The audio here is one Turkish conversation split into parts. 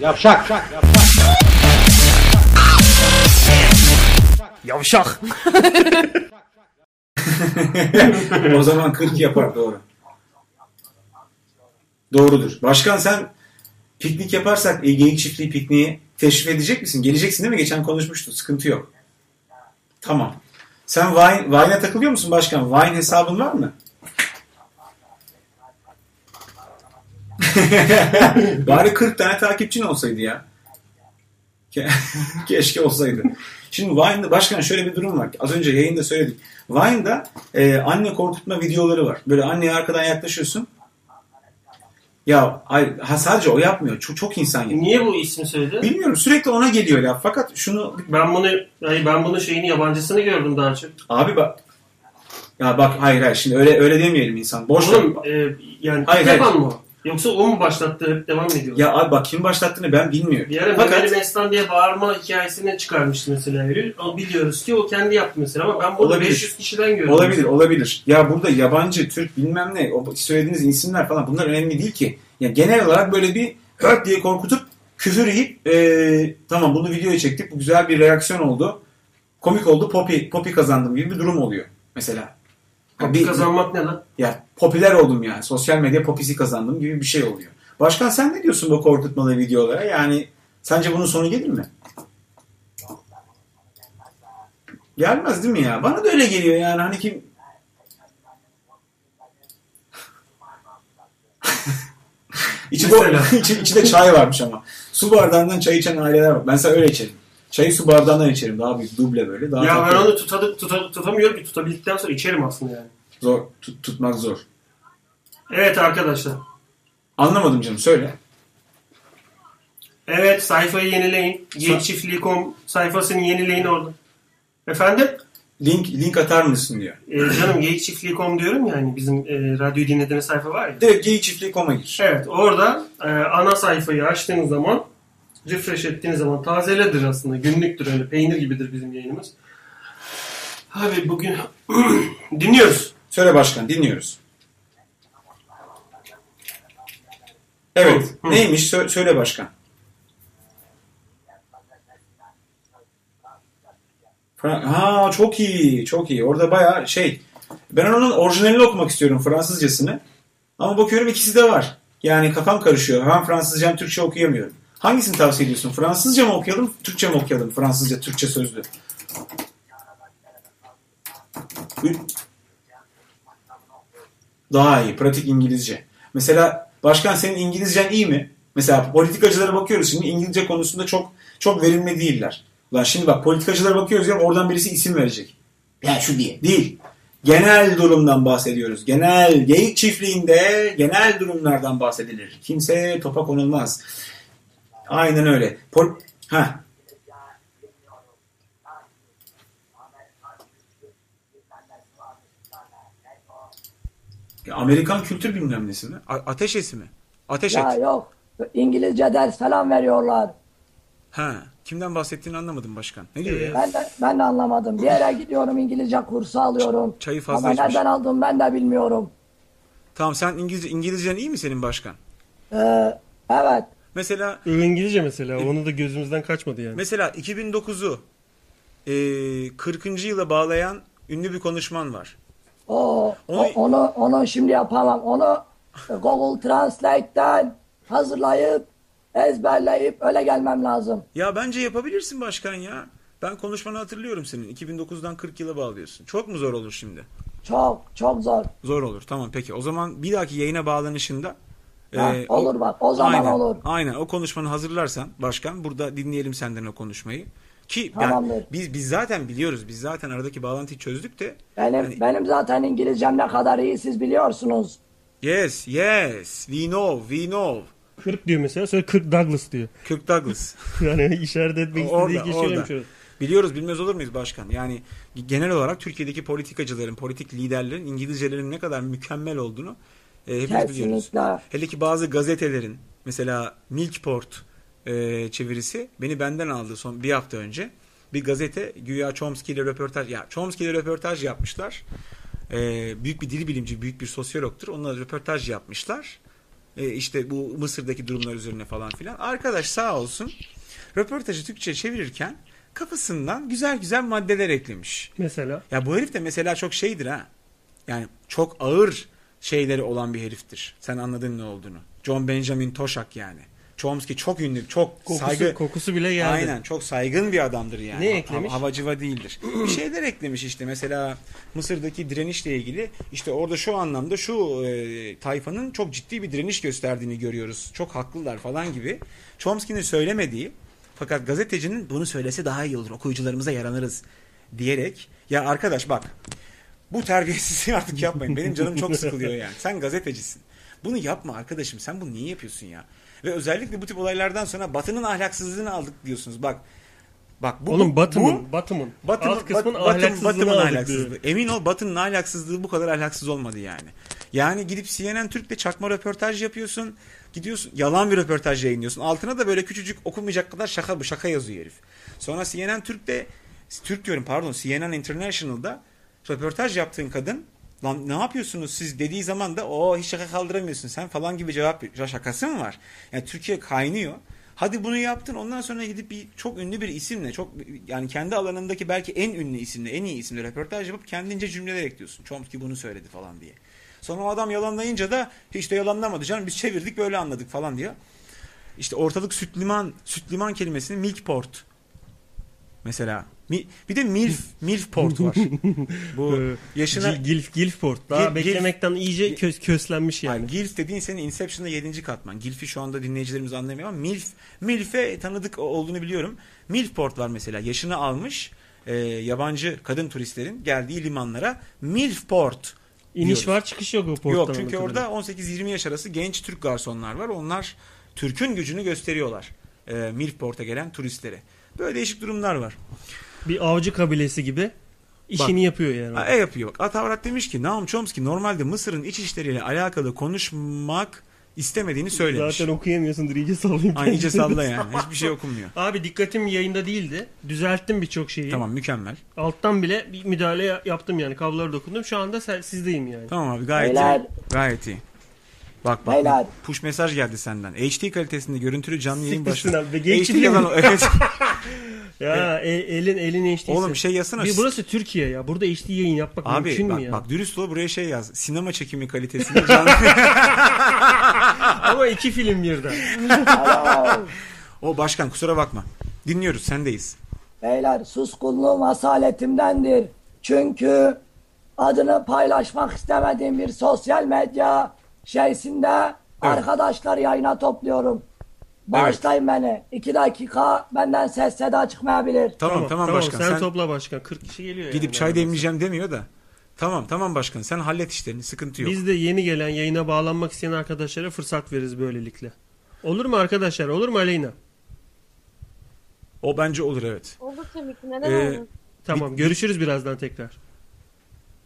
Yavşak. Yavşak. o zaman 40 yapar doğru. Doğrudur. Başkan sen piknik yaparsak e, geyik çiftliği pikniği teşrif edecek misin? Geleceksin değil mi? Geçen konuşmuştuk. Sıkıntı yok. Tamam. Sen Vine, Vine'a takılıyor musun başkan? Vine hesabın var mı? Bari 40 tane takipçin olsaydı ya. Ke- Keşke olsaydı. Şimdi Vine'da başkan şöyle bir durum var. Az önce yayında söyledik. Vine'da e, anne korkutma videoları var. Böyle anneye arkadan yaklaşıyorsun. Ya hayır, ha, sadece o yapmıyor. Çok, çok insan yapıyor. E, Niye bu ismi söyledi? Bilmiyorum sürekli ona geliyor laf. Fakat şunu Ben bunu yani ben bunu şeyini yabancısını gördüm daha çok. abi bak ya bak hayır hayır şimdi öyle öyle demeyelim insan. Boş Oğlum ver. e, yani Hayır, yapan hayır. mı? o? Yoksa o mu başlattı hep devam mı ediyor? ya abi bak kim başlattığını ben bilmiyorum. Bir ara Fakat Memeli Mestan diye bağırma hikayesini çıkarmıştı mesela biri. Ama biliyoruz ki o kendi yaptı mesela ama ben bunu Olabilir. 500 kişiden gördüm. Olabilir, olabilir. Ya burada yabancı, Türk bilmem ne, o söylediğiniz isimler falan bunlar önemli değil ki. Ya genel olarak böyle bir hört diye korkutup küfür yiyip "Ee, tamam bunu videoya çektik. Bu güzel bir reaksiyon oldu. Komik oldu. Popi, popi kazandım gibi bir durum oluyor mesela. Ya Bir kazanmak ne lan? ya popüler oldum yani. Sosyal medya popisi kazandım gibi bir şey oluyor. Başkan sen ne diyorsun bu korkutmalı videolara? Yani sence bunun sonu gelir mi? Gelmez değil mi ya? Bana da öyle geliyor yani. Hani kim içi, bo- Mesela. içi, içinde çay varmış ama. Su bardağından çay içen aileler var. Ben sana öyle içerim. Çayı su bardağından içerim. Daha büyük duble böyle. Daha Ya ben tatlı. onu tutadı, tuta, tutamıyorum ki tutabildikten sonra içerim aslında yani. Zor. Tut- tutmak zor. Evet arkadaşlar. Anlamadım canım. Söyle. Evet sayfayı yenileyin. Genççiftliği.com sayfasını yenileyin orada. Efendim? Link, link atar mısın diyor. E, canım geyikçiftliği.com diyorum ya hani bizim e, radyoyu dinlediğiniz sayfa var ya. Direkt geyik çiftliği koma gir. Evet orada e, ana sayfayı açtığınız zaman refresh ettiğiniz zaman tazeledir aslında günlüktür öyle peynir gibidir bizim yayınımız. Abi bugün dinliyoruz. Söyle başkan dinliyoruz. Evet. Hı, hı. Neymiş? Sö- söyle başkan. Fra- ha çok iyi. Çok iyi. Orada bayağı şey. Ben onun orijinalini okumak istiyorum Fransızcasını. Ama bakıyorum ikisi de var. Yani kafam karışıyor. Hem Fransızca hem Türkçe okuyamıyorum. Hangisini tavsiye ediyorsun? Fransızca mı okuyalım, Türkçe mi okuyalım? Fransızca, Türkçe sözlü. Ü- Daha iyi. Pratik İngilizce. Mesela başkan senin İngilizcen iyi mi? Mesela politikacılara bakıyoruz şimdi İngilizce konusunda çok çok verimli değiller. Lan şimdi bak politikacılara bakıyoruz ya oradan birisi isim verecek. Ya şu diye. Değil. Genel durumdan bahsediyoruz. Genel geyik çiftliğinde genel durumlardan bahsedilir. Kimse topa konulmaz. Aynen öyle. Pol ha. Ya Amerikan kültür bilmem nesi mi? A- ateş esi mi? Ateş Ya et. yok. İngilizce ders falan veriyorlar. Ha. Kimden bahsettiğini anlamadım başkan. Ne diyor ya? Ben de, ben de anlamadım. Bir yere gidiyorum İngilizce kursu alıyorum. Çayı fazla Ama içmiş. nereden aldım ben de bilmiyorum. Tamam sen İngilizce İngilizcen iyi mi senin başkan? Ee, evet. Mesela İngilizce mesela onu da gözümüzden kaçmadı yani. mesela 2009'u eee 40. e, yıla bağlayan ünlü bir konuşman var. O, o- Onu- onu onu şimdi yapamam. Onu Google Translate'ten hazırlayıp ezberleyip öyle gelmem lazım. Ya bence yapabilirsin başkan ya. Ben konuşmanı hatırlıyorum senin. 2009'dan 40 yıla bağlıyorsun. Çok mu zor olur şimdi? Çok çok zor. Zor olur. Tamam peki. O zaman bir dahaki yayına bağlanışında Ha, eee, olur bak, o zaman aynen, olur. Aynen. O konuşmanı hazırlarsan başkan burada dinleyelim senden o konuşmayı. Ki yani Tamamdır. biz biz zaten biliyoruz. Biz zaten aradaki bağlantıyı çözdük de. Benim Yani- benim zaten İngilizcem ne kadar iyi siz biliyorsunuz. Yes, yes. We know, we know. 40 diyor mesela sonra 40 Douglas diyor. Kirk Douglas. Yani işaret etmek istediği orada, şey kişi orada. şeymiş o. Biliyoruz bilmez olur muyuz başkan? Yani genel olarak Türkiye'deki politikacıların, politik liderlerin İngilizcelerinin ne kadar mükemmel olduğunu e, hepimiz biliyoruz. Kesinlikle. Hele ki bazı gazetelerin mesela Milkport e, çevirisi beni benden aldı son bir hafta önce. Bir gazete güya Chomsky ile röportaj ya Chomsky ile röportaj yapmışlar. Ee, büyük bir dil bilimci, büyük bir sosyologtur. Onunla röportaj yapmışlar. Ee, işte bu Mısır'daki durumlar üzerine falan filan. Arkadaş sağ olsun röportajı Türkçe'ye çevirirken kafasından güzel güzel maddeler eklemiş. Mesela. Ya bu herif de mesela çok şeydir ha. Yani çok ağır şeyleri olan bir heriftir. Sen anladın ne olduğunu. John Benjamin Toshak yani. Chomsky çok ünlü, çok Kokusu, saygı kokusu bile geldi. Aynen çok saygın bir adamdır yani. Ne eklemiş? Ha- havacıva değildir. Bir şeyler eklemiş işte mesela Mısır'daki direnişle ilgili işte orada şu anlamda şu e, tayfanın çok ciddi bir direniş gösterdiğini görüyoruz. Çok haklılar falan gibi. Chomsky'nin söylemediği fakat gazetecinin bunu söylese daha iyi olur okuyucularımıza yaranırız diyerek ya arkadaş bak bu terbiyesizliği artık yapmayın. Benim canım çok sıkılıyor yani. Sen gazetecisin. Bunu yapma arkadaşım. Sen bunu niye yapıyorsun ya? Ve özellikle bu tip olaylardan sonra Batı'nın ahlaksızlığını aldık diyorsunuz. Bak. Bak bu Oğlum bu- Batım'ın, bu- Batım'ın. Batımın- Alt kısmın Bat- Batım- ahlaksızlığını Batımın aldık ahlaksızlığı. diyor. Emin ol Batı'nın ahlaksızlığı bu kadar ahlaksız olmadı yani. Yani gidip CNN Türk'te çakma röportaj yapıyorsun. Gidiyorsun yalan bir röportaj yayınlıyorsun. Altına da böyle küçücük okunmayacak kadar şaka bu şaka yazıyor herif. Sonra CNN Türk'te Türk diyorum pardon CNN International'da röportaj yaptığın kadın lan ne yapıyorsunuz siz dediği zaman da o hiç şaka kaldıramıyorsun sen falan gibi cevap ya şakası mı var? Yani Türkiye kaynıyor. Hadi bunu yaptın ondan sonra gidip bir çok ünlü bir isimle çok yani kendi alanındaki belki en ünlü isimle en iyi isimle röportaj yapıp kendince cümleler ekliyorsun. Chomsky bunu söyledi falan diye. Sonra o adam yalanlayınca da hiç de yalanlamadı canım biz çevirdik böyle anladık falan diyor. İşte ortalık süt liman, süt liman kelimesini milk port. Mesela Mi- bir de milf, milf port var. Bu Ee, yaşına Gil- Gilf, Gilfport. Daha Gil- beklemekten iyice kös, köslenmiş yani. yani Gilf dediğin senin Inception'da 7. katman. Gilf'i şu anda dinleyicilerimiz anlamıyor ama Milf, Milf'e tanıdık o- olduğunu biliyorum. Milfport var mesela. Yaşını almış e, yabancı kadın turistlerin geldiği limanlara Milfport İniş diyoruz. var çıkış yok o porttan. Yok çünkü anladığım orada 18-20 yaş arası genç Türk garsonlar var. Onlar Türk'ün gücünü gösteriyorlar. E, Milfport'a gelen turistlere. Böyle değişik durumlar var. kadarıyla. Bir avcı kabilesi gibi işini yapıyor yani. Ha, e yapıyor bak. Atavrat demiş ki Naum Chomsky normalde Mısır'ın iç işleriyle alakalı konuşmak istemediğini söylemiş. Zaten okuyamıyorsundur iyice sallayayım. Ay, iyice kendimi. salla yani. Hiçbir şey okunmuyor. Abi dikkatim yayında değildi. Düzelttim birçok şeyi. Tamam mükemmel. Alttan bile bir müdahale ya- yaptım yani. Kavlara dokundum. Şu anda sen- sizdeyim yani. Tamam abi gayet Beyler. iyi. Gayet iyi. Bak bak Beyler. push mesaj geldi senden. HD kalitesinde görüntülü canlı yayın Siktirsin başladı. abi, be, HD gençlik mi? yazan o- evet. Ya e- elin elin eşliyse. Oğlum şey yazsana. Bir burası Türkiye ya. Burada HD yayın yapmak Abi mümkün bak, mü ya? bak dürüst ol buraya şey yaz. Sinema çekimi kalitesinde canlı. Ama iki film birden. Alo. o başkan kusura bakma. Dinliyoruz sendeyiz. Beyler suskunluğum asaletimdendir. Çünkü adını paylaşmak istemediğim bir sosyal medya şeysinde arkadaşlar yayına topluyorum. Bağışlayın beni. İki dakika benden ses seda çıkmayabilir. Tamam tamam, başkan. Sen, Sen, topla başkan. 40 kişi geliyor yani. gidip çay Neredeyse. demleyeceğim demiyor da. Tamam tamam başkan sen hallet işlerini sıkıntı yok. Biz de yeni gelen yayına bağlanmak isteyen arkadaşlara fırsat veririz böylelikle. Olur mu arkadaşlar? Olur mu Aleyna? O bence olur evet. Olur tabii ki. Neden Ee, olmasın? Tamam. görüşürüz birazdan tekrar.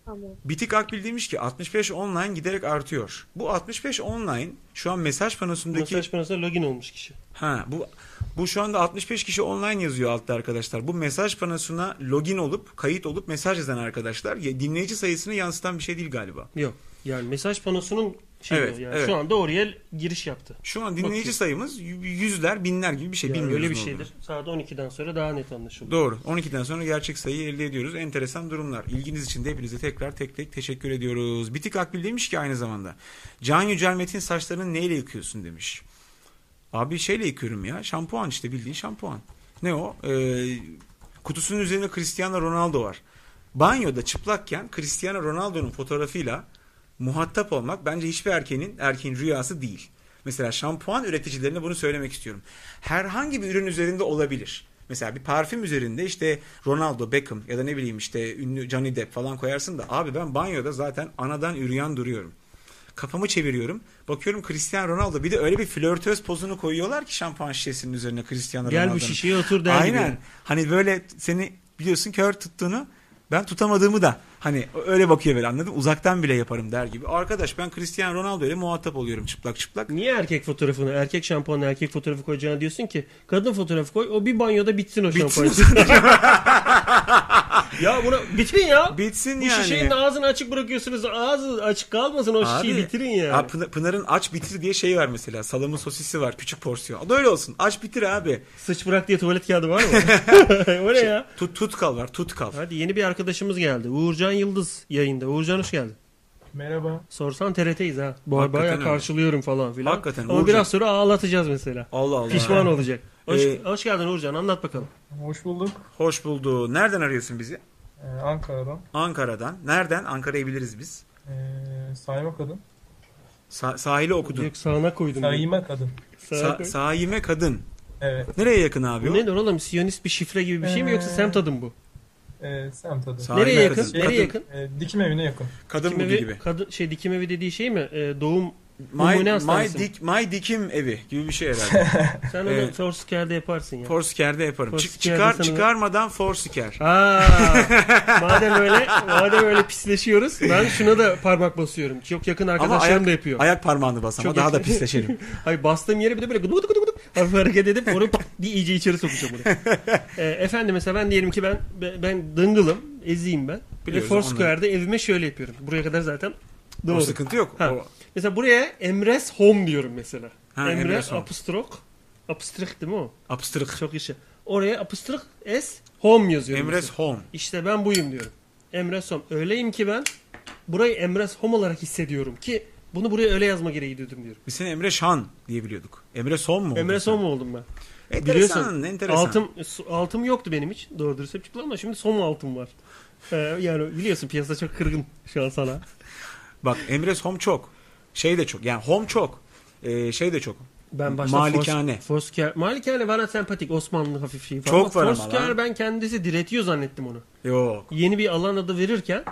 Tamam. Bitik Akbil demiş ki 65 online giderek artıyor. Bu 65 online şu an mesaj panosundaki Mesaj panosuna login olmuş kişi. Ha bu bu şu anda 65 kişi online yazıyor altta arkadaşlar. Bu mesaj panosuna login olup kayıt olup mesaj yazan arkadaşlar ya- dinleyici sayısını yansıtan bir şey değil galiba. Yok. Yani mesaj panosunun şey Evet, o yani evet. şu anda oraya giriş yaptı. Şu an dinleyici Bakayım. sayımız y- yüzler, binler gibi bir şey. Yani Bilmiyoruz öyle bir ne olduğunu. şeydir. Saat 12'den sonra daha net anlaşılır. Doğru. 12'den sonra gerçek sayıyı elde ediyoruz. Enteresan durumlar. İlginiz için de hepinize tekrar tek tek teşekkür ediyoruz. Bitik Akbil demiş ki aynı zamanda. Can Yücel Metin saçlarını neyle yıkıyorsun demiş. Abi şeyle yıkıyorum ya. Şampuan işte bildiğin şampuan. Ne o? Ee, kutusunun üzerinde Cristiano Ronaldo var. Banyoda çıplakken Cristiano Ronaldo'nun fotoğrafıyla muhatap olmak bence hiçbir erkeğin erkeğin rüyası değil. Mesela şampuan üreticilerine bunu söylemek istiyorum. Herhangi bir ürün üzerinde olabilir. Mesela bir parfüm üzerinde işte Ronaldo, Beckham ya da ne bileyim işte ünlü Johnny Depp falan koyarsın da abi ben banyoda zaten anadan üryan duruyorum kafamı çeviriyorum. Bakıyorum Cristiano Ronaldo bir de öyle bir flörtöz pozunu koyuyorlar ki şampuan şişesinin üzerine Cristiano Gel bu Ronaldo'nun. şişeye otur der gibi. Aynen. Hani böyle seni biliyorsun kör tuttuğunu ben tutamadığımı da Hani öyle bakıyor böyle anladın mı? Uzaktan bile yaparım der gibi. Arkadaş ben Cristiano Ronaldo ile muhatap oluyorum çıplak çıplak. Niye erkek fotoğrafını, erkek şampuanı, erkek fotoğrafı koyacağına diyorsun ki kadın fotoğrafı koy o bir banyoda bitsin o şampuan. ya buna bitirin ya. Bitsin Bu yani. şişenin de ağzını açık bırakıyorsunuz. Ağzı açık kalmasın o şişeyi bitirin ya. Abi Pınar- Pınar'ın aç bitir diye şey var mesela. Salamın sosisi var küçük porsiyon. O da öyle olsun. Aç bitir abi. Sıç bırak diye tuvalet kağıdı var mı? o ne ya? Tut, tut kal var tut kal. Hadi yeni bir arkadaşımız geldi. Uğurcan Yıldız yayında. Uğurcan hoş geldin. Merhaba. Sorsan TRT'yiz ha. Bu Hakikaten bayağı öyle. karşılıyorum falan filan. Hakikaten Ama Uğurcan. biraz sonra ağlatacağız mesela. Allah Allah. Pişman olacak. Hoş, Ee, hoş geldin Uğurcan anlat bakalım. Hoş bulduk. Hoş buldu. Nereden arıyorsun bizi? Ee, Ankara'dan. Ankara'dan. Nereden? Ankara'yı biliriz biz. Ee, sayma kadın. Sa- sahile okudun. Yok sağına koydum. ben. Sayma kadın. Sağa Sa- koy. Saime kadın. Evet. Nereye yakın abi Bu o? nedir oğlum? Siyonist bir şifre gibi bir şey mi yoksa Ee, semt adı mı bu? Ee, semt adı. Sa- Saime Nereye yakın? kadın. Nereye Kadın. yakın? Ee, dikim evine yakın. Kadın Dikim buldu evi, gibi. Kadın, şey dikim evi dediği şey mi? Ee, doğum My, Numune my, hastanesi. dik, my dikim evi gibi bir şey herhalde. Sen onu Evet. Foursquare'de yaparsın ya. Forsiker'de yaparım. Çık, Foursquare'de çıkar, sana- çıkarmadan Forsiker. Aa, madem öyle, madem öyle pisleşiyoruz, ben şuna da parmak basıyorum. Çok yakın Ama arkadaşlarım ayak, da yapıyor. ayak parmağını bas ama Çok daha yakın. da pisleşelim. Hayır bastığım yere bir de böyle gıdı gıdı gıdı gıdı hafif hareket edip onu pat diye iyice içeri sokacağım bunu. ee, efendim mesela ben diyelim ki ben ben- ben dıngılım, eziyim ben. Ve Biliyoruz, Foursquare'de evime şöyle yapıyorum. Buraya kadar zaten O doğru. sıkıntı yok. Ha. O- Mesela buraya Emres Home diyorum mesela. Ha, Emre Emres Home. apostrok. Apostrok değil mi o? Abstrak. Çok işi. Oraya apostrok S Home yazıyorum. Emres mesela. Home. İşte ben buyum diyorum. Emres Home. Öyleyim ki ben burayı Emres Home olarak hissediyorum ki bunu buraya öyle yazma gereği duydum diyorum. Biz seni Emre Şan diye biliyorduk. Emre Son mu? oldun Emre sen? Son mu oldum ben? Enteresan, Biliyorsun enteresan. altım altım yoktu benim hiç. Doğru dürüst hep çıktı ama şimdi son altım var. Ee, yani biliyorsun piyasa çok kırgın şu an sana. Bak Emre Home çok. Şey de çok. Yani Home çok. Ee, şey de çok. Ben başta Malikane. Fors- Foursquare. Malikane bana sempatik. Osmanlı hafif şeyi falan. Çok var ama Foursquare lan. ben kendisi diretiyor zannettim onu. Yok. Yeni bir alan adı verirken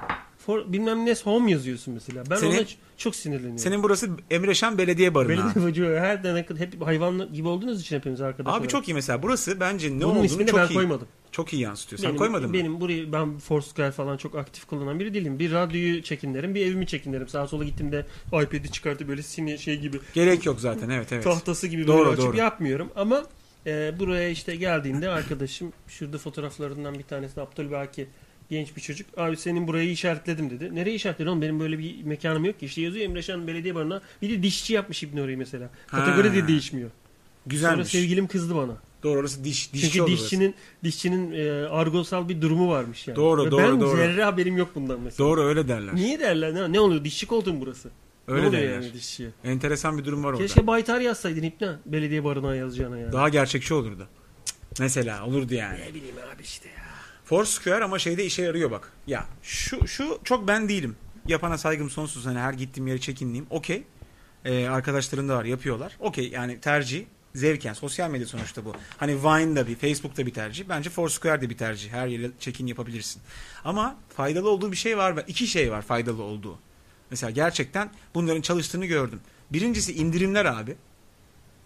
for, bilmem ne home yazıyorsun mesela. Ben Senin- ona ç- çok sinirleniyorum. Senin burası Emre Şan Belediye Barınağı. Belediye bacağı her denek hep hayvan gibi olduğunuz için hepimiz arkadaşlar. Abi çok iyi mesela. Burası bence ne Bunun olduğunu ismini çok ben iyi. koymadım. Çok iyi yansıtıyor. Sen Benim, koymadın mı? Benim burayı ben Foursquare falan çok aktif kullanan biri değilim. Bir radyoyu çekinlerim, bir evimi çekinlerim. Sağa sola gittiğimde iPad'i çıkartıp böyle sine şey gibi Gerek yok zaten. Evet evet. tahtası gibi Doğru, böyle açıp doğru. yapmıyorum ama e, buraya işte geldiğinde arkadaşım şurada fotoğraflarından bir tanesi Abdülbaki genç bir çocuk. Abi senin burayı işaretledim dedi. Nereye işaretledin oğlum? Benim böyle bir mekanım yok ki. İşte yazıyor Emreşan Belediye Barınağı. Bir de dişçi yapmış İbni orayı mesela. Kategori Ha. de değişmiyor. Sonra Güzelmiş. sevgilim kızdı bana. Doğru orası diş. Dişçi Çünkü olur dişçinin dişçinin e, argosal bir durumu varmış yani. Doğru, Ve doğru, ben doğru. zerre haberim yok bundan orası. mesela. Doğru öyle derler. Niye derler? Ne, ne oluyor? Dişçi koltuğum burası. ne Öyle oluyor derler. yani dişçiye? Enteresan bir durum var orada. Keşke Baytar yazsaydın İbni. Belediye barınağı yazacağına yani. Daha gerçekçi olurdu. Cık, Mesela olurdu yani. Ne bileyim abi işte ya. Foursquare ama şeyde işe yarıyor bak. Ya şu şu çok ben değilim. Yapana saygım sonsuz. Hani her gittiğim yere çekinliyim. Okey. Ee, arkadaşlarım da var yapıyorlar. Okey yani tercih zevk yani sosyal medya sonuçta bu. Hani Vine'da bir, Facebook'ta bir tercih. Bence Foursquare'de bir tercih. Her yere çekin yapabilirsin. Ama faydalı olduğu bir şey var. ve iki şey var faydalı olduğu. Mesela gerçekten bunların çalıştığını gördüm. Birincisi indirimler abi.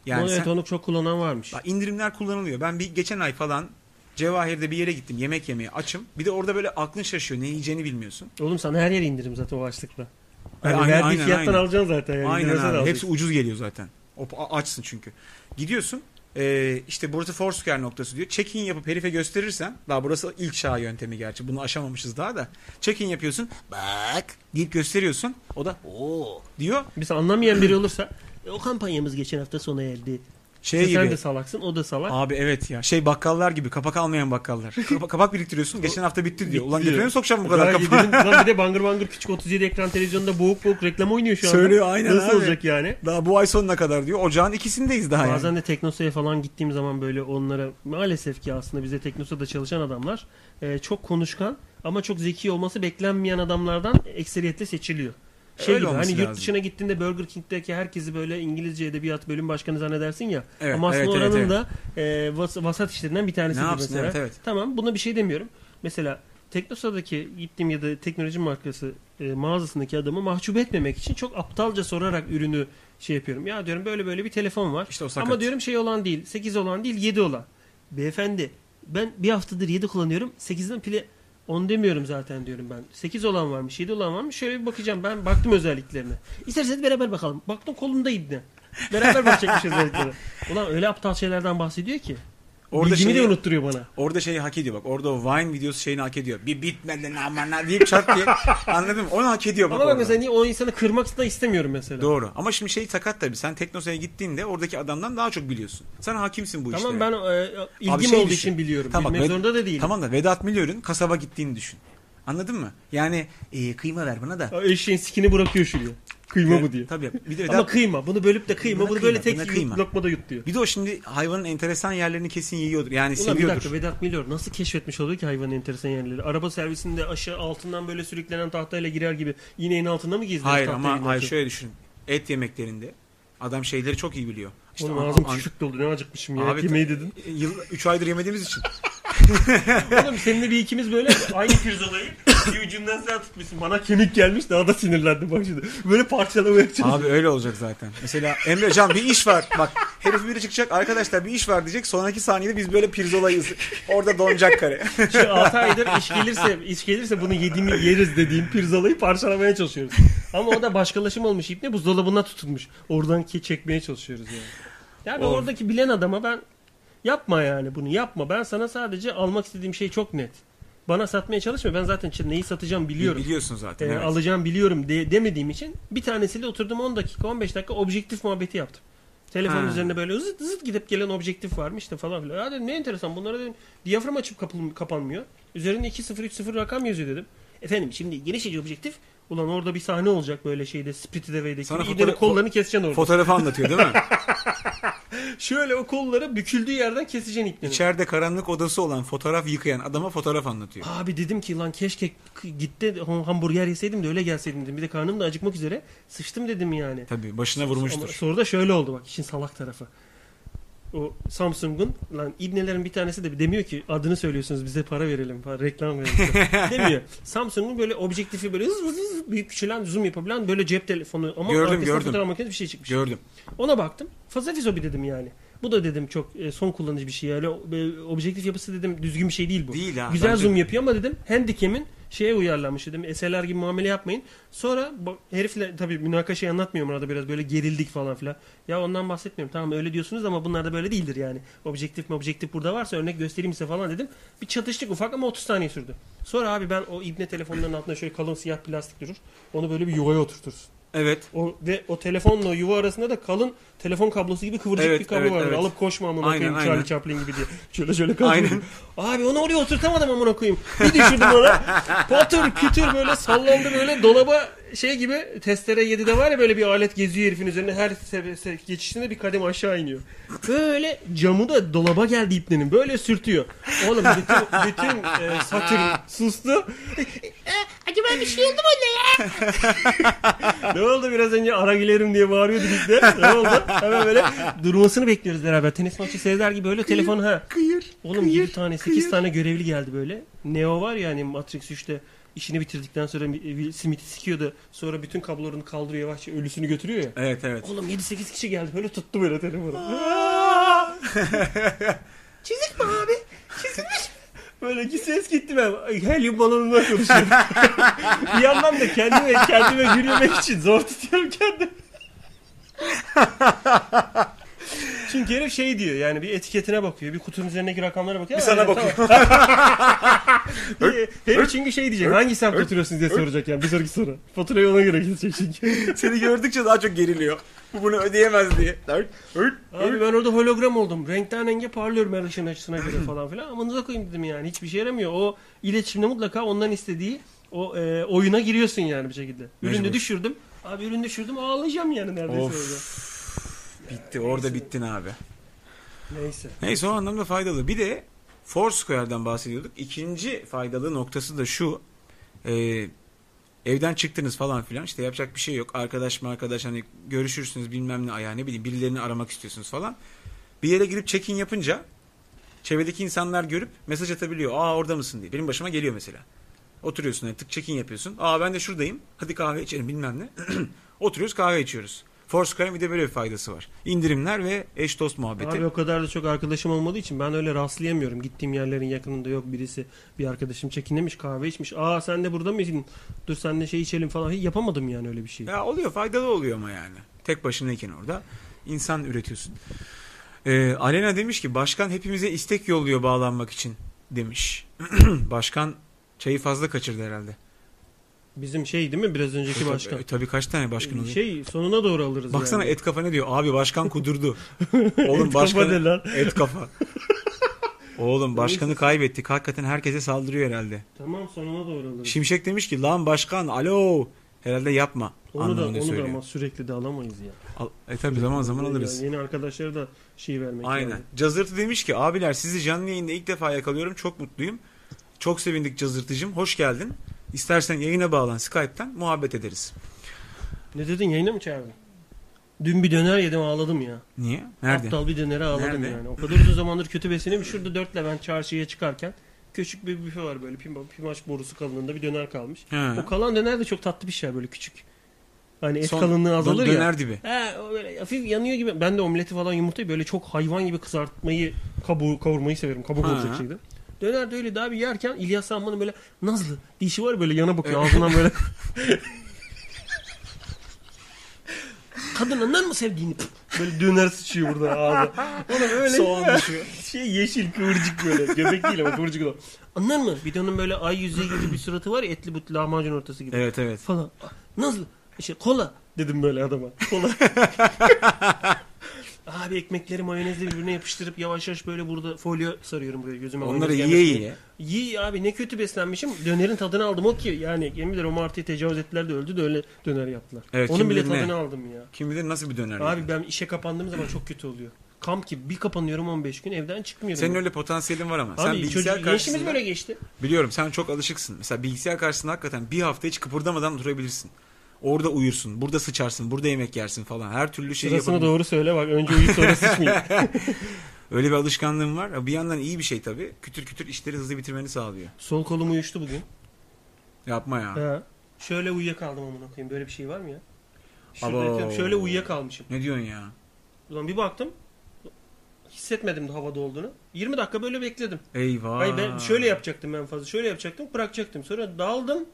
Yani sen- onu çok kullanan varmış. Bak indirimler kullanılıyor. Ben bir geçen ay falan Cevahir'de bir yere gittim yemek yemeye açım. Bir de orada böyle aklın şaşıyor ne yiyeceğini bilmiyorsun. Oğlum sana her yere indirim zaten o açlıkla. Ay, Yani aynen, verdiği aynen, fiyattan aynen. alacaksın zaten. Yani. Aynen İndirimden abi. alacaksın. Hepsi ucuz geliyor zaten. O, a- açsın çünkü. Gidiyorsun ee, işte burası Foursquare noktası diyor. Check-in yapıp herife gösterirsen daha burası ilk şah yöntemi gerçi bunu aşamamışız daha da. Check-in yapıyorsun bak deyip gösteriyorsun o da o diyor. Biz anlamayan biri olursa "E, o kampanyamız geçen hafta sona erdi. Şey İşte Sen gibi. de salaksın o da salak. Abi evet ya şey bakkallar gibi kapak almayan bakkallar. Kapa- kapak biriktiriyorsun geçen hafta bitti diyor. Ulan Bitti götüne mi diyor. sokacağım bu kadar Daha kapağı? yedirin- Lan bir de bangır bangır küçük 37 ekran televizyonda boğuk boğuk reklam oynuyor şu anda. Söylüyor, aynen Nasıl abi. olacak yani? Daha bu ay sonuna kadar diyor. Ocağın ikisindeyiz daha yani. Bazen de Teknosa'ya falan gittiğim zaman böyle onlara maalesef ki aslında bize Teknosa'da çalışan adamlar e, çok konuşkan ama çok zeki olması beklenmeyen adamlardan ekseriyetle seçiliyor. Şey Öyle gibi, hani olması yurt lazım. dışına gittiğinde Burger King'deki herkesi böyle İngilizce edebiyat bölüm başkanı zannedersin ya. Evet, ama aslında evet, evet, oranın evet. da e, vas- vasat işlerinden bir tanesi Ne gibi yapsın, mesela. evet, evet. Tamam buna bir şey demiyorum. Mesela Teknosa'daki gittiğim ya da teknoloji markası e, mağazasındaki adamı mahcup etmemek için çok aptalca sorarak ürünü şey yapıyorum. Ya diyorum böyle böyle bir telefon var. İşte o sakat. Ama diyorum şey olan değil. 8 olan değil 7 olan. Beyefendi ben bir haftadır 7 kullanıyorum. 8'den pili On demiyorum zaten diyorum ben. 8 olan varmış, 7 olan varmış. Şöyle bir bakacağım ben. Baktım özelliklerine. İsterseniz beraber bakalım. Baktım kolumda ibne. Beraber bakacakmış özelliklere. Ulan öyle aptal şeylerden bahsediyor ki. Orada Orada Bilgimi şeyi, de unutturuyor bana. orada şeyi hak ediyor bak. Orada o Vine videosu şeyini hak ediyor. Bir bitmeden amana deyip çat diye. Anladın mı? Onu hak ediyor bak. Ama bak orada. mesela niye o insanı kırmak da istemiyorum mesela. Doğru. Ama şimdi şey sakat tabii. Sen Teknosa'ya gittiğinde oradaki adamdan daha çok biliyorsun. Sen hakimsin bu işlere. Tamam ben e, ilgim Abi şey olduğu düşün. için biliyorum. Tamam, Bilmek Ved- zorunda da değilim. Tamam da Vedat Milor'un kasaba gittiğini düşün. Anladın mı? Yani e, kıyma ver bana da. O Eşeğin sikini bırakıyor şuraya. Kıyma bu diye. Tabii. Bir de Vedat, Ama kıyma. Bunu bölüp de kıyma. Buna bunu böyle kıyma, tek buna kıyma. yut- lokmada yut diyor. bir de o şimdi hayvanın enteresan yerlerini kesin yiyordur. Yani Ulan bir seviyordur. dakika Vedat Milor nasıl keşfetmiş oluyor ki hayvanın enteresan yerleri? Araba servisinde aşağı altından böyle sürüklenen tahtayla girer gibi iğneğin altında mı gizlenir? hayır tahtayı ama iğneğin hayır altı? şöyle düşün. Et yemeklerinde adam şeyleri çok iyi biliyor. İşte Oğlum an- ağzım an- çürük doldu ne acıkmışım ya Abi, e, Et yemeği dedin. Yıl, 3 aydır yemediğimiz için. Oğlum seninle bir ikimiz böyle aynı pirzolayı bir ucundan sen tutmuşsun. Bana kemik gelmiş daha da sinirlendim bak şimdi. Böyle parçalamaya çalışıyorum. Abi öyle olacak zaten. Mesela Emre Can bir iş var. Bak herif biri çıkacak arkadaşlar bir iş var diyecek. Sonraki saniyede biz böyle pirzolayız. Orada donacak kare. Şu 6 aydır iş gelirse, iş gelirse bunu yediğimi yeriz dediğim pirzolayı parçalamaya çalışıyoruz. Ama o da başkalaşım olmuş ipne buzdolabına tutulmuş. Oradan ki çekmeye çalışıyoruz yani. Yani Oğlum. oradaki bilen adama ben yapma yani bunu yapma. Ben sana sadece almak istediğim şey çok net. Bana satmaya çalışma. Ben zaten çi- neyi satacağım biliyorum. Biliyorsun zaten. Ee, evet. Alacağım biliyorum de- demediğim için bir tanesiyle oturdum 10 dakika 15 dakika objektif muhabbeti yaptım. Telefon Ha. üzerine böyle zıt zıt gidip gelen objektif varmış işte falan filan. Ya dedim ne enteresan bunlara dedim diyafram açıp kapıl- kapanmıyor. Üzerinde 2-0-3-0 rakam yazıyor dedim. Efendim şimdi geniş açı objektif. Ulan orada bir sahne olacak böyle şeyde Spirited Away'deki. Sana Sana fotoğraf- kollarını keseceksin orada. Fotoğrafı anlatıyor değil mi? Şöyle o kolları büküldüğü yerden keseceksin ipleri. İçeride karanlık odası olan fotoğraf yıkayan adama fotoğraf anlatıyor. Abi dedim ki lan keşke k- gitti ham- hamburger yeseydim de öyle gelseydim dedim. Bir de karnım da acıkmak üzere. Sıçtım dedim yani. Tabii başına Ama vurmuştur. soruda şöyle oldu bak işin salak tarafı. O Samsung'un lan ibnelerin bir tanesi de demiyor ki adını söylüyorsunuz bize para verelim para reklam verelim. demiyor. Samsung'un böyle objektifi böyle hız hız hız büyük küçülen zoom yapabilen böyle cep telefonu ama Gördüm, arkasında gördüm. fotoğraf makinesi bir şey çıkmış. Gördüm. Ona baktım. Fazafizo bir dedim yani. Bu da dedim çok e, son kullanıcı bir şey. Yani o, e, objektif yapısı dedim düzgün bir şey değil bu. Değil ha, Güzel bence zoom de. yapıyor ama dedim handicam'in şeye uyarlanmış dedim. SLR gibi muamele yapmayın. Sonra bu herifle tabii münakaşayı anlatmıyorum arada biraz böyle gerildik falan filan. Ya ondan bahsetmiyorum. Tamam öyle diyorsunuz ama bunlar da böyle değildir yani. Objektif mi objektif burada varsa örnek göstereyim size falan dedim. Bir çatıştık ufak ama 30 saniye sürdü. Sonra abi ben o ibne telefonların altında şöyle kalın siyah plastik durur. Onu böyle bir yuvaya oturtursun. Evet. O ve o telefonla yuva arasında da kalın telefon kablosu gibi kıvırcık Evet, bir kablo evet, var. evet. Alıp koşma amına Aynen, koyayım aynen. Charlie Chaplin gibi diye. Şöyle şöyle kalkıyor. Aynen. Abi onu oraya oturtamadım amına koyayım. Bir düşürdüm ona. Patır kütür böyle sallandı böyle dolaba şey gibi testere 7'de var ya böyle bir alet geziyor herifin üzerine. Her se- se- geçişinde bir kadem aşağı iniyor. Böyle camı da dolaba geldi ipnenin. Böyle sürtüyor. Oğlum bütün, bütün e, Saturn sustu. Acaba bir şey oldu mu ne ya? ne oldu biraz önce ara gülerim diye bağırıyordu biz de. Ne oldu? Hemen böyle durmasını bekliyoruz beraber. Tenis maçı seyreder gibi böyle telefon ha. Kıyır. Oğlum 7 tane 8 tane görevli geldi böyle. Neo var ya hani Matrix 3'te işini bitirdikten sonra Will Smith'i sikiyordu. Sonra bütün kablolarını kaldırıyor yavaşça ölüsünü götürüyor ya. Evet evet. Oğlum 7-8 kişi geldi böyle tuttu böyle telefonu. Çizik mi abi? Çizilmiş. Böyle ki ses gitti ben. Ay, Helyum balonundan konuşuyorum. bir yandan da kendime kendime gülmemek için zor tutuyorum kendimi. Çünkü herif şey diyor yani bir etiketine bakıyor. Bir kutunun üzerindeki rakamlara bakıyor. Bir sana bakıyor. herif çünkü şey diyecek. Hangi semt oturuyorsunuz diye soracak yani bir sonraki soru. Faturayı ona göre kesecek çünkü. Seni gördükçe daha çok geriliyor. Bu bunu ödeyemez diye. Abi ben orada hologram oldum. Renkten renge parlıyorum her ışığın açısına göre falan filan. Amanıza koyayım dedim yani. Hiçbir şey yaramıyor. O iletişimde mutlaka ondan istediği o e, oyuna giriyorsun yani bir şekilde. Ürünü Mecbur. düşürdüm. Abi ürünü düşürdüm ağlayacağım yani neredeyse Of. Bitti. Orada bittin abi. orada. Neyse. Neyse o anlamda faydalı. Bir de Foursquare'dan bahsediyorduk. İkinci faydalı noktası da şu. Ee, evden çıktınız falan filan işte yapacak bir şey yok. Arkadaş mı arkadaş hani görüşürsünüz bilmem ne ayağı ne bileyim birilerini aramak istiyorsunuz falan. Bir yere girip check-in yapınca çevredeki insanlar görüp mesaj atabiliyor. Aa orada mısın diye. Benim başıma geliyor mesela. Oturuyorsun hani tık check-in yapıyorsun. Aa ben de şuradayım. Hadi kahve içelim bilmem ne. Oturuyoruz kahve içiyoruz. Foursquare'ın bir de böyle bir faydası var. İndirimler ve eş dost muhabbeti. Abi o kadar da çok arkadaşım olmadığı için ben öyle rastlayamıyorum. Gittiğim yerlerin yakınında yok birisi. Bir arkadaşım çekinlemiş kahve içmiş. Aa sen de burada mısın? Dur seninle şey içelim falan. Hiç yapamadım yani öyle bir şey. Ya oluyor faydalı oluyor ama yani. Tek başınayken orada insan üretiyorsun. Ee, Alena demiş ki başkan hepimize istek yolluyor bağlanmak için demiş. başkan çayı fazla kaçırdı herhalde. Bizim şey değil mi biraz önceki başkan? E, tabii kaç tane başkan oluyor. Şey sonuna doğru alırız Baksana yani. et kafa ne diyor? Abi başkan kudurdu. Oğlum başkanı ne lan? et kafa. Oğlum başkanı kaybettik. Hakikaten herkese saldırıyor herhalde. Tamam sonuna doğru alırız. Şimşek demiş ki lan başkan alo. Herhalde yapma. onu da anlamında onu söylüyor. da ama sürekli de alamayız ya. Al- E tabii zaman zaman Yani alırız. Yeni arkadaşlara da şey vermek Aynen. lazım. Cazırtı demiş ki abiler sizi canlı yayında ilk defa yakalıyorum. Çok mutluyum. Çok sevindik Cazırtıcım. Hoş geldin. İstersen yayına bağlan Skype'ten muhabbet ederiz. Ne dedin yayına mı çağırdın? Dün bir döner yedim ağladım ya. Niye? Nerede? Aptal bir dönere ağladım Nerede? yani. O kadar uzun zamandır kötü beslenim. Şurada dörtle ben çarşıya çıkarken küçük bir büfe var böyle pima- pimaş borusu kalınlığında bir döner kalmış. He. O kalan döner de çok tatlı bir şey böyle küçük. Hani et Son- kalınlığı azalır dö- ya. Döner dibi. He, o böyle hafif yanıyor gibi. Ben de omleti falan yumurtayı böyle çok hayvan gibi kızartmayı, kabuğu kavurmayı severim. Kabuk Ha. olacak şeydi. Döner de öyle daha bir yerken İlyas Salman'ın böyle nazlı dişi var böyle yana bakıyor ağzından böyle. Kadınından mı sevdiğini? Pıf! Böyle döner sıçıyor buradan ağzına. Ona böyle Soğan düşüyor. şey yeşil kıvırcık böyle. Göbek değil ama kıvırcık olan. Anlar mı? Bir de onun böyle ay yüzüğü gibi bir suratı var ya etli butlu lahmacun ortası gibi Evet evet. falan. Nasıl? İşte kola dedim böyle adama. Kola. Abi ekmekleri mayonezle birbirine yapıştırıp yavaş yavaş böyle burada folyo sarıyorum buraya gözüme. Onları Mayonez yiye gelmesin diye. yiye. Yiye abi ne kötü beslenmişim. Dönerin tadını aldım o ki. Yani yemin ederim o martıya tecavüz ettiler de öldü de öyle döner yaptılar. Evet, kim Onun bile bilir ne? tadını aldım ya. Kim bilir nasıl bir döner. Abi yani. ben işe kapandığım zaman çok kötü oluyor. Kamp gibi bir kapanıyorum 15 gün evden çıkmıyorum. Senin öyle potansiyelin var ama. sen Abi bilgisayar çocuk, karşısında... gençliğimiz böyle geçti. Biliyorum sen çok alışıksın. Mesela bilgisayar karşısında hakikaten bir hafta hiç kıpırdamadan durabilirsin. Orada uyursun, burada sıçarsın, burada yemek yersin falan. Her türlü şeyi Sırasını yapabilirsin. doğru söyle bak önce uyuyup sonra sıçmayayım. Öyle bir alışkanlığın var. Bir yandan iyi bir şey tabii. Kütür kütür işleri hızlı bitirmeni sağlıyor. Sol kolum uyuştu bugün. Yapma ya. He. Şöyle uyuyakaldım amına koyayım. Böyle bir şey var mı ya? Şurada Abo. yatıyorum, şöyle uyuyakalmışım. Ne diyorsun ya? Ulan bir baktım. Hissetmedim de havada olduğunu. 20 dakika böyle bekledim. Eyvah. Hayır ben şöyle yapacaktım en fazla. Şöyle yapacaktım bırakacaktım. Sonra daldım.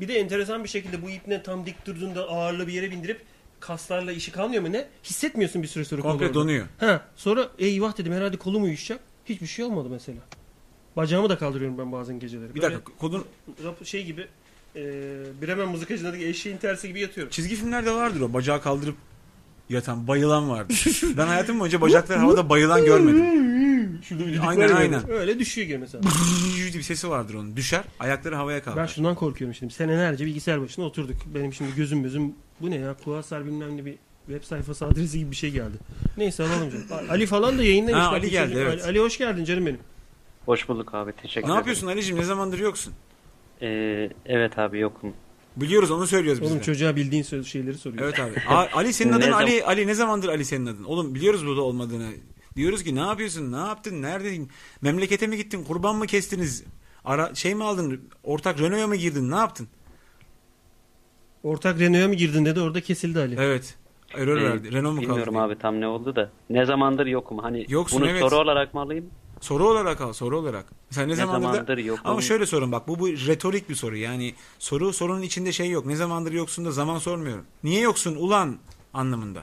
Bir de enteresan bir şekilde bu ipne tam dik durduğunda ağırlığı bir yere bindirip kaslarla işi kalmıyor mu ne? Hissetmiyorsun bir süre sonra kolu Komple orada. donuyor. Ha, sonra eyvah dedim herhalde kolum uyuşacak. Hiçbir şey olmadı mesela. Bacağımı da kaldırıyorum ben bazen geceleri. Bir Böyle dakika kodun rap- şey gibi e, Bremen mızıkacındaki eşeğin tersi gibi yatıyorum. çizgi filmlerde vardır o bacağı kaldırıp yatan bayılan vardır. ben hayatım boyunca bacaklar havada bayılan görmedim. Şurada bir düdük Aynen, var ya. aynen. Öyle düşüyor gibi mesela. Diye bir sesi vardır onun. Düşer ayakları havaya kalkar. ben şundan korkuyorum şimdi. Senelerce bilgisayar başına oturduk. Benim şimdi gözüm gözüm bu ne ya? Kuasar bilmem ne bir web sayfası adresi gibi bir şey geldi. Neyse alalım canım. Ali falan da yayındaymış. Ha, Bak, Ali bir geldi, çocuk- evet. Ali, Ali hoş geldin canım benim. Hoş bulduk abi teşekkür Ne ederim. yapıyorsun Ali'cim ne zamandır yoksun? Ee, evet abi yokum. Biliyoruz onu söylüyoruz biz Oğlum de. çocuğa bildiğin söz şeyleri soruyor. Evet abi. A- Ali senin Ne adın zaman- Ali. Ali ne zamandır Ali senin adın? Oğlum biliyoruz burada olmadığını. Diyoruz ki ne yapıyorsun? Ne yaptın? Neredeydin? Memlekete mi gittin? Kurban mı kestiniz? Ara şey mi aldın? Ortak Renault'a mı girdin? Ne yaptın? Ortak Renault'a mı girdin dedi orada kesildi Ali. Evet. Error Ee, verdi. Renault mu kaldı? Bilmiyorum diye. abi tam ne oldu da. Ne zamandır yokum hani Yoksun, bunu evet. soru olarak mı alayım? Soru olarak al. Soru olarak. Sen ne, Ne zamandır, da- zamandır yokum? Ama şöyle sorun bak. Bu, bu retorik bir soru. Yani soru sorunun içinde şey yok. Ne zamandır yoksun da zaman sormuyorum. Niye yoksun ulan anlamında.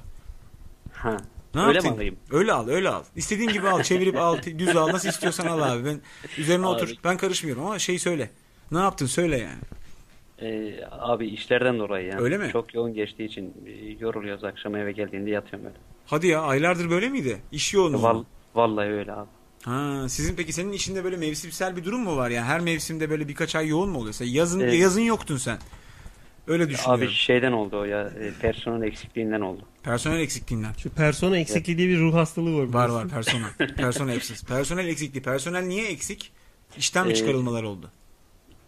Ha. Ne Öyle yaptın? mi alayım? Öyle al, öyle al. İstediğin gibi al, çevirip al, düz al, nasıl istiyorsan al abi. Ben üzerine Abi. otur. Ben karışmıyorum ama şey söyle. Ne yaptın söyle yani. Ee, abi işlerden dolayı yani. Öyle mi? Çok yoğun geçtiği için e, yoruluyoruz akşam eve geldiğinde yatıyorum öyle. Hadi ya aylardır böyle miydi? İş yoğunluğu. Val- mu? vallahi öyle abi. Ha, sizin peki senin işinde böyle mevsimsel bir durum mu var yani? Her mevsimde böyle birkaç ay yoğun mu oluyor? Sen yazın Evet. yazın yoktun sen. Öyle düşünüyorum. Abi şeyden oldu o ya e, personel eksikliğinden oldu. Personel eksikliğinden. Şu persona eksikliği diye bir ruh hastalığı var. Var var personel. personel eksik. Personel eksikliği. Personel niye eksik? İşten mi Ee, çıkarılmalar oldu?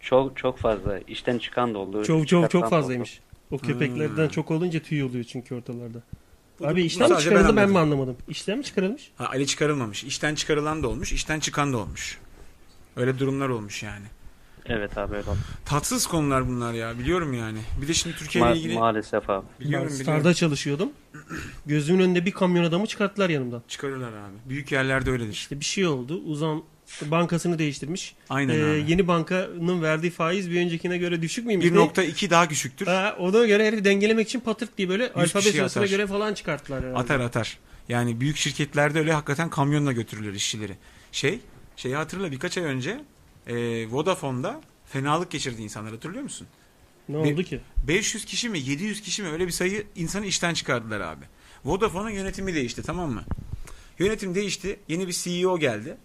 Çok çok fazla işten çıkan da oldu. Çok çok çıkartan da çok oldu. fazlaymış. O köpeklerden çok olunca tüy oluyor çünkü ortalarda. Abi işten mi Hmm. sadece ben çıkarıldı ben, mi anladım. anlamadım? İşten mi çıkarılmış? Ha, Ali çıkarılmamış. İşten çıkarılan da olmuş, işten çıkan da olmuş. Öyle durumlar olmuş yani. Evet abi öyle oldu. Tatsız konular bunlar ya biliyorum yani. Bir de şimdi Türkiye ile Ma- ilgili maalesef abi. biliyorum Ben biliyorum. Star'da çalışıyordum. Gözümün önünde bir kamyon adamı çıkarttılar yanımdan. Çıkarırlar abi. Büyük yerlerde öyledir. İşte bir şey oldu. Uzan bankasını değiştirmiş. Aynen Ee, abi. yeni bankanın verdiği faiz bir öncekine göre düşük müymüş? ne? 1.2 daha küçüktür. Ha, ona göre herifi dengelemek için patırt diye böyle alfabe kişiyi sırasına atar. göre falan çıkarttılar herhalde. Atar atar. Yani büyük şirketlerde öyle hakikaten kamyonla götürürler işçileri. Şey, şeyi hatırla birkaç ay önce e, Vodafone'da fenalık geçirdi insanlar hatırlıyor musun? Ne Bir- oldu ki? 500 kişi mi 700 kişi mi öyle bir sayı insanı işten çıkardılar abi. Vodafone'un yönetimi değişti tamam mı? Yönetim değişti. Yeni bir CEO geldi.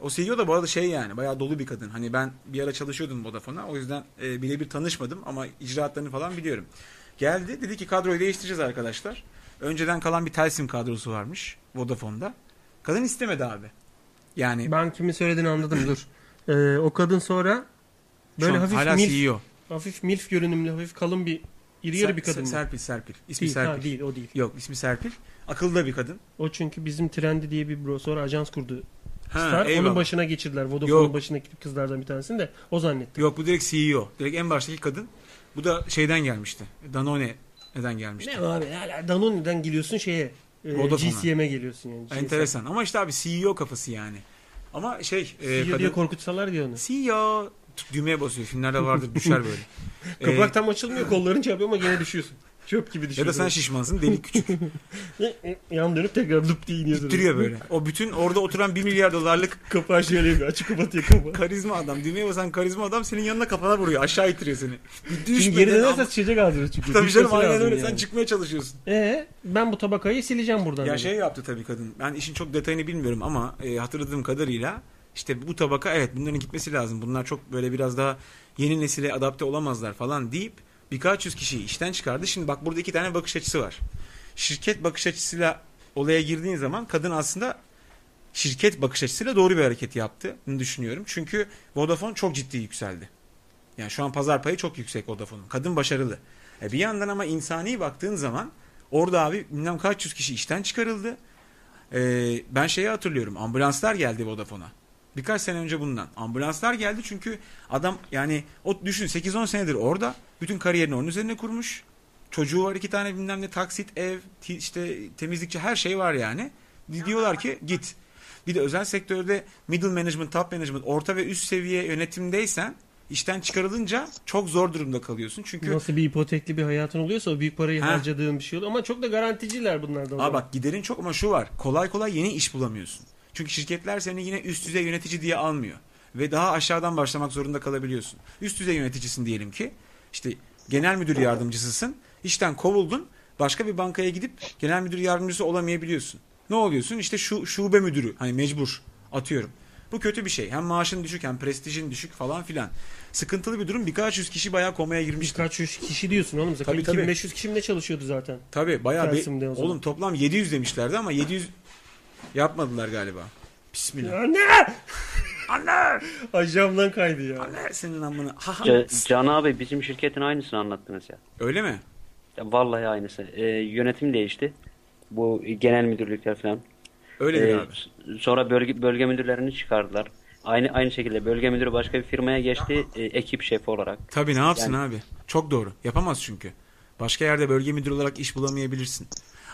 O CEO da bu arada şey yani bayağı dolu bir kadın. Hani ben bir ara çalışıyordum Vodafone'a. O yüzden e, birebir tanışmadım ama icraatlarını falan biliyorum. Geldi dedi ki kadroyu değiştireceğiz arkadaşlar. Önceden kalan bir Telsim kadrosu varmış Vodafone'da. Kadın istemedi abi. Yani Ben kimin söylediğini anladım dur. Ee, o kadın sonra böyle böyle şu an hala E hafif milf, CEO. hafif milf görünümlü, hafif kalın bir iri yarı Ser- bir kadın. mı? Serpil Serpil. İsmi değil, Serpil. ha, değil o değil. Yok ismi Serpil. Akıllı bir kadın. O çünkü bizim Trendi diye bir bro sonra ajans kurdu. Ha, Star, onun eyvallah. başına geçirdiler. Vodafone'un Yok. başına gidip kızlardan bir tanesini de o zannettim. Yok bu direkt CEO. Direkt en baştaki kadın. Bu da şeyden gelmişti. Danone neden gelmişti. Ne abi hala Danone'den geliyorsun şeye. E, Vodafone'a. GCM'e geliyorsun yani. GCM. Enteresan. Ama işte abi CEO kafası yani. Ama şey e, CEO diye kadın korkutsalar diyor onu. CEO Tık düğmeye basıyor. Filmlerde vardır düşer böyle. E, Kapak tam açılmıyor kolların çarpıyor ama gene düşüyorsun. Çöp gibi ya da düşüyorsun. E, sen şişmansın delik küçük Yan dönüp tekrar dıp diye iniyorsun. ittiriyor böyle. O bütün orada oturan 1 milyar dolarlık Kapağı şöyle yapıyor. Açık kapatıyor kapağı. karizma adam. Düğmeye basan karizma adam senin yanına kafana vuruyor. Aşağı ittiriyor seni. Bir Çünkü geri düşmeden dönerse ama. sıçacak ağzına çünkü. Tabii Düşmesi canım aynen lazım öyle. yani. Sen çıkmaya çalışıyorsun. Ee, ben bu tabakayı sileceğim buradan. Hani Ya dedi. şey yaptı tabii kadın. Ben işin çok detayını bilmiyorum ama e, hatırladığım kadarıyla işte bu tabaka evet bunların gitmesi lazım. Bunlar çok böyle biraz daha yeni nesile adapte olamazlar falan deyip birkaç yüz kişiyi işten çıkardı. Şimdi bak burada iki tane bakış açısı var. Şirket bakış açısıyla olaya girdiğin zaman kadın aslında şirket bakış açısıyla doğru bir hareket yaptığını düşünüyorum. Çünkü Vodafone çok ciddi yükseldi. Yani şu an pazar payı çok yüksek Vodafone'un. Kadın başarılı. E bir yandan ama insani baktığın zaman orada abi bilmem kaç yüz kişi işten çıkarıldı. E, ben şeyi hatırlıyorum. Ambulanslar geldi Vodafone'a. Birkaç sene önce bundan. Ambulanslar geldi çünkü adam yani o düşün 8-10 senedir orada. Bütün kariyerini onun üzerine kurmuş. Çocuğu var iki tane bilmem ne taksit, ev, ti- işte temizlikçi her şey var yani. Diyorlar ki git. Bir de özel sektörde middle management, top management, orta ve üst seviye yönetimdeysen işten çıkarılınca çok zor durumda kalıyorsun. Çünkü Nasıl bir ipotekli bir hayatın oluyorsa o büyük parayı Ha. harcadığın bir şey oluyor. Ama çok da garanticiler bunlar da. o Aa zaman. bak giderin çok ama şu var. Kolay kolay yeni iş bulamıyorsun. Çünkü şirketler seni yine üst düzey yönetici diye almıyor. Ve daha aşağıdan başlamak zorunda kalabiliyorsun. Üst düzey yöneticisin diyelim ki. işte genel müdür yardımcısısın. İşten kovuldun. Başka bir bankaya gidip genel müdür yardımcısı olamayabiliyorsun. Ne oluyorsun? İşte şu şube müdürü. Hani mecbur. Atıyorum. Bu kötü bir şey. Hem maaşın düşük hem prestijin düşük falan filan. Sıkıntılı bir durum. Birkaç yüz kişi bayağı komaya girmişti. Birkaç yüz kişi diyorsun oğlum. Zaten Tabii, tabii. 2500 kişi mi ne çalışıyordu zaten? Tabii bayağı bir- Tersim'de o zaman. oğlum toplam 700 demişlerdi ama 700 yapmadılar galiba. Bismillah. Anne! Anne! Ajandan kaydı ya. Anne senin amına. Ha, Hani ha. Ca- Can abi bizim şirketin aynısını anlattınız ya. Öyle mi? Ya Vallahi aynısı. Ee, yönetim değişti. Bu genel müdürlükler falan. Öyle Ee, abi. s- Sonra bölge bölge müdürlerini çıkardılar. Aynı aynı şekilde bölge müdürü başka bir firmaya geçti e, ekip şefi olarak. Tabii ne yapsın yani- abi? Çok doğru. Yapamaz çünkü. Başka yerde bölge müdürü olarak iş bulamayabilirsin.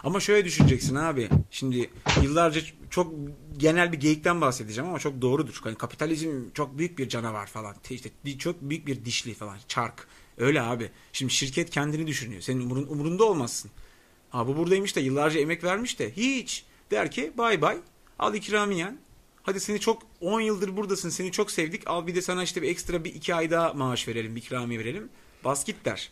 Ama şöyle düşüneceksin abi. Şimdi yıllarca çok genel bir geyikten bahsedeceğim ama çok doğrudur. Hani kapitalizm çok büyük bir canavar falan. İşte di- çok büyük bir dişli falan. Çark. Öyle abi. Şimdi şirket kendini düşünüyor. Senin umurun, umurunda olmazsın. Ha bu buradaymış da yıllarca emek vermiş de hiç. Der ki bay bay al ikramiyen. Hadi seni çok 10 yıldır buradasın seni çok sevdik. Al bir de sana işte bir ekstra bir iki ay daha maaş verelim bir ikramiye verelim. Bas git der.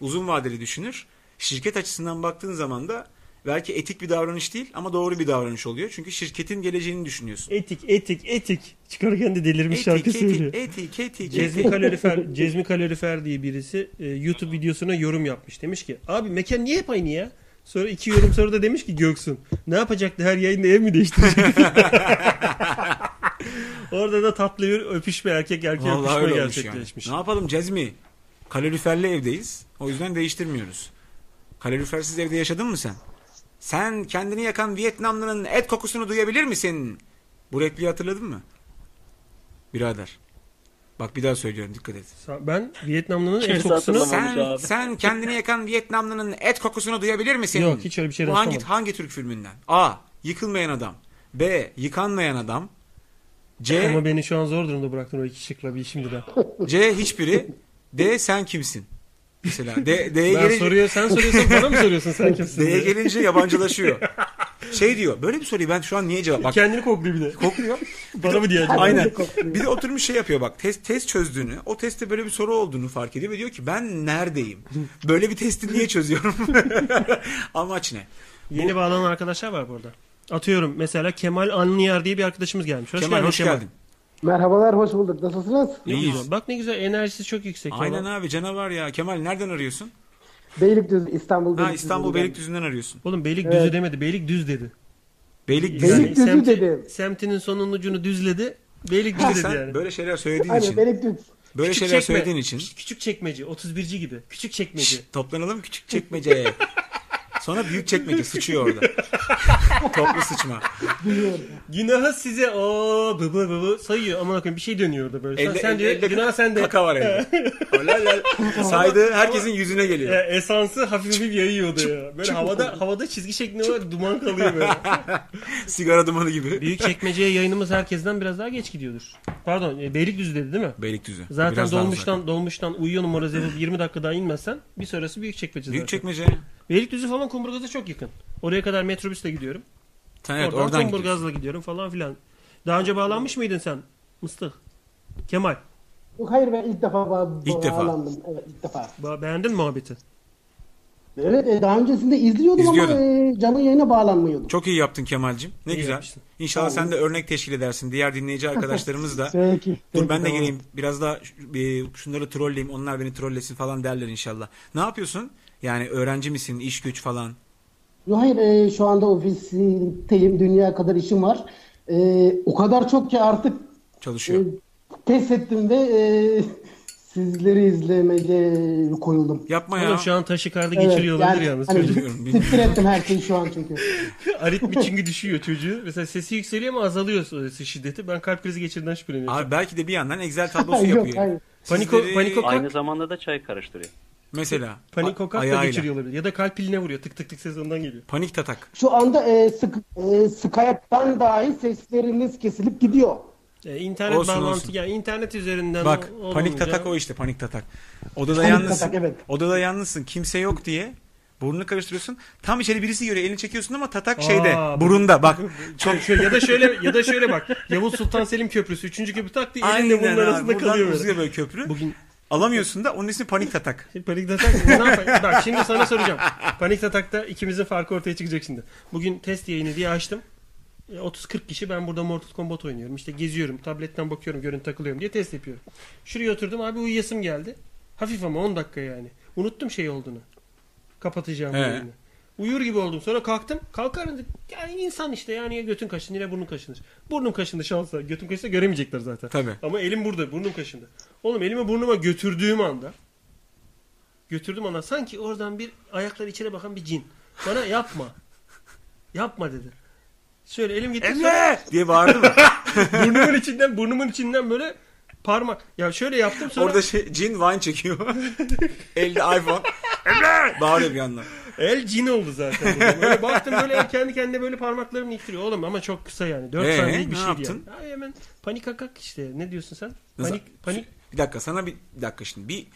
Uzun vadeli düşünür. Şirket açısından baktığın zaman da belki etik bir davranış değil ama doğru bir davranış oluyor. Çünkü şirketin geleceğini düşünüyorsun. Etik, etik, etik. Çıkarken de delirmiş Etik, şarkı etik, söylüyor. etik, etik, Cezmi etik. Kalorifer, Cezmi Kalorifer diye birisi e, YouTube videosuna yorum yapmış. Demiş ki abi mekan niye hep aynı ya? Sonra iki yorum sonra da demiş ki Göksun ne yapacaktı her yayında ev mi değiştirecek? Orada da tatlı bir öpüşme erkek erkek Vallahi öpüşme öyle olmuş yani. gerçekleşmiş. Ne yapalım Cezmi? Kaloriferli evdeyiz. O yüzden değiştirmiyoruz. Kalorifersiz evde yaşadın mı sen? Sen kendini yakan Vietnamlı'nın et kokusunu duyabilir misin? Bu repliği hatırladın mı? Birader. Bak bir daha söylüyorum dikkat et. Sa- Ben Vietnamlı'nın Kimse et kokusunu... hatırlamaz. Tamam Sen, abi. sen kendini yakan Vietnamlının et kokusunu duyabilir misin? Yok, hiç öyle bir şey Bu hangi, rastlamadım. hangi Türk filminden? A. Yıkılmayan adam. B. Yıkanmayan adam. C. Ama beni şu an zor durumda bıraktın o iki şıkla bir şimdiden. C. Hiçbiri. D. Sen kimsin? Mesela D, D'ye Ben gelince, soruyor, sen soruyorsun bana mı soruyorsun sen kimsin? D'ye diye? gelince yabancılaşıyor. Şey diyor. Böyle bir soruyu ben şu an niye cevap? Bak Kendini kokluyor bir de. kokluyor. Bana mı diye acaba? Aynen. Bir de oturmuş şey yapıyor bak. Test test çözdüğünü, o testte böyle bir soru olduğunu fark ediyor ve diyor ki ben neredeyim? Böyle bir testi niye çözüyorum? Amaç ne? Yeni bağlanan arkadaşlar var burada. Atıyorum mesela Kemal Anlıyar diye bir arkadaşımız gelmiş. Hoş Kemal geldin hoş Kemal. geldin. Merhabalar, hoş bulduk. Nasılsınız? Ne İyiyiz. güzel. Bak ne güzel enerjisi çok yüksek. Aynen Kemal. abi canavar ya. Kemal nereden arıyorsun? Beylikdüzü, İstanbul Ha Beylikdüzü. İstanbul Beylikdüzü'nden arıyorsun. Oğlum Beylikdüzü Evet. demedi. Beylikdüz dedi. Beylikdüzü. Beylik- Beylikdüzü semti- dedim. Semtinin sonunun ucunu düzledi. Beylikdüzü dedi Sen yani. böyle şeyler söylediğin Aynen, için, Beylikdüzü. böyle Küçük şeyler çekme. söylediğin için Küçük- Küçük çekmeci. 31'ci gibi. Küçük çekmeci. Şşt, toplanalım küçük çekmeceye. Sonra büyük çekmece sıçıyor orada. Toplu sıçma. Günahı size o bı bı bı bı sayıyor. Aman akım bir şey dönüyor orada böyle. Sen, Elde- sen diyor elde- günah sende. Kaka var elde. Olay ya. Saydığı herkesin yüzüne geliyor. Ya esansı hafif bir yayıyordu ya. Böyle havada havada çizgi şeklinde var duman kalıyor böyle. Sigara dumanı gibi. Büyük çekmeceye yayınımız herkesten biraz daha geç gidiyordur. Pardon, e, Beylikdüzü dedi değil mi? Beylikdüzü. Zaten Biraz daha dolmuştan uzak. dolmuştan uyuyor numarası yapıp 20 dakika daha inmezsen bir sonrası büyük çekmece Büyük zaten. çekmece. Beylikdüzü falan Kumburgaz'a çok yakın. Oraya kadar metrobüsle gidiyorum. Sen evet oradan, oradan gidiyorsun. Kumburgaz'la gidiyorum falan filan. Daha önce bağlanmış mıydın sen? Mıstık. Kemal, Yok hayır ben ilk defa bağ- İlk defa. bağlandım. Evet ilk defa. ba- beğendin mi muhabbeti? Evet e, daha öncesinde izliyordum ama İzliyordun. e, canlı yayına bağlanmıyordum. Çok iyi yaptın Kemal'cim. Ne İyi güzel. yapmışsın. İnşallah sen de örnek teşkil edersin. Diğer dinleyici arkadaşlarımız da. Peki. Dur peki, ben de tamam. geleyim. Biraz daha şu- bir şunları trolleyeyim. Onlar beni trollesin falan derler inşallah. Ne yapıyorsun? Yani öğrenci misin? İş güç falan. Yok hayır e, şu anda ofisteyim. Dünya kadar işim var. E, o kadar çok ki artık Çalışıyor. Ee, pes ettim ve e, sizleri izlemeye koyuldum. Yapma ya. Oğlum şu an taşı karda geçiriyor olabilir yalnız hani, çocuk. Biliyorum, biliyorum. siktir ettim her şeyi şu an çünkü. Aritmi çünkü düşüyor çocuğu. Mesela sesi yükseliyor ama azalıyor sesi şiddeti. Ben kalp krizi geçirdiğinden şüpheleniyorum. Abi belki de bir yandan Excel tablosu Yok yapıyor. hayır. Paniko- Sizleri- paniko- Aynı zamanda da çay karıştırıyor. mesela Panik a- kokak da ayağıyla. geçiriyor olabilir. Ya da kalp piline vuruyor. Tık tık tık ses ondan geliyor. Panik tatak. Şu anda e, sık, e, Skype'tan dahi sesleriniz kesilip gidiyor. E, internet Olsun, bağlantı olsun. yani internet üzerinden Bak o- panik olunca- tatak o işte panik tatak. Odada Panik yalnızsın. tatak, evet. Odada yalnızsın. Kimse yok diye burnunu karıştırıyorsun. Tam içeri birisi giriyor. Elini çekiyorsun ama tatak Aa, şeyde. bu- Burunda bak. Çok Şöyle- şöyle- ya da şöyle ya da şöyle bak. Yavuz Sultan Selim Köprüsü 3. köprü tak diye elinde bunun Aynen abi. arasında Buradan kalıyor uzuyor böyle. böyle köprü. Bugün Alamıyorsun da onun ismi panik tatak. panik atak ne yapayım? Bak şimdi sana soracağım. Panik atakta ikimizin farkı ortaya çıkacak şimdi. Bugün test yayını diye açtım. E, 30-40 kişi ben burada Mortal Kombat oynuyorum. İşte geziyorum, tabletten bakıyorum, görüntü takılıyorum diye test yapıyorum. Şuraya oturdum abi uyuyasım geldi. Hafif ama 10 dakika yani. Unuttum şey olduğunu. Kapatacağım He. yayını. Uyur gibi oldum. Sonra kalktım. Kalkar dedim. Yani insan işte yani ya götün kaşınır ya burnun kaşınır. Burnum kaşındı şansa. Götüm kaşınsa göremeyecekler zaten. Tabii. Ama elim burada. Burnum kaşındı. Oğlum elimi burnuma götürdüğüm anda götürdüm ona sanki oradan bir ayakları içeri bakan bir cin. Bana yapma. yapma dedi. Şöyle elim gitti. sonra Emre diye bağırdı mı? burnumun içinden burnumun içinden böyle parmak. Ya şöyle yaptım sonra Orada şey, cin wine çekiyor. Elde iPhone. Emre! Bağırıyor bir yandan. El cin oldu zaten. dedim. Böyle baktım böyle el kendi kendine böyle parmaklarını ittiriyor. Oğlum ama çok kısa yani. 4 Ee, saniye bir ne şey yani. yaptın? Ay hemen panik akak işte. Ne diyorsun sen? Nasıl- Panik panik. Bir dakika sana bir, bir dakika şimdi. Bir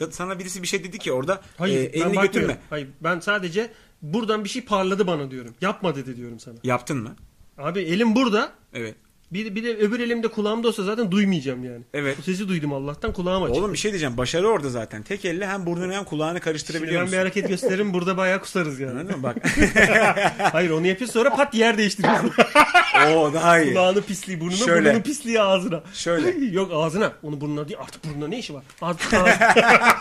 da- sana birisi bir şey dedi ki orada Hayır e, ben elini bakmıyorum. götürme. Hayır ben sadece buradan bir şey parladı bana diyorum. Yapma dedi diyorum sana. Yaptın mı? Abi elim burada. Evet. Bir, bir de öbür elimde kulağımda olsa zaten duymayacağım yani. Evet. Bu sesi duydum Allah'tan kulağım açık. Oğlum bir şey diyeceğim. Başarı orada zaten. Tek elle hem burnunu hem kulağını Şimdi karıştırabiliyor ben bir musun? hareket gösteririm burada bayağı kusarız yani. Anladın mı? Bak. Hayır onu yapıyoruz sonra pat yer değiştiriyorsun. Oo daha iyi. Kulağını pisliği burnuna, Şöyle. burnunun pisliği ağzına. Şöyle. Yok ağzına. Onu burnuna değil. Artık burnuna ne işi var? Artık ağzına.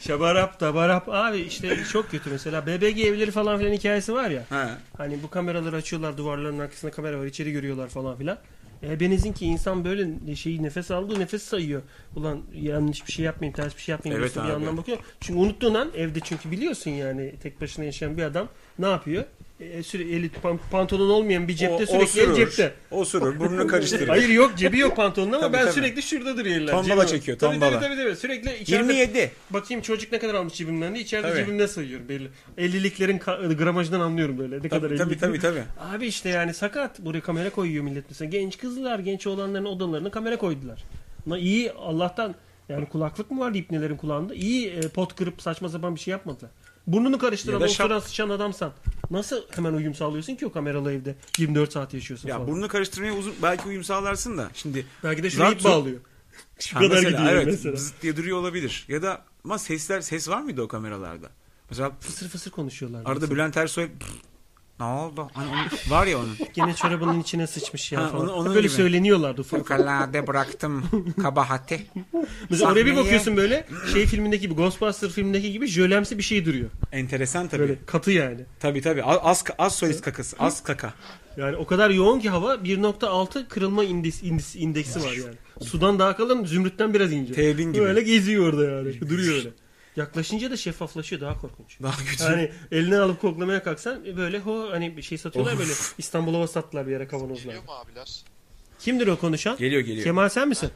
Şabarap tabarap. Abi işte çok kötü mesela. BBG evleri falan filan hikayesi var ya. Ha. Hani bu kameraları açıyorlar duvarların arkasında kamera var içeri görüyorlar falan filan. E benizin insan böyle şeyi nefes aldığı nefes sayıyor. Ulan yanlış bir şey yapmayayım ters bir şey yapmayayım. Evet diyorsun, bir abi. yandan bakıyor. Çünkü unuttuğun an evde çünkü biliyorsun yani tek başına yaşayan bir adam ne yapıyor? e, sürekli eli pan- pantolon olmayan bir cepte O- sürekli osurur. el cepte. Osurur, burnunu karıştırır. Hayır yok cebi yok pantolonun ama Tabii, ben tabii. sürekli şuradadır yerler. Tombala Cebi yok. çekiyor, Tabii, tombala. Tabii tabii, tabii. sürekli içeride. 27. Bakayım çocuk ne kadar almış cebimden diye içeride Tabii. cebimden sayıyorum belli. 50'liklerin ka- gramajından anlıyorum böyle ne kadar tabii, 50'lik. tabii, tabii. Abi işte yani sakat buraya kamera koyuyor millet mesela. Genç kızlar genç oğlanların odalarına kamera koydular. Ama iyi Allah'tan yani kulaklık mı vardı ipnelerin kulağında? İyi e, pot kırıp saçma sapan bir şey yapmadılar. Burnunu Ya karıştıran, da şap- oturan, sıçan adamsan nasıl hemen uyum sağlıyorsun ki o kameralı evde 24 saat yaşıyorsun Ya falan. burnunu karıştırmaya uzun belki uyum sağlarsın da. Şimdi Belki de şurayı radyo- bağlıyor. Şu kadar gidiyor evet, mesela. Zıt diye duruyor olabilir. Ya da ama sesler ses var mıydı o kameralarda? Mesela Fısır fısır konuşuyorlar. arada mesela. Bülent Ersoy ne oldu? Hani onun- var ya onun. Gene çorabının içine sıçmış ya Ha, falan. onu- onun böyle gibi. söyleniyorlardı ufak ufak. Fevkalade bıraktım kabahati. Mesela oraya bir Sahneye- bakıyorsun böyle şey filmindeki gibi Ghostbuster filmindeki gibi jölemsi bir şey duruyor. Enteresan tabii. Böyle katı yani. Tabii tabii. A- Az, az solist kakası. Az kaka. Yani o kadar yoğun ki hava 1.6 kırılma indis, indis, indeksi var yani. Sudan daha kalın zümrütten biraz ince. Tebin gibi. Böyle geziyor orada yani. Duruyor öyle. Yaklaşınca da şeffaflaşıyor daha korkunç. Daha kötü. Yani eline alıp koklamaya kalksan e, böyle ho hani bir şey satıyorlar böyle İstanbul Hava sattılar bir yere kavanozlar. Kimdir o konuşan? Geliyor geliyor. Kemal sen misin?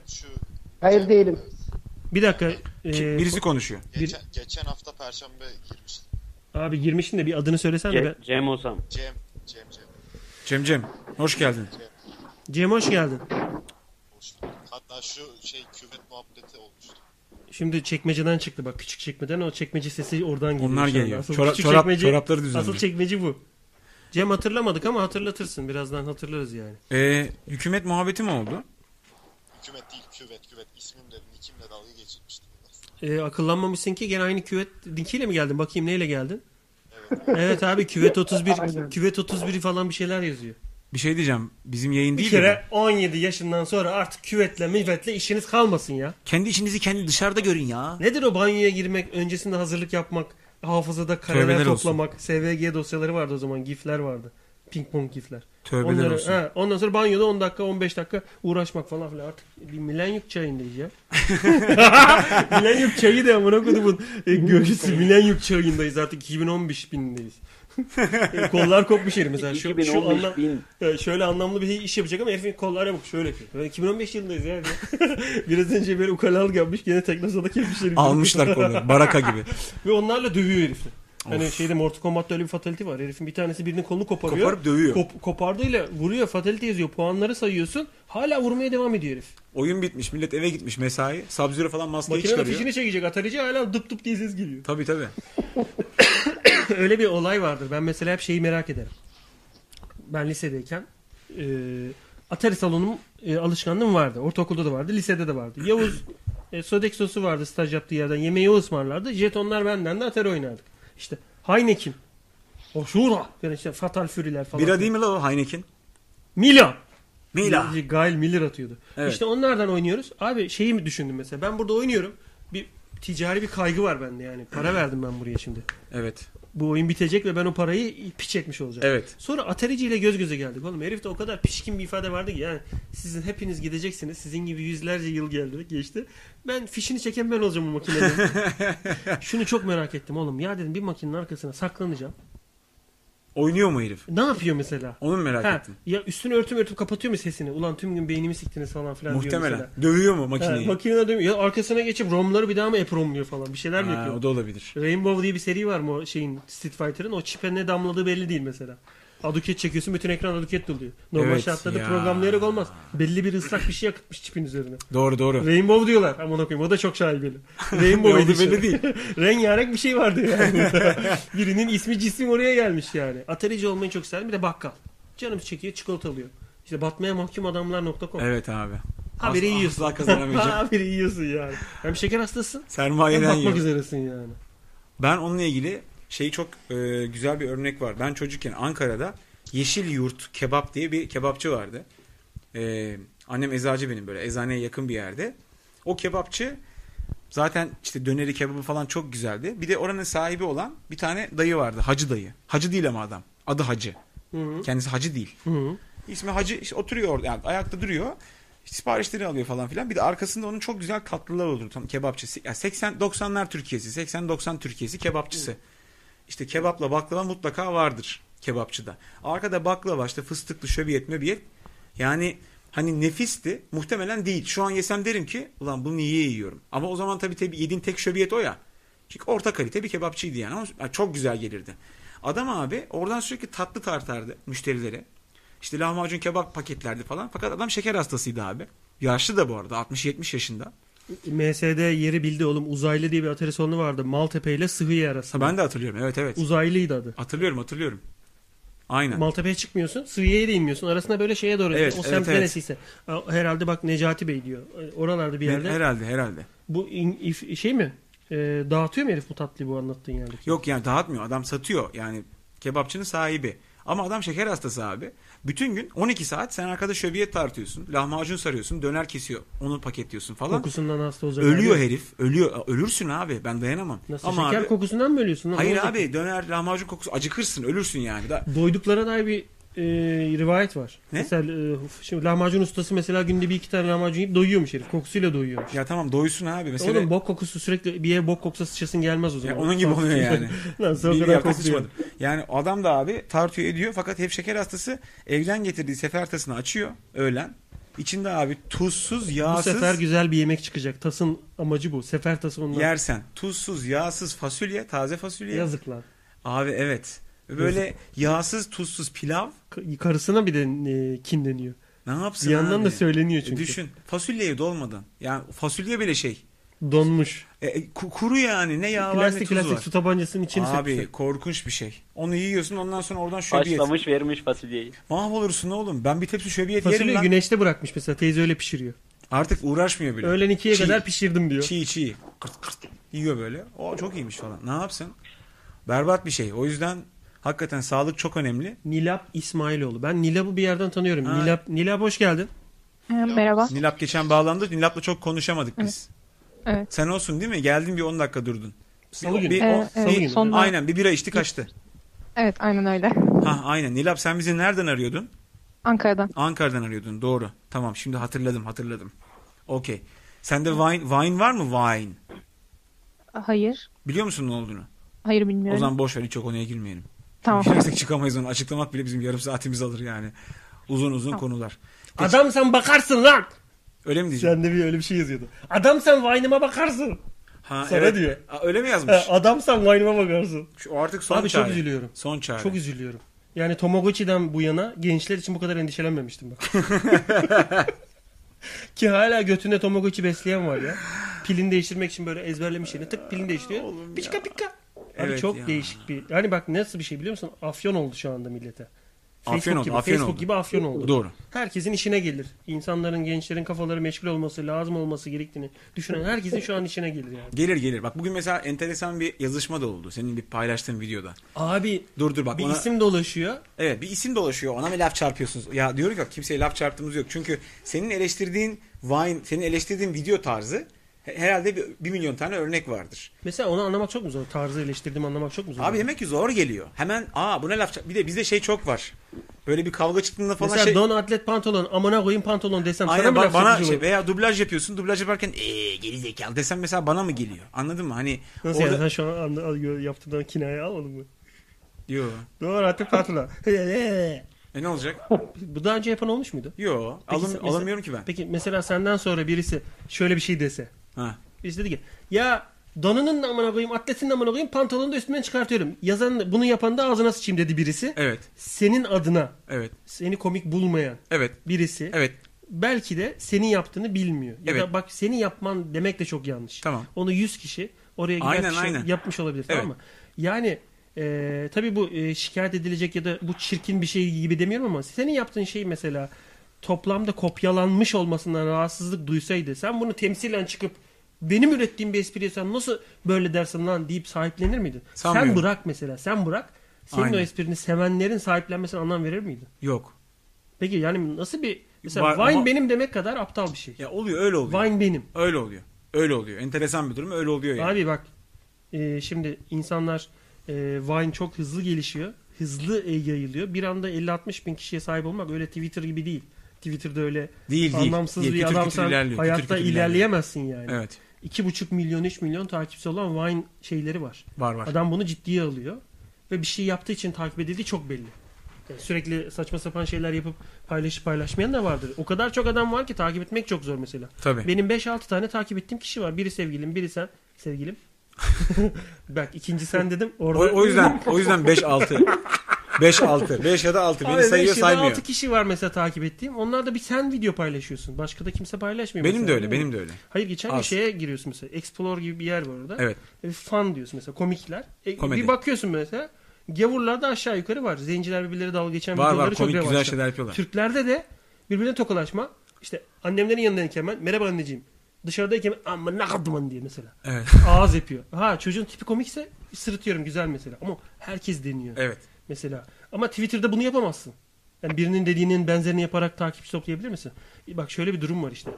Hayır değilim. Bir dakika. e, Birisi konuşuyor. bir- Geçen hafta perşembe girmiştim. abi girmişsin de bir adını söylesen de. Ce- ben- Cem Ozan. Cem, Cem, Cem. Cem Cem. Hoş geldin. Cem hoş geldin. Hatta şu şey küvet muhabbeti olmuştu. Şimdi çekmeceden çıktı bak küçük çekmeden o çekmece sesi oradan geliyor. Onlar şu anda. geliyor. Asıl Çorap- küçük çorap- çorapları düzenliyor. Asıl çekmeci bu. Cem hatırlamadık ama hatırlatırsın. Birazdan hatırlarız yani. Ee, hükümet muhabbeti mi oldu? Küvet değil küvet küvet ismimle nikimle dalga geçirmiştim. Ee, akıllanmamışsın ki gene aynı küvet dinkiyle mi geldin? Bakayım neyle geldin? evet abi küvet 31 küvet 31 falan bir şeyler yazıyor. Bir şey diyeceğim. Bizim yayın Bir değil kere mi? 17 yaşından sonra artık küvetle mivetle işiniz kalmasın ya. Kendi işinizi kendi dışarıda görün ya. Nedir o banyoya girmek, öncesinde hazırlık yapmak, hafızada kareler Tövbeler olsun. toplamak, SVG dosyaları vardı o zaman, gifler vardı. Ping pong gifler. Tövbeler Onları- olsun. he, ondan sonra banyoda 10 dakika, 15 dakika uğraşmak falan filan. Artık bir milenyum çayındayız ya. milenyum çayı da amına kodumun e, görüşü. Milenyum çayındayız artık 2015 binindeyiz. E, kollar kopmuş herif mesela. Şu, şu 2015 anlam- bin. e, şöyle anlamlı bir iş yapacak ama herifin kollara bak şöyle yapıyor. Böyle 2015 yılındayız ya. Biraz önce böyle ukalalık yapmış gene teknosadak yapmış herif. Almışlar kolları. Baraka gibi. Ve onlarla dövüyor herifi. Hani şeyde Mortal Kombat'ta öyle bir fatality var. Herifin bir tanesi birinin kolunu koparıyor. Koparıp dövüyor. Kop- kopardığıyla vuruyor. Fatality yazıyor. Puanları sayıyorsun. Hala vurmaya devam ediyor herif. Oyun bitmiş. Millet eve gitmiş mesai. Sub-Zero falan maskeyi Makinenin çıkarıyor. fişini çekecek. Atarici hala dıp dıp diye ses geliyor. Tabii tabii. öyle bir olay vardır. Ben mesela hep şeyi merak ederim. Ben lisedeyken e, Atari salonum e, alışkanlığım vardı. Ortaokulda da vardı. Lisede de vardı. Yavuz e, Sodexo'su vardı staj yaptığı yerden. Yemeği o ısmarlardı. Jetonlar benden de Atari oynardık. İşte Heineken. Oşura. Yani işte Fatal Fury'ler falan. Bira değil mi la o Heineken? Mila. Mila. Gail Miller atıyordu. Evet. İşte onlardan oynuyoruz. Abi şeyi mi düşündüm mesela? Ben burada oynuyorum. Bir ticari bir kaygı var bende yani. Para verdim ben buraya şimdi. Evet. Bu oyun bitecek ve ben o parayı piç etmiş olacağım. Evet. Sonra Atarici ile göz göze geldik oğlum. Herifte o kadar pişkin bir ifade vardı ki yani sizin hepiniz gideceksiniz. Sizin gibi yüzlerce yıl geldi geçti. Ben fişini çeken ben olacağım bu makinenin. Şunu çok merak ettim oğlum. Ya dedim bir makinenin arkasına saklanacağım. Oynuyor mu herif? Ne yapıyor mesela? Onu mu merak Ha, ettim. Ya üstünü örtüp örtüp kapatıyor mu sesini? Ulan tüm gün beynimi siktiniz falan filan diyor Muhtemelen. mesela. Dövüyor mu Ha, makineyi? makineden dönüyor. Ya arkasına geçip romları bir daha mı epromluyor falan bir şeyler mi Ha, yapıyor? o da olabilir. Rainbow diye bir seri var mı o şeyin Street Fighter'ın? O çipe ne damladığı belli değil mesela. Aduket çekiyorsun bütün ekran aduket doluyor. Normal Evet, şartlarda ya. programlayarak olmaz. Belli bir ıslak bir şey yakıtmış çipin üzerine. Doğru doğru. Rainbow diyorlar. Aman okuyayım o da çok şaibeli. Rainbow Ne oldu Edition. belli değil. Rengarenk bir şey vardı yani. Birinin ismi cismi oraya gelmiş yani. Atarici olmayı çok isterdim. Bir de bakkal. Canım çekiyor çikolata alıyor. İşte batmaya mahkum adamlar.com. Evet abi. Haberi Asla- yiyorsun. asla kazanamayacağım. Haberi yiyorsun yani. Hem şeker hastasın. Sermayeden hem yiyor. bakmak üzeresin yani. Ben onunla ilgili şey çok e, güzel bir örnek var. Ben çocukken Ankara'da Yeşil Yurt Kebap diye bir kebapçı vardı. E, annem eczacı benim böyle eczaneye yakın bir yerde. O kebapçı zaten işte döneri kebabı falan çok güzeldi. Bir de oranın sahibi olan bir tane dayı vardı. Hacı dayı. Hacı değil ama adam. Adı Hacı. Hı. Kendisi Hacı değil. İsmi Hacı işte oturuyor orada yani ayakta duruyor. Siparişleri alıyor falan filan. Bir de arkasında onun çok güzel tatlılar olur. Tam kebapçısı. Ya 80 90'lar Türkiye'si, 80 90 Türkiye'si kebapçısı. İşte kebapla baklava mutlaka vardır. kebapçıda. Arkada baklava işte fıstıklı şöbiyet möbiyet. Yani hani nefisti muhtemelen değil. Şu an yesem derim ki ulan bunu niye yiyorum? Ama o zaman tabii tabii yediğin tek şöbiyet o ya. Çünkü orta kalite bir kebapçıydı yani ama yani çok güzel gelirdi. Adam abi oradan sürekli tatlı tartardı müşterilere. İşte lahmacun kebap paketlerdi falan. Fakat adam şeker hastasıydı abi. Yaşlı da bu arada 60-70 yaşında. MSD yeri bildi oğlum. Uzaylı diye bir atarisyonu vardı. Maltepe ile Sıhhiye arasında. Ben de hatırlıyorum evet evet. Uzaylıydı adı. Hatırlıyorum hatırlıyorum. Aynen. Maltepe'ye çıkmıyorsun. Sıhhiye'ye de inmiyorsun. Arasında böyle şeye doğru. Evet, o evet, semt evet. neresiyse. Aa, Herhalde bak Necati Bey diyor. E, Oralarda bir Ne- yerde. Herhalde herhalde. Bu in- if- şey mi? Ee, dağıtıyor mu herif bu tatlıyı bu anlattığın yerde? Yok yani dağıtmıyor. Adam satıyor. Yani kebapçının sahibi. Ama adam şeker hastası abi. Bütün gün 12 saat sen arkada şöbiyet tartıyorsun. Lahmacun sarıyorsun. Döner kesiyor. Onu paketliyorsun falan. Kokusundan hasta olacak. Ölüyor abi. herif. Ölüyor. Ölürsün abi. Ben dayanamam. Nasıl şeker kokusundan mı ölüyorsun? lan? Hayır Ne olacak? abi döner lahmacun kokusu acıkırsın ölürsün yani. Da, Doyduklara dair bir e, rivayet var. Ne? Mesela e, şimdi lahmacun ustası mesela günde bir iki tane lahmacun yiyip doyuyormuş herif. Kokusuyla doyuyormuş. Ya tamam doysun abi. Mesela- Oğlum bok kokusu sürekli bir yere bok koksa sıçrasın gelmez o zaman. Ya onun gibi oluyor yani. Lan sen o Bir kadar yaptı kokuyor. sıçmadım. Yani adam da abi tartıyor ediyor fakat hep şeker hastası evden getirdiği sefertasını açıyor öğlen. İçinde abi tuzsuz Bu yağsız sefer güzel bir yemek çıkacak. Tasın amacı bu. Sefer tası ondan. yersen. Tuzsuz yağsız fasulye taze fasulye. Yazık lan. Abi evet. Böyle Yazık. yağsız tuzsuz pilav. Ka- Karısına bir de e, kinleniyor. Ne yapsın Bir yandan abi? E, da söyleniyor çünkü. Düşün fasulye evde olmadan. Yani fasulye bile şey. Donmuş. E, e, ku- kuru yani ne yağ var ne Plastik tuz plastik var. su tabancasının içini Abi sökmüşler. korkunç bir şey. Onu yiyorsun ondan sonra oradan şöbiyet. Başlamış vermiş fasulyeyi. Mahvolursun oğlum. Ben bir tepsi şöbiyet yerim Fasulyeyi lan. güneşte bırakmış mesela teyze öyle pişiriyor. Artık uğraşmıyor bile. Öğlen ikiye Çiğ. kadar pişirdim diyor. Çiğ çiğ. Kırt kırt. Yiyor böyle. O çok iyiymiş falan. Ne yapsın? Berbat bir şey. O yüzden hakikaten sağlık çok önemli. Nilap İsmailoğlu. Ben Nilap'ı bir yerden tanıyorum. Ha. Nilap Nilap hoş geldin. Ee, Merhaba. Nilap geçen bağlandı. Nilap'la çok konuşamadık biz. Evet. Sen olsun değil mi? Geldin bir 10 dakika durdun. Salı günü. Evet, evet, bir- son- Aynen bir bira içti kaçtı. Evet aynen öyle. Ha aynen. Nilap sen bizi nereden arıyordun? Ankara'dan. Ankara'dan arıyordun. Doğru. Tamam şimdi hatırladım hatırladım. Okey. Sende wine, wine var mı? Wine. Hayır. Biliyor musun ne olduğunu? Hayır bilmiyorum. O zaman şey boş ver hiç o konuya girmeyelim. Tamam. Girersek çıkamayız onu. Açıklamak bile bizim yarım saatimiz alır yani. Uzun uzun Tamam. konular. Adam sen bakarsın lan. Öyle mi diyeceğim? Sen de bir öyle bir şey yazıyordu. Adam sen Vine'ıma bakarsın. Ha, Sana evet. diyor. Aa, öyle mi yazmış? He, adam sen Vine'ıma bakarsın. Şu- o artık son Abi çare. çok üzülüyorum. Son çare. Çok üzülüyorum. Yani Tomoguchi'den bu yana gençler için bu kadar endişelenmemiştim bak. Ki hala götünde Tomoguchi besleyen var ya. Pilini değiştirmek için böyle ezberlemiş yerine tık pilini değiştiriyor. Pişka pişka. Abi Evet çok ya. değişik bir... Hani bak nasıl bir şey biliyor musun? Afyon oldu şu anda millete. Afyon Facebook oldu, gibi, afyon Facebook oldu. gibi afyon oldu. Doğru. Herkesin işine gelir. İnsanların, gençlerin kafaları meşgul olması, lazım olması gerektiğini düşünen herkesin şu an işine gelir yani. Gelir gelir. Bak bugün mesela enteresan bir yazışma da oldu. Senin bir paylaştığın videoda. Abi Dur dur bak. bir ona- isim dolaşıyor. Evet bir isim dolaşıyor. Ona mı laf çarpıyorsunuz? Ya diyorum ki kimseye laf çarptığımız yok. Çünkü senin eleştirdiğin Vine, senin eleştirdiğin video tarzı he- herhalde bir, bir milyon tane örnek vardır. Mesela onu anlamak çok mu zor? Tarzı eleştirdiğimi anlamak çok mu zor? Abi demek ki zor geliyor. Hemen aa buna laf çarp... Bir de bizde şey çok var. Böyle bir kavga çıktığında falan Mesela şey... don atlet pantolon amına koyayım pantolon desem Aynen sana mı ba- laf bana çarpıcı şey, olur? veya dublaj yapıyorsun. Dublaj yaparken eee geri zekalı desem mesela bana mı geliyor? Anladın mı? Hani Nasıl yani sen şu an anla- al- gö- yaptığından kinayı almadın mı? Yo. Don atlet pantolon. E ne olacak? Bu daha önce yapan olmuş muydu? Yo. Peki alın- sen- mesela- alamıyorum ki ben. Peki mesela senden sonra birisi şöyle bir şey dese. Ha. Birisi dedi ki ya donunun da amına koyayım atletinin de amına koyayım pantolonu da üstümden çıkartıyorum. Yazan bunu yapan da ağzına sıçayım dedi birisi. Evet. Senin adına Evet. seni komik bulmayan Evet. birisi Evet. belki de senin yaptığını bilmiyor. Ya Evet. da bak senin yapman demek de çok yanlış. Tamam. Onu 100 kişi oraya giden Aynen, kişi aynen. yapmış olabilir tamam Evet. mı? Yani e, tabii bu e, şikayet edilecek ya da bu çirkin bir şey gibi demiyorum ama senin yaptığın şey mesela toplamda kopyalanmış olmasından rahatsızlık duysaydı sen bunu temsilen çıkıp benim ürettiğim bir espriye sen nasıl böyle dersin lan deyip sahiplenir miydin? Sen Sanmıyorum. bırak mesela sen bırak. Senin Aynen. o esprini sevenlerin sahiplenmesine anlam verir miydin? Yok. Peki yani nasıl bir mesela Var- Vine ama- benim demek kadar aptal bir şey. Ya oluyor öyle oluyor. Vine benim. Öyle oluyor. Öyle oluyor. Enteresan bir durum öyle oluyor yani. Abi bak e, şimdi insanlar e, Vine çok hızlı gelişiyor. Hızlı e, yayılıyor. Bir anda 50-60 bin kişiye sahip olmak öyle Twitter gibi değil. Twitter'da öyle Değil, değil. anlamsız Değil, bir kütür kütür adamsan ilerliyor, kütür hayatta kütür ilerliyor. ilerleyemezsin yani. Evet. 2,5 milyon 3 milyon takipçisi olan Vine şeyleri var. Var, var. Adam bunu ciddiye alıyor. ve bir şey yaptığı için takip edildiği çok belli. Yani sürekli saçma sapan şeyler yapıp paylaşıp paylaşmayan da vardır. O kadar çok adam var ki takip etmek çok zor mesela. Tabii. Benim 5-6 tane takip ettiğim kişi var. Biri sevgilim, biri sen. Sevgilim. Bak ikinci sen dedim. Orada... O, o yüzden o yüzden 5 6 5 6 5 ya da 6 beni Abi beş sayıyor ya da saymıyor. altı kişi var mesela takip ettiğim. Onlar da bir sen video paylaşıyorsun. Başka da kimse paylaşmıyor. Benim mesela, de öyle, değil mi? benim de öyle. Hayır geçen Az. bir şeye giriyorsun mesela. Explore gibi bir yer var orada. Evet. E, fan diyorsun mesela komikler. E, Komedi. Bir bakıyorsun mesela. Gavurlarda aşağı yukarı var. Zenciler birbirleri dalga geçen Var, var. videoları çok Komik, güzel revaçta. şeyler yapıyorlar. Türklerde de birbirine tokalaşma. İşte annemlerin yanındayken ben merhaba anneciğim. Dışarıdayken amma ne kadman diye mesela. Evet. Ağız yapıyor. Ha çocuğun tipi komikse sırıtıyorum güzel mesela. Ama herkes deniyor. Evet. Mesela. Ama Twitter'da bunu yapamazsın. Yani birinin dediğinin benzerini yaparak takipçi toplayabilir misin? E, Bak şöyle bir durum var işte.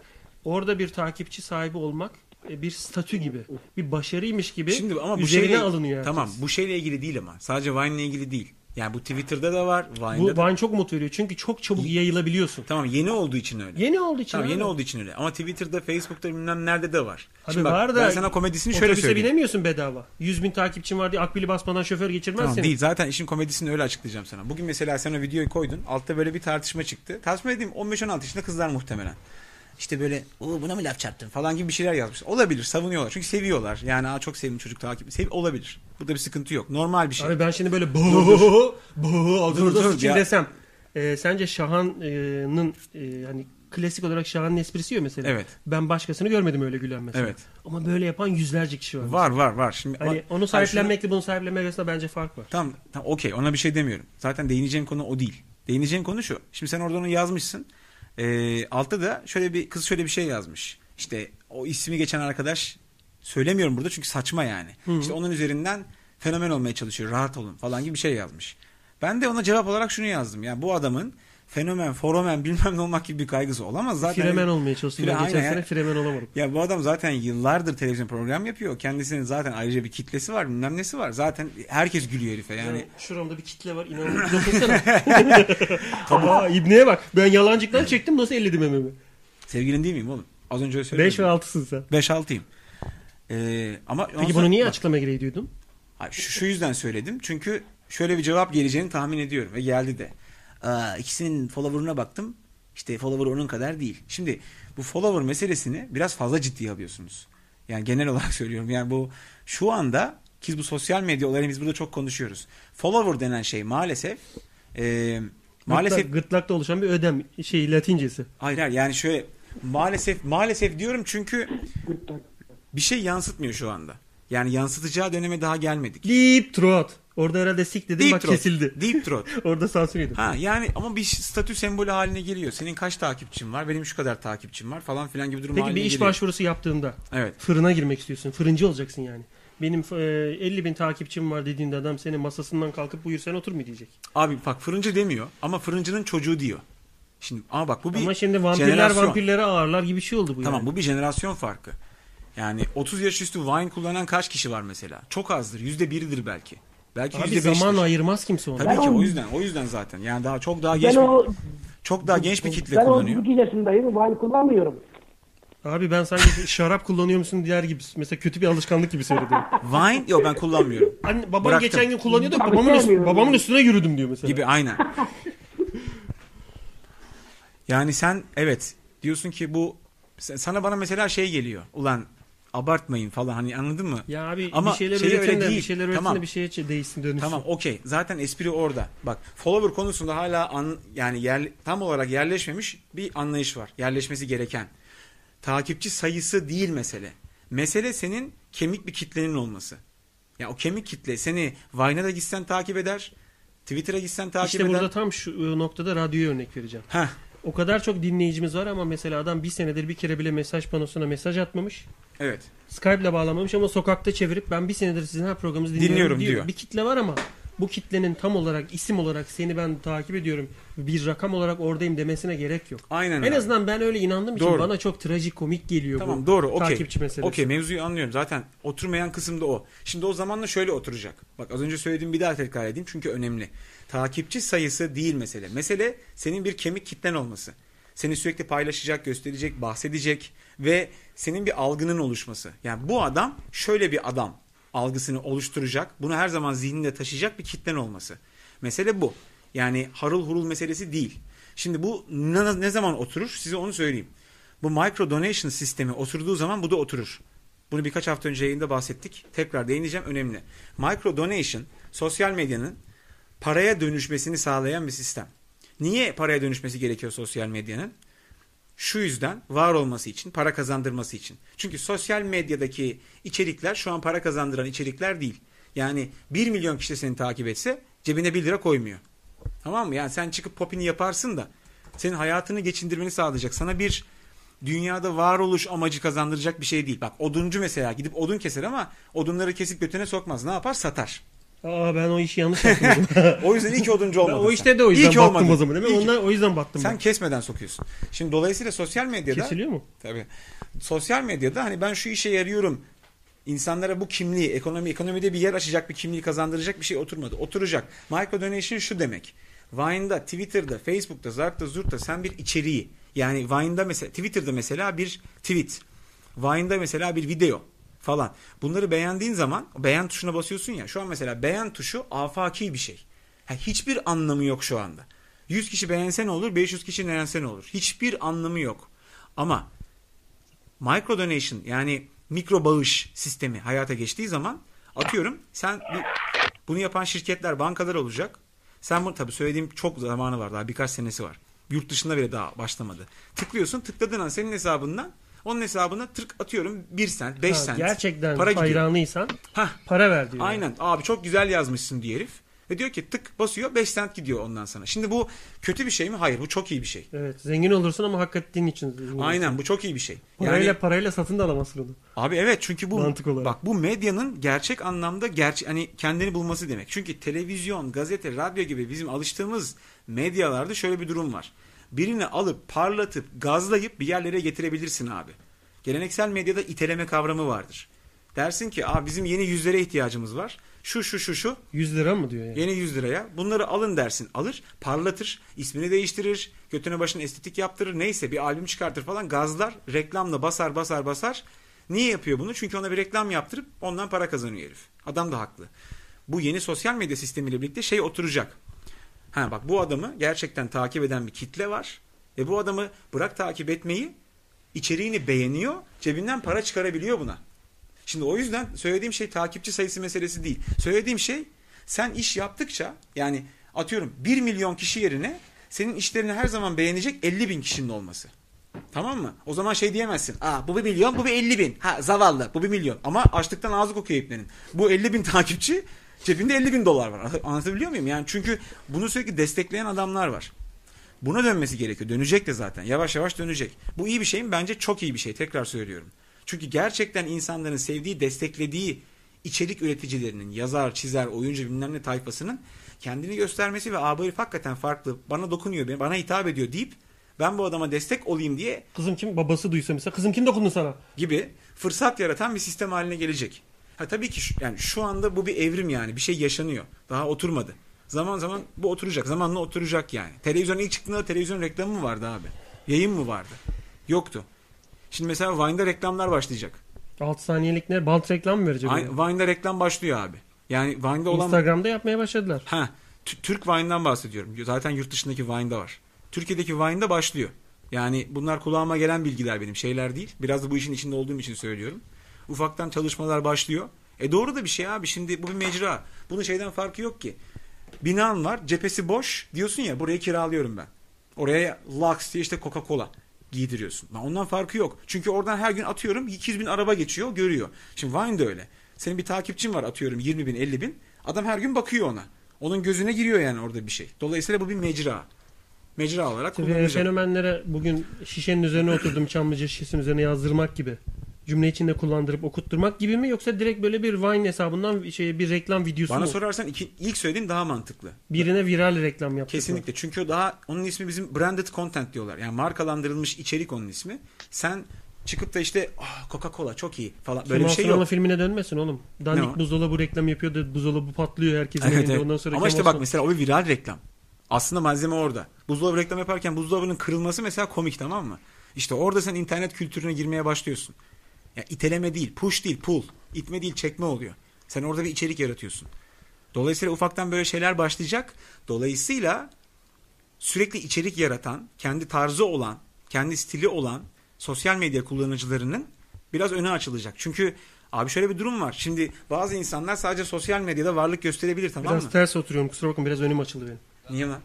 Orada bir takipçi sahibi olmak e, bir statü gibi. Bir başarıymış gibi Şimdi ama bu üzerine şeyle alınıyor. herkes. Tamam, bu şeyle ilgili değil ama. Sadece Vine'le ilgili değil. Yani bu Twitter'da da var, Vine'da Bu da. Vine çok umut veriyor. Çünkü çok çabuk yayılabiliyorsun. Tamam, yeni olduğu için öyle. Yeni olduğu için. Tamam, yeni abi. olduğu için öyle. Ama Twitter'da, Facebook'ta bilmem nerede de var. Abi Şimdi bak, var da ben sana komedisini şöyle otobüse söyleyeyim. binemiyorsun bedava. 100 bin takipçin var diye akbili basmadan şoför geçirmez Tamam seni. değil zaten işin komedisini öyle açıklayacağım sana. Bugün mesela sen o videoyu koydun. Altta böyle bir tartışma çıktı. Tartışma dediğim 15-16 yaşında kızlar muhtemelen. İşte böyle "Oo, buna mı laf çarptın falan gibi bir şeyler yazmış. Olabilir savunuyorlar. Çünkü seviyorlar. Yani Aa, çok sevdim çocuk takip. Sev olabilir. Burada bir sıkıntı yok. Normal bir şey. Abi ben şimdi böyle bu Dur, dur. bu Dur, dur, aldığınızda sıçayım ya. desem. e, sence Şahan'ın e, hani klasik olarak Şahan'ın esprisi ya mesela. Evet. Ben başkasını görmedim öyle gülen mesela. Evet. Ama böyle yapan yüzlerce kişi var. Var var var. Şimdi Hani bak- onu sahiplenmekle bunu sahiplenmek arasında bence fark var. Tamam, tamam okey ona bir şey demiyorum. Zaten değineceğim konu o değil. Değineceğim konu şu. Şimdi sen orada onu yazmışsın. Ee, altta da şöyle bir kız şöyle bir şey yazmış. İşte o ismi geçen arkadaş söylemiyorum burada çünkü saçma yani. Hı hı. İşte onun üzerinden fenomen olmaya çalışıyor. Rahat olun falan gibi bir şey yazmış. Ben de ona cevap olarak şunu yazdım. Yani bu adamın fenomen, foromen bilmem ne olmak gibi bir kaygısı olamaz zaten. Fremen olmaya çalıştım Fire- ben geçen aynen ya. sene fremen olamadım. Ya bu adam zaten yıllardır televizyon program yapıyor. Kendisinin zaten ayrıca bir kitlesi var, bilmem nesi var. Zaten herkes gülüyor herife yani. Yani şuramda bir kitle var inanılmaz. Dokunsana. Aa, İbni'ye bak. Ben yalancıktan çektim nasıl elledim ememi. Sevgilin değil miyim oğlum? Az önce öyle söyledim. Beş ve altısın sen. 5 6'yım. Ee, ama Peki bunu niye Bak, açıklamaya gereği duydun? hayır, şu, şu yüzden söyledim. Çünkü şöyle bir cevap geleceğini tahmin ediyorum ve geldi de. Aa, ikisinin follower'ına baktım. İşte follower onun kadar değil. Şimdi bu follower meselesini biraz fazla ciddiye alıyorsunuz. Yani genel olarak söylüyorum. Yani bu şu anda ki bu sosyal medya olayını biz burada çok konuşuyoruz. Follower denen şey maalesef e, maalesef Gırtlak, gırtlakta oluşan bir ödem şey latincesi. Hayır hayır yani şöyle maalesef maalesef diyorum çünkü bir şey yansıtmıyor şu anda. Yani yansıtacağı döneme daha gelmedik. Deep throat. Orada herhalde sik dedim Deep bak throat. kesildi. Deep throat. Orada sansür yedim. Ha yani ama bir statü sembolü haline geliyor. Senin kaç takipçin var? Benim şu kadar takipçim var falan filan gibi durum Peki haline bir iş geliyor. başvurusu yaptığında Evet. fırına girmek istiyorsun. Fırıncı olacaksın yani. Benim e, 50 bin takipçim var dediğinde adam seni masasından kalkıp buyur sen otur mu diyecek. Abi bak fırıncı demiyor ama fırıncının çocuğu diyor. Şimdi ama bak bu bir Ama şimdi vampirler jenerasyon. vampirlere ağırlar gibi bir şey oldu bu Tamam yani. bu bir jenerasyon farkı. Yani 30 yaş üstü wine kullanan kaç kişi var mesela? Çok azdır. Yüzde biridir belki. Belki Abi yüzde beştir. zaman ayırmaz kimse ona. Tabii ki o yüzden o yüzden zaten. Yani daha çok daha Ben genç o- bir, çok daha genç bir kitle ben kullanıyor. 32 yaşındayım. Vine kullanmıyorum. Abi ben sanki şarap kullanıyor musun diğer gibi. Mesela kötü bir alışkanlık gibi seyrediyorum. Wine yok ben kullanmıyorum. Anne babam Bıraktım. geçen gün kullanıyordu Abi babamın, üst- sevmiyorum. babamın üstüne yürüdüm diyor mesela. Gibi aynen. Yani sen evet diyorsun ki bu sen- sana bana mesela şey geliyor. Ulan abartmayın falan hani anladın mı? Ya abi Ama bir şeyler şey üretin öyle de bir değil. şeyler üretin Tamam. de bir şeye ç- değişsin dönüşsün. Tamam okey. Zaten espri orada. Bak follower konusunda hala an, yani yer, tam olarak yerleşmemiş bir anlayış var. Yerleşmesi gereken. Takipçi sayısı değil mesele. Mesele senin kemik bir kitlenin olması. Ya o kemik kitle seni Vine'a da gitsen takip eder. Twitter'a gitsen takip İşte eder. burada tam şu e, noktada radyoya örnek vereceğim. Heh. O kadar çok dinleyicimiz var ama mesela adam bir senedir bir kere bile mesaj panosuna mesaj atmamış. Evet. Skype'la bağlamamış ama sokakta çevirip ben bir senedir sizin her programınızı dinliyorum, Dinliyorum diyor. diyor. Bir kitle var ama bu kitlenin tam olarak isim olarak seni ben takip ediyorum bir rakam olarak oradayım demesine gerek yok. Aynen En öyle. azından ben öyle inandığım için Doğru. bana çok trajikomik geliyor bu Tamam doğru okey. takipçi meselesi. Okey mevzuyu anlıyorum. Zaten oturmayan kısım da o. Şimdi o zamanla şöyle oturacak. Bak az önce söylediğim bir daha tekrar edeyim çünkü önemli. Takipçi sayısı değil mesele. Mesele senin bir kemik kitlen olması. Seni sürekli paylaşacak, gösterecek, bahsedecek ve senin bir algının oluşması. Yani bu adam şöyle bir adam. algısını oluşturacak, bunu her zaman zihninde taşıyacak bir kitlen olması. Mesele bu. Yani harıl hurul meselesi değil. Şimdi bu ne, ne zaman oturur size onu söyleyeyim. Bu micro donation sistemi oturduğu zaman bu da oturur. Bunu birkaç hafta önce yayında bahsettik. Tekrar değineceğim önemli. Micro donation sosyal medyanın paraya dönüşmesini sağlayan bir sistem. Niye paraya dönüşmesi gerekiyor sosyal medyanın? Şu yüzden var olması için, para kazandırması için. Çünkü sosyal medyadaki içerikler şu an para kazandıran içerikler değil. Yani 1 milyon kişi seni takip etse cebine 1 lira koymuyor. Tamam mı? Yani sen çıkıp popini yaparsın da senin hayatını geçindirmeni sağlayacak. Sana bir dünyada varoluş amacı kazandıracak bir şey değil. Bak oduncu mesela gidip odun keser ama odunları kesip götüne sokmaz. Ne yapar? Satar. Aa ben o işi yanlış yaptım. o yüzden iyi ki oduncu olmadın. Ben o sen. işte de o İyi yüzden ki baktım olmadın. o zaman, değil mi? İyi ki- Onlar- o yüzden baktım Sen ben. kesmeden sokuyorsun. Şimdi dolayısıyla sosyal medyada... Kesiliyor mu? Tabii. Sosyal medyada hani ben şu işe yarıyorum. İnsanlara bu kimliği, ekonomi, ekonomide bir yer açacak bir kimliği kazandıracak bir şey oturmadı. Oturacak. Micro donation şu demek. Vine'da, Twitter'da, Facebook'ta, Zark'ta, Zurt'ta sen bir içeriği. Yani Vine'da mesela, Twitter'da mesela bir tweet. Vine'da mesela bir video falan. Bunları beğendiğin zaman beğen tuşuna basıyorsun ya. Şu an mesela beğen tuşu afaki bir şey. Ha, hiçbir anlamı yok şu anda. 100 kişi beğense ne olur, 500 kişi beğense ne olur? Hiçbir anlamı yok. Ama micro donation yani mikro bağış sistemi hayata geçtiği zaman atıyorum sen bir- bunu yapan şirketler bankalar olacak. Sen bunu tabii söylediğim çok zamanı var daha birkaç senesi var. Yurt dışında bile daha başlamadı. Tıklıyorsun tıkladığın an senin hesabından onun hesabına tık atıyorum 1 sent 5 Ha, sent. Gerçekten para gidiyor. hayranıysan Hah. para ver diyor. Aynen abi çok güzel yazmışsın diye herif. Ve diyor ki tık basıyor 5 sent gidiyor ondan sana. Şimdi bu kötü bir şey mi? Hayır bu çok iyi bir şey. Evet zengin olursun ama hak ettiğin için. zengin olursun. Aynen bu çok iyi bir şey. Parayla parayla satın da alamazsın onu. Abi evet çünkü bu Mantık olarak. bak bu medyanın gerçek anlamda gerçek hani kendini bulması demek. Çünkü televizyon, gazete, radyo gibi bizim alıştığımız medyalarda şöyle bir durum var. Birini alıp parlatıp gazlayıp bir yerlere getirebilirsin abi. Geleneksel medyada iteleme kavramı vardır. Dersin ki abi bizim yeni yüzlere ihtiyacımız var. Şu şu şu şu 100 lira mı diyor yani? Yeni 100 liraya. Bunları alın dersin. Alır, parlatır, ismini değiştirir, götüne başına estetik yaptırır, neyse bir albüm çıkartır falan gazlar, reklamla basar basar basar. Niye yapıyor bunu? Çünkü ona bir reklam yaptırıp ondan para kazanıyor herif. Adam da haklı. Bu yeni sosyal medya sistemiyle birlikte şey oturacak. Ha bak bu adamı gerçekten takip eden bir kitle var. Ve bu adamı bırak takip etmeyi içeriğini beğeniyor, cebinden para çıkarabiliyor buna. Şimdi o yüzden söylediğim şey takipçi sayısı meselesi değil. Söylediğim şey sen iş yaptıkça yani atıyorum 1 milyon kişi yerine senin işlerini her zaman beğenecek 50 bin kişinin olması. Tamam mı? O zaman şey diyemezsin. Aa bu bir milyon bu bir 50 bin. Ha zavallı bu bir milyon. Ama açlıktan ağzı kokuyor iplerin. Bu 50 bin takipçi cebinde 50 bin dolar var. Anlatabiliyor muyum? Yani çünkü bunu sürekli destekleyen adamlar var. Buna dönmesi gerekiyor. Dönecek de zaten. Yavaş yavaş dönecek. Bu iyi bir şey mi? Bence çok iyi bir şey. Tekrar söylüyorum. Çünkü gerçekten insanların sevdiği, desteklediği içerik üreticilerinin, yazar, çizer, oyuncu bilmem ne tayfasının kendini göstermesi ve "Aa, bu herif hakikaten farklı, bana dokunuyor, bana hitap ediyor deyip ben bu adama destek olayım diye Kızım kim babası duysa mesela kızım kim dokundu sana? gibi fırsat yaratan bir sistem haline gelecek. Ha tabii ki şu, yani şu anda bu bir evrim yani bir şey yaşanıyor. Daha oturmadı. Zaman zaman bu oturacak. Zamanla oturacak yani. Televizyon ilk çıktığında televizyon reklamı mı vardı abi? Yayın mı vardı? Yoktu. Şimdi mesela Vine'da reklamlar başlayacak. 6 saniyelik ne? Bant reklam mı verecek? Aynı- Vine'da reklam başlıyor abi. Yani Vine'da olan Instagram'da yapmaya başladılar. Ha, T- Türk Vine'dan bahsediyorum. Zaten yurt dışındaki Vine'da var. Türkiye'deki Vine'da başlıyor. Yani bunlar kulağıma gelen bilgiler benim şeyler değil. Biraz da bu işin içinde olduğum için söylüyorum. Ufaktan çalışmalar başlıyor. E doğru da bir şey abi. Şimdi bu bir mecra. Bunun şeyden farkı yok ki. Binan var, cephesi boş. Diyorsun ya burayı kiralıyorum ben. Oraya Lux diye işte Coca-Cola giydiriyorsun. Lan Ondan farkı yok. Çünkü oradan her gün atıyorum 200 bin araba geçiyor görüyor. Şimdi Vine de öyle. Senin bir takipçin var atıyorum 20 bin 50 bin. Adam her gün bakıyor ona. Onun gözüne giriyor yani orada bir şey. Dolayısıyla bu bir mecra. Mecra olarak Tabii kullanılacak. fenomenlere bugün şişenin üzerine oturdum Çamlıca şişesinin üzerine yazdırmak gibi. Cümle içinde kullandırıp okutturmak gibi mi yoksa direkt böyle bir Vine hesabından şey bir reklam videosu Bana mu? sorarsan iki- ilk söylediğim daha mantıklı. Birine viral reklam yaptırmak. Kesinlikle. Çünkü daha onun ismi bizim branded content diyorlar. Yani markalandırılmış içerik onun ismi. Sen çıkıp da işte "Ah, Coca-Cola çok iyi falan böyle Kemal bir şey Sunal'ın yok. filmine dönmesin oğlum. Ne Dandik o? buzdolabı reklam yapıyor da buzdolabı patlıyor herkesin Evet, elinde. evet. Ondan sonra Ama işte Kemal bak mesela o bir viral reklam. Aslında malzeme orada. Buzdolabı reklam yaparken buzdolabının kırılması mesela komik tamam mı? İşte orada sen internet kültürüne girmeye başlıyorsun. Ya iteleme değil, push değil, pull. İtme değil, çekme oluyor. Sen orada bir içerik yaratıyorsun. Dolayısıyla ufaktan böyle şeyler başlayacak. Dolayısıyla sürekli içerik yaratan, kendi tarzı olan, kendi stili olan sosyal medya kullanıcılarının biraz öne açılacak. Çünkü abi şöyle bir durum var. Şimdi bazı insanlar sadece sosyal medyada varlık gösterebilir tamam Biraz mı? ters oturuyorum kusura bakın biraz önüm açıldı benim. Niye lan?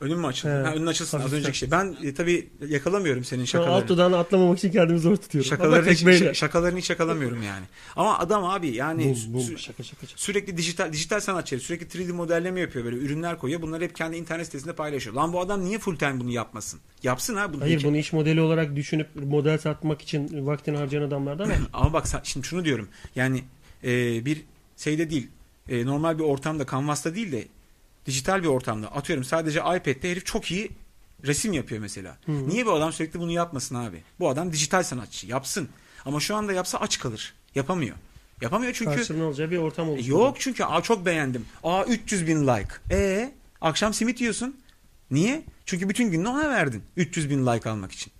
Önüm mü açıldı? Evet. Ha, önün açılsın az Hafiften. önceki şey. Ben e, tabii yakalamıyorum senin Şu an şakalarını. alt dudağını atlamamak için kendimi zor tutuyorum. Şakalarını Ama hiç, tekmeyle. şa- şakalarını hiç yakalamıyorum yani. Ama adam abi yani sü- sü- sürekli dijital dijital sanatçı sürekli 3D modelleme yapıyor böyle ürünler koyuyor. Bunları hep kendi internet sitesinde paylaşıyor. Lan bu adam niye full time bunu yapmasın? Yapsın ha bunu. Hayır bunu iş modeli olarak düşünüp model satmak için vaktini harcayan adamlar da var. Ama bak sa- şimdi şunu diyorum. Yani e, bir şeyde değil. e, normal bir ortamda Canvas'ta değil de dijital bir ortamda atıyorum sadece iPad'de herif çok iyi resim yapıyor mesela. Hı. Niye bu adam sürekli bunu yapmasın abi? Bu adam dijital sanatçı. Yapsın. Ama şu anda yapsa aç kalır. Yapamıyor. Yapamıyor çünkü Karşılığında olacağı bir ortam oluştu. Yok çünkü aa çok beğendim. Aa 300 bin like. E akşam simit yiyorsun. Niye? Çünkü bütün gününü ona verdin. 300 bin like almak için.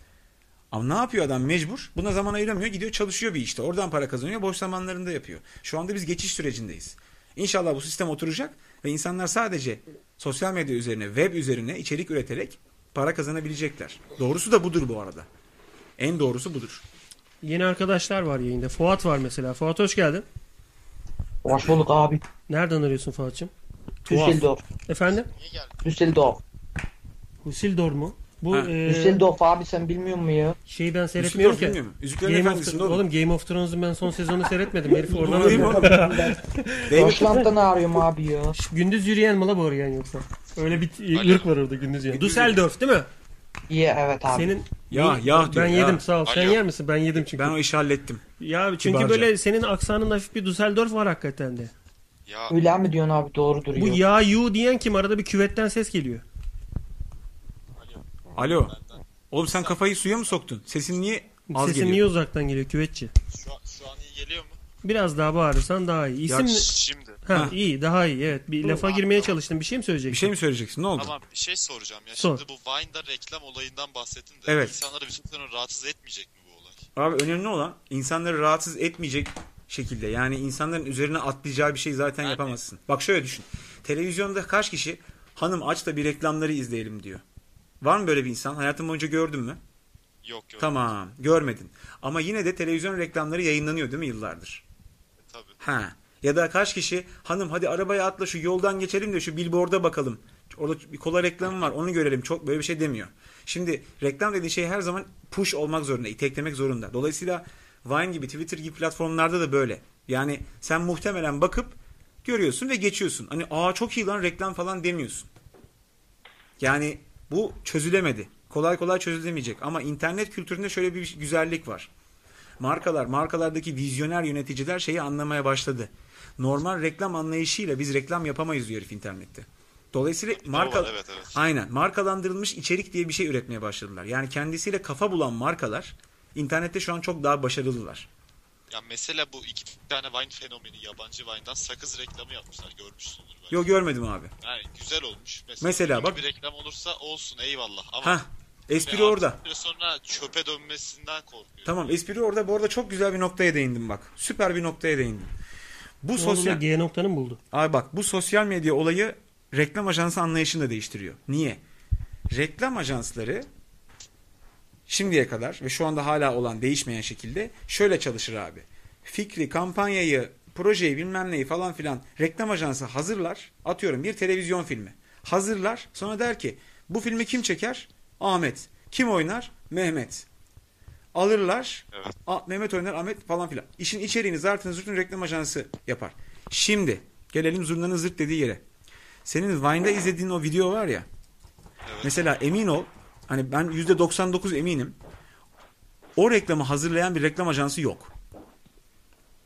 Ama ne yapıyor adam mecbur? Buna zaman ayıramıyor. Gidiyor çalışıyor bir işte. Oradan para kazanıyor. Boş zamanlarında yapıyor. Şu anda biz geçiş sürecindeyiz. İnşallah bu sistem oturacak ve insanlar sadece sosyal medya üzerine, web üzerine içerik üreterek para kazanabilecekler. Doğrusu da budur bu arada. En doğrusu budur. Yeni arkadaşlar var yayında. Fuat var mesela. Fuat hoş geldin. Hoş bulduk abi. Nereden arıyorsun Fuat'cığım? Düsseldorf. Efendim? Düsseldorf. Hüsildor mu? Bu Ha. Ee, e, Düsseldorf abi sen bilmiyor musun ya? Şeyi ben seyretmiyorum ki. Game of, Efendisi'nde oğlum. Game of Thrones'un ben son sezonunu seyretmedim. Herif Doğru oradan değil mi oğlum? David- Deutschland'dan arıyorum abi ya. Ş- Gündüz yürüyen mi la bu arayan yoksa? Öyle bir t- ırk var orada gündüz yürüyen. Düsseldorf değil mi? İyi evet abi. Senin Ya, Ne- ya diyor, Ben ya. yedim sağ ol. Sen Alo. yer misin? Ben yedim çünkü. Ben o işi hallettim. Ya çünkü Kibarca. böyle senin aksanın hafif bir Düsseldorf var hakikaten de. Öyle mi diyorsun abi doğru Bu duruyor. ya yu diyen kim? Arada bir küvetten ses geliyor. Alo. Oğlum sen kafayı suya mı soktun? Sesin niye az Sesin geliyor? niye uzaktan geliyor küvetçi? Şu, an- şu an iyi geliyor mu? Biraz daha bağırırsan daha iyi. Ya İsim şimdi. Ha, Ha. iyi daha iyi evet. Bir Dur. lafa girmeye çalıştım. Bir şey mi söyleyeceksin? Bir şey mi söyleyeceksin? Ne Tamam bir şey soracağım ya. Sor. Şimdi bu Vine'da reklam olayından bahsettin de Evet. insanları bir süre sonra rahatsız etmeyecek mi? Abi önemli olan insanları rahatsız etmeyecek şekilde yani insanların üzerine atlayacağı bir şey zaten yapamazsın. Bak şöyle düşün. Televizyonda kaç kişi hanım aç da bir reklamları izleyelim diyor. Var mı böyle bir insan? Hayatın boyunca gördün mü? Yok görmedim. Tamam görmedin. Ama yine de televizyon reklamları yayınlanıyor değil mi yıllardır? E, tabii. Ha. Ya da kaç kişi hanım hadi arabaya atla şu yoldan geçelim de şu billboard'a bakalım. Orada bir kola reklamı var onu görelim. Çok böyle bir şey demiyor. Şimdi reklam dediği şey her zaman push olmak zorunda. iteklemek zorunda. Dolayısıyla Vine gibi Twitter gibi platformlarda da böyle. Yani sen muhtemelen bakıp görüyorsun ve geçiyorsun. Hani aa çok iyi lan reklam falan demiyorsun. Yani bu çözülemedi. Kolay kolay çözülemeyecek. Ama internet kültüründe şöyle bir güzellik var. Markalar, markalardaki vizyoner yöneticiler şeyi anlamaya başladı. Normal reklam anlayışıyla biz reklam yapamayız diyor herif internette. Dolayısıyla marka evet, evet. Aynen. Markalandırılmış içerik diye bir şey üretmeye başladılar. Yani kendisiyle kafa bulan markalar internette şu an çok daha başarılılar. Ya mesela bu iki tane Vine fenomeni yabancı Vine'dan sakız reklamı yapmışlar görmüşsündür. Yo görmedim abi. Yani güzel olmuş. Mesela, Mesela böyle bak- bir reklam olursa olsun eyvallah ama Hah. Espri Ve artık orada. bir süre sonra çöpe dönmesinden korkuyorum. Tamam espri orada. Bu arada çok güzel bir noktaya değindim bak. Süper bir noktaya değindim. Bu Bu sosyal... şey sosyal... G noktanı mı buldu? Abi bak bu sosyal medya olayı reklam ajansı anlayışını da değiştiriyor. Niye? Reklam ajansları şimdiye kadar ve şu anda hala olan değişmeyen şekilde şöyle çalışır abi. Fikri, kampanyayı, projeyi bilmem neyi falan filan reklam ajansı hazırlar. Atıyorum bir televizyon filmi. Hazırlar. Sonra der ki bu filmi kim çeker? Ahmet. Kim oynar? Mehmet. Alırlar. A- Mehmet oynar Ahmet falan filan. İşin içeriğini zartını zürtünü reklam ajansı yapar. Şimdi gelelim zurnanın zırt dediği yere. Senin Vine'da izlediğin o video var ya. Mesela emin ol hani ben %99 eminim. O reklamı hazırlayan bir reklam ajansı yok.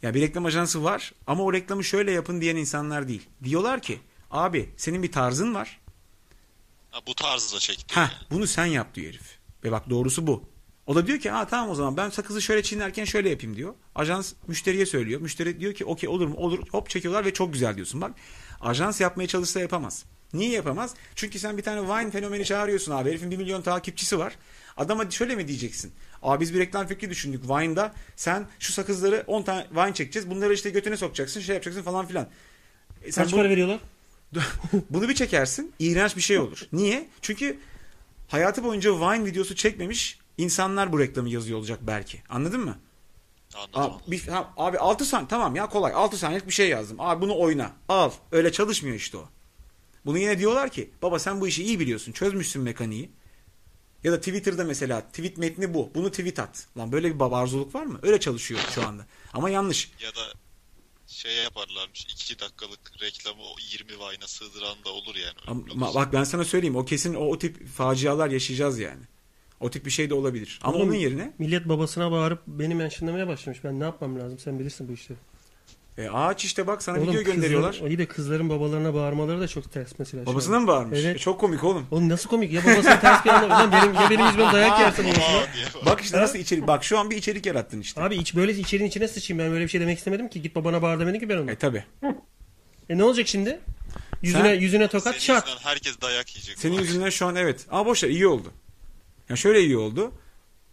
Ya bir reklam ajansı var ama o reklamı şöyle yapın diyen insanlar değil. Diyorlar ki abi senin bir tarzın var. Ha, bu tarzda çekti. Ha bunu sen yap diyor herif. Ve bak doğrusu bu. O da diyor ki ha tamam o zaman ben sakızı şöyle çiğnerken şöyle yapayım diyor. Ajans müşteriye söylüyor. Müşteri diyor ki okey olur mu olur hop çekiyorlar ve çok güzel diyorsun bak. Ajans yapmaya çalışsa yapamaz. Niye yapamaz? Çünkü sen bir tane Vine fenomeni çağırıyorsun abi. Herifin 1 milyon takipçisi var. Adama şöyle mi diyeceksin? Abi biz bir reklam fikri düşündük Vine'da. Sen şu sakızları 10 tane Vine çekeceğiz. Bunları işte götüne sokacaksın, şey yapacaksın falan filan. E Kaç para veriyorlar? bunu bir çekersin. iğrenç bir şey olur. Niye? Çünkü hayatı boyunca Vine videosu çekmemiş insanlar bu reklamı yazıyor olacak belki. Anladın mı? Anladım. Abi, bir, ha, abi 6 saniye tamam ya kolay. 6 saniyelik bir şey yazdım. Abi bunu oyna. Al. Öyle çalışmıyor işte o. Bunu yine diyorlar ki baba sen bu işi iyi biliyorsun. Çözmüşsün mekaniği. Ya da Twitter'da mesela tweet metni bu. Bunu tweet at. Lan böyle bir babarzuluk var mı? Öyle çalışıyor şu anda. Ama yanlış. Ya da şey yaparlarmış 2 dakikalık reklamı o 20 vayna sığdıran da olur yani. Ama, ma- bak ben sana söyleyeyim. O kesin o, o tip facialar yaşayacağız yani. O tip bir şey de olabilir. Ama Oğlum, onun yerine Millet babasına bağırıp benim yaşlandırmaya başlamış. Ben ne yapmam lazım? Sen bilirsin bu işleri. E, ağaç işte bak sana Oğlum, video gönderiyorlar. Kızların, iyi de kızların babalarına bağırmaları da çok ters mesela. şu an. Babasına mı bağırmış? E, Evet. çok komik oğlum. Oğlum nasıl komik? Ya babasına ters bir anda. Ulan benim, ya benim yüzümden dayak yersin babasına. Bak işte nasıl içerik. Bak şu an bir içerik yarattın işte. Abi iç, böyle içerinin içine sıçayım ben böyle bir şey demek istemedim ki. Git babana bağır demedim ki ben ona. E tabi. E ne olacak şimdi? Yüzüne Sen- yüzüne tokat şart. Herkes dayak yiyecek. Senin yüzünden şu an evet. Ama boş ver iyi oldu. Ya şöyle iyi oldu.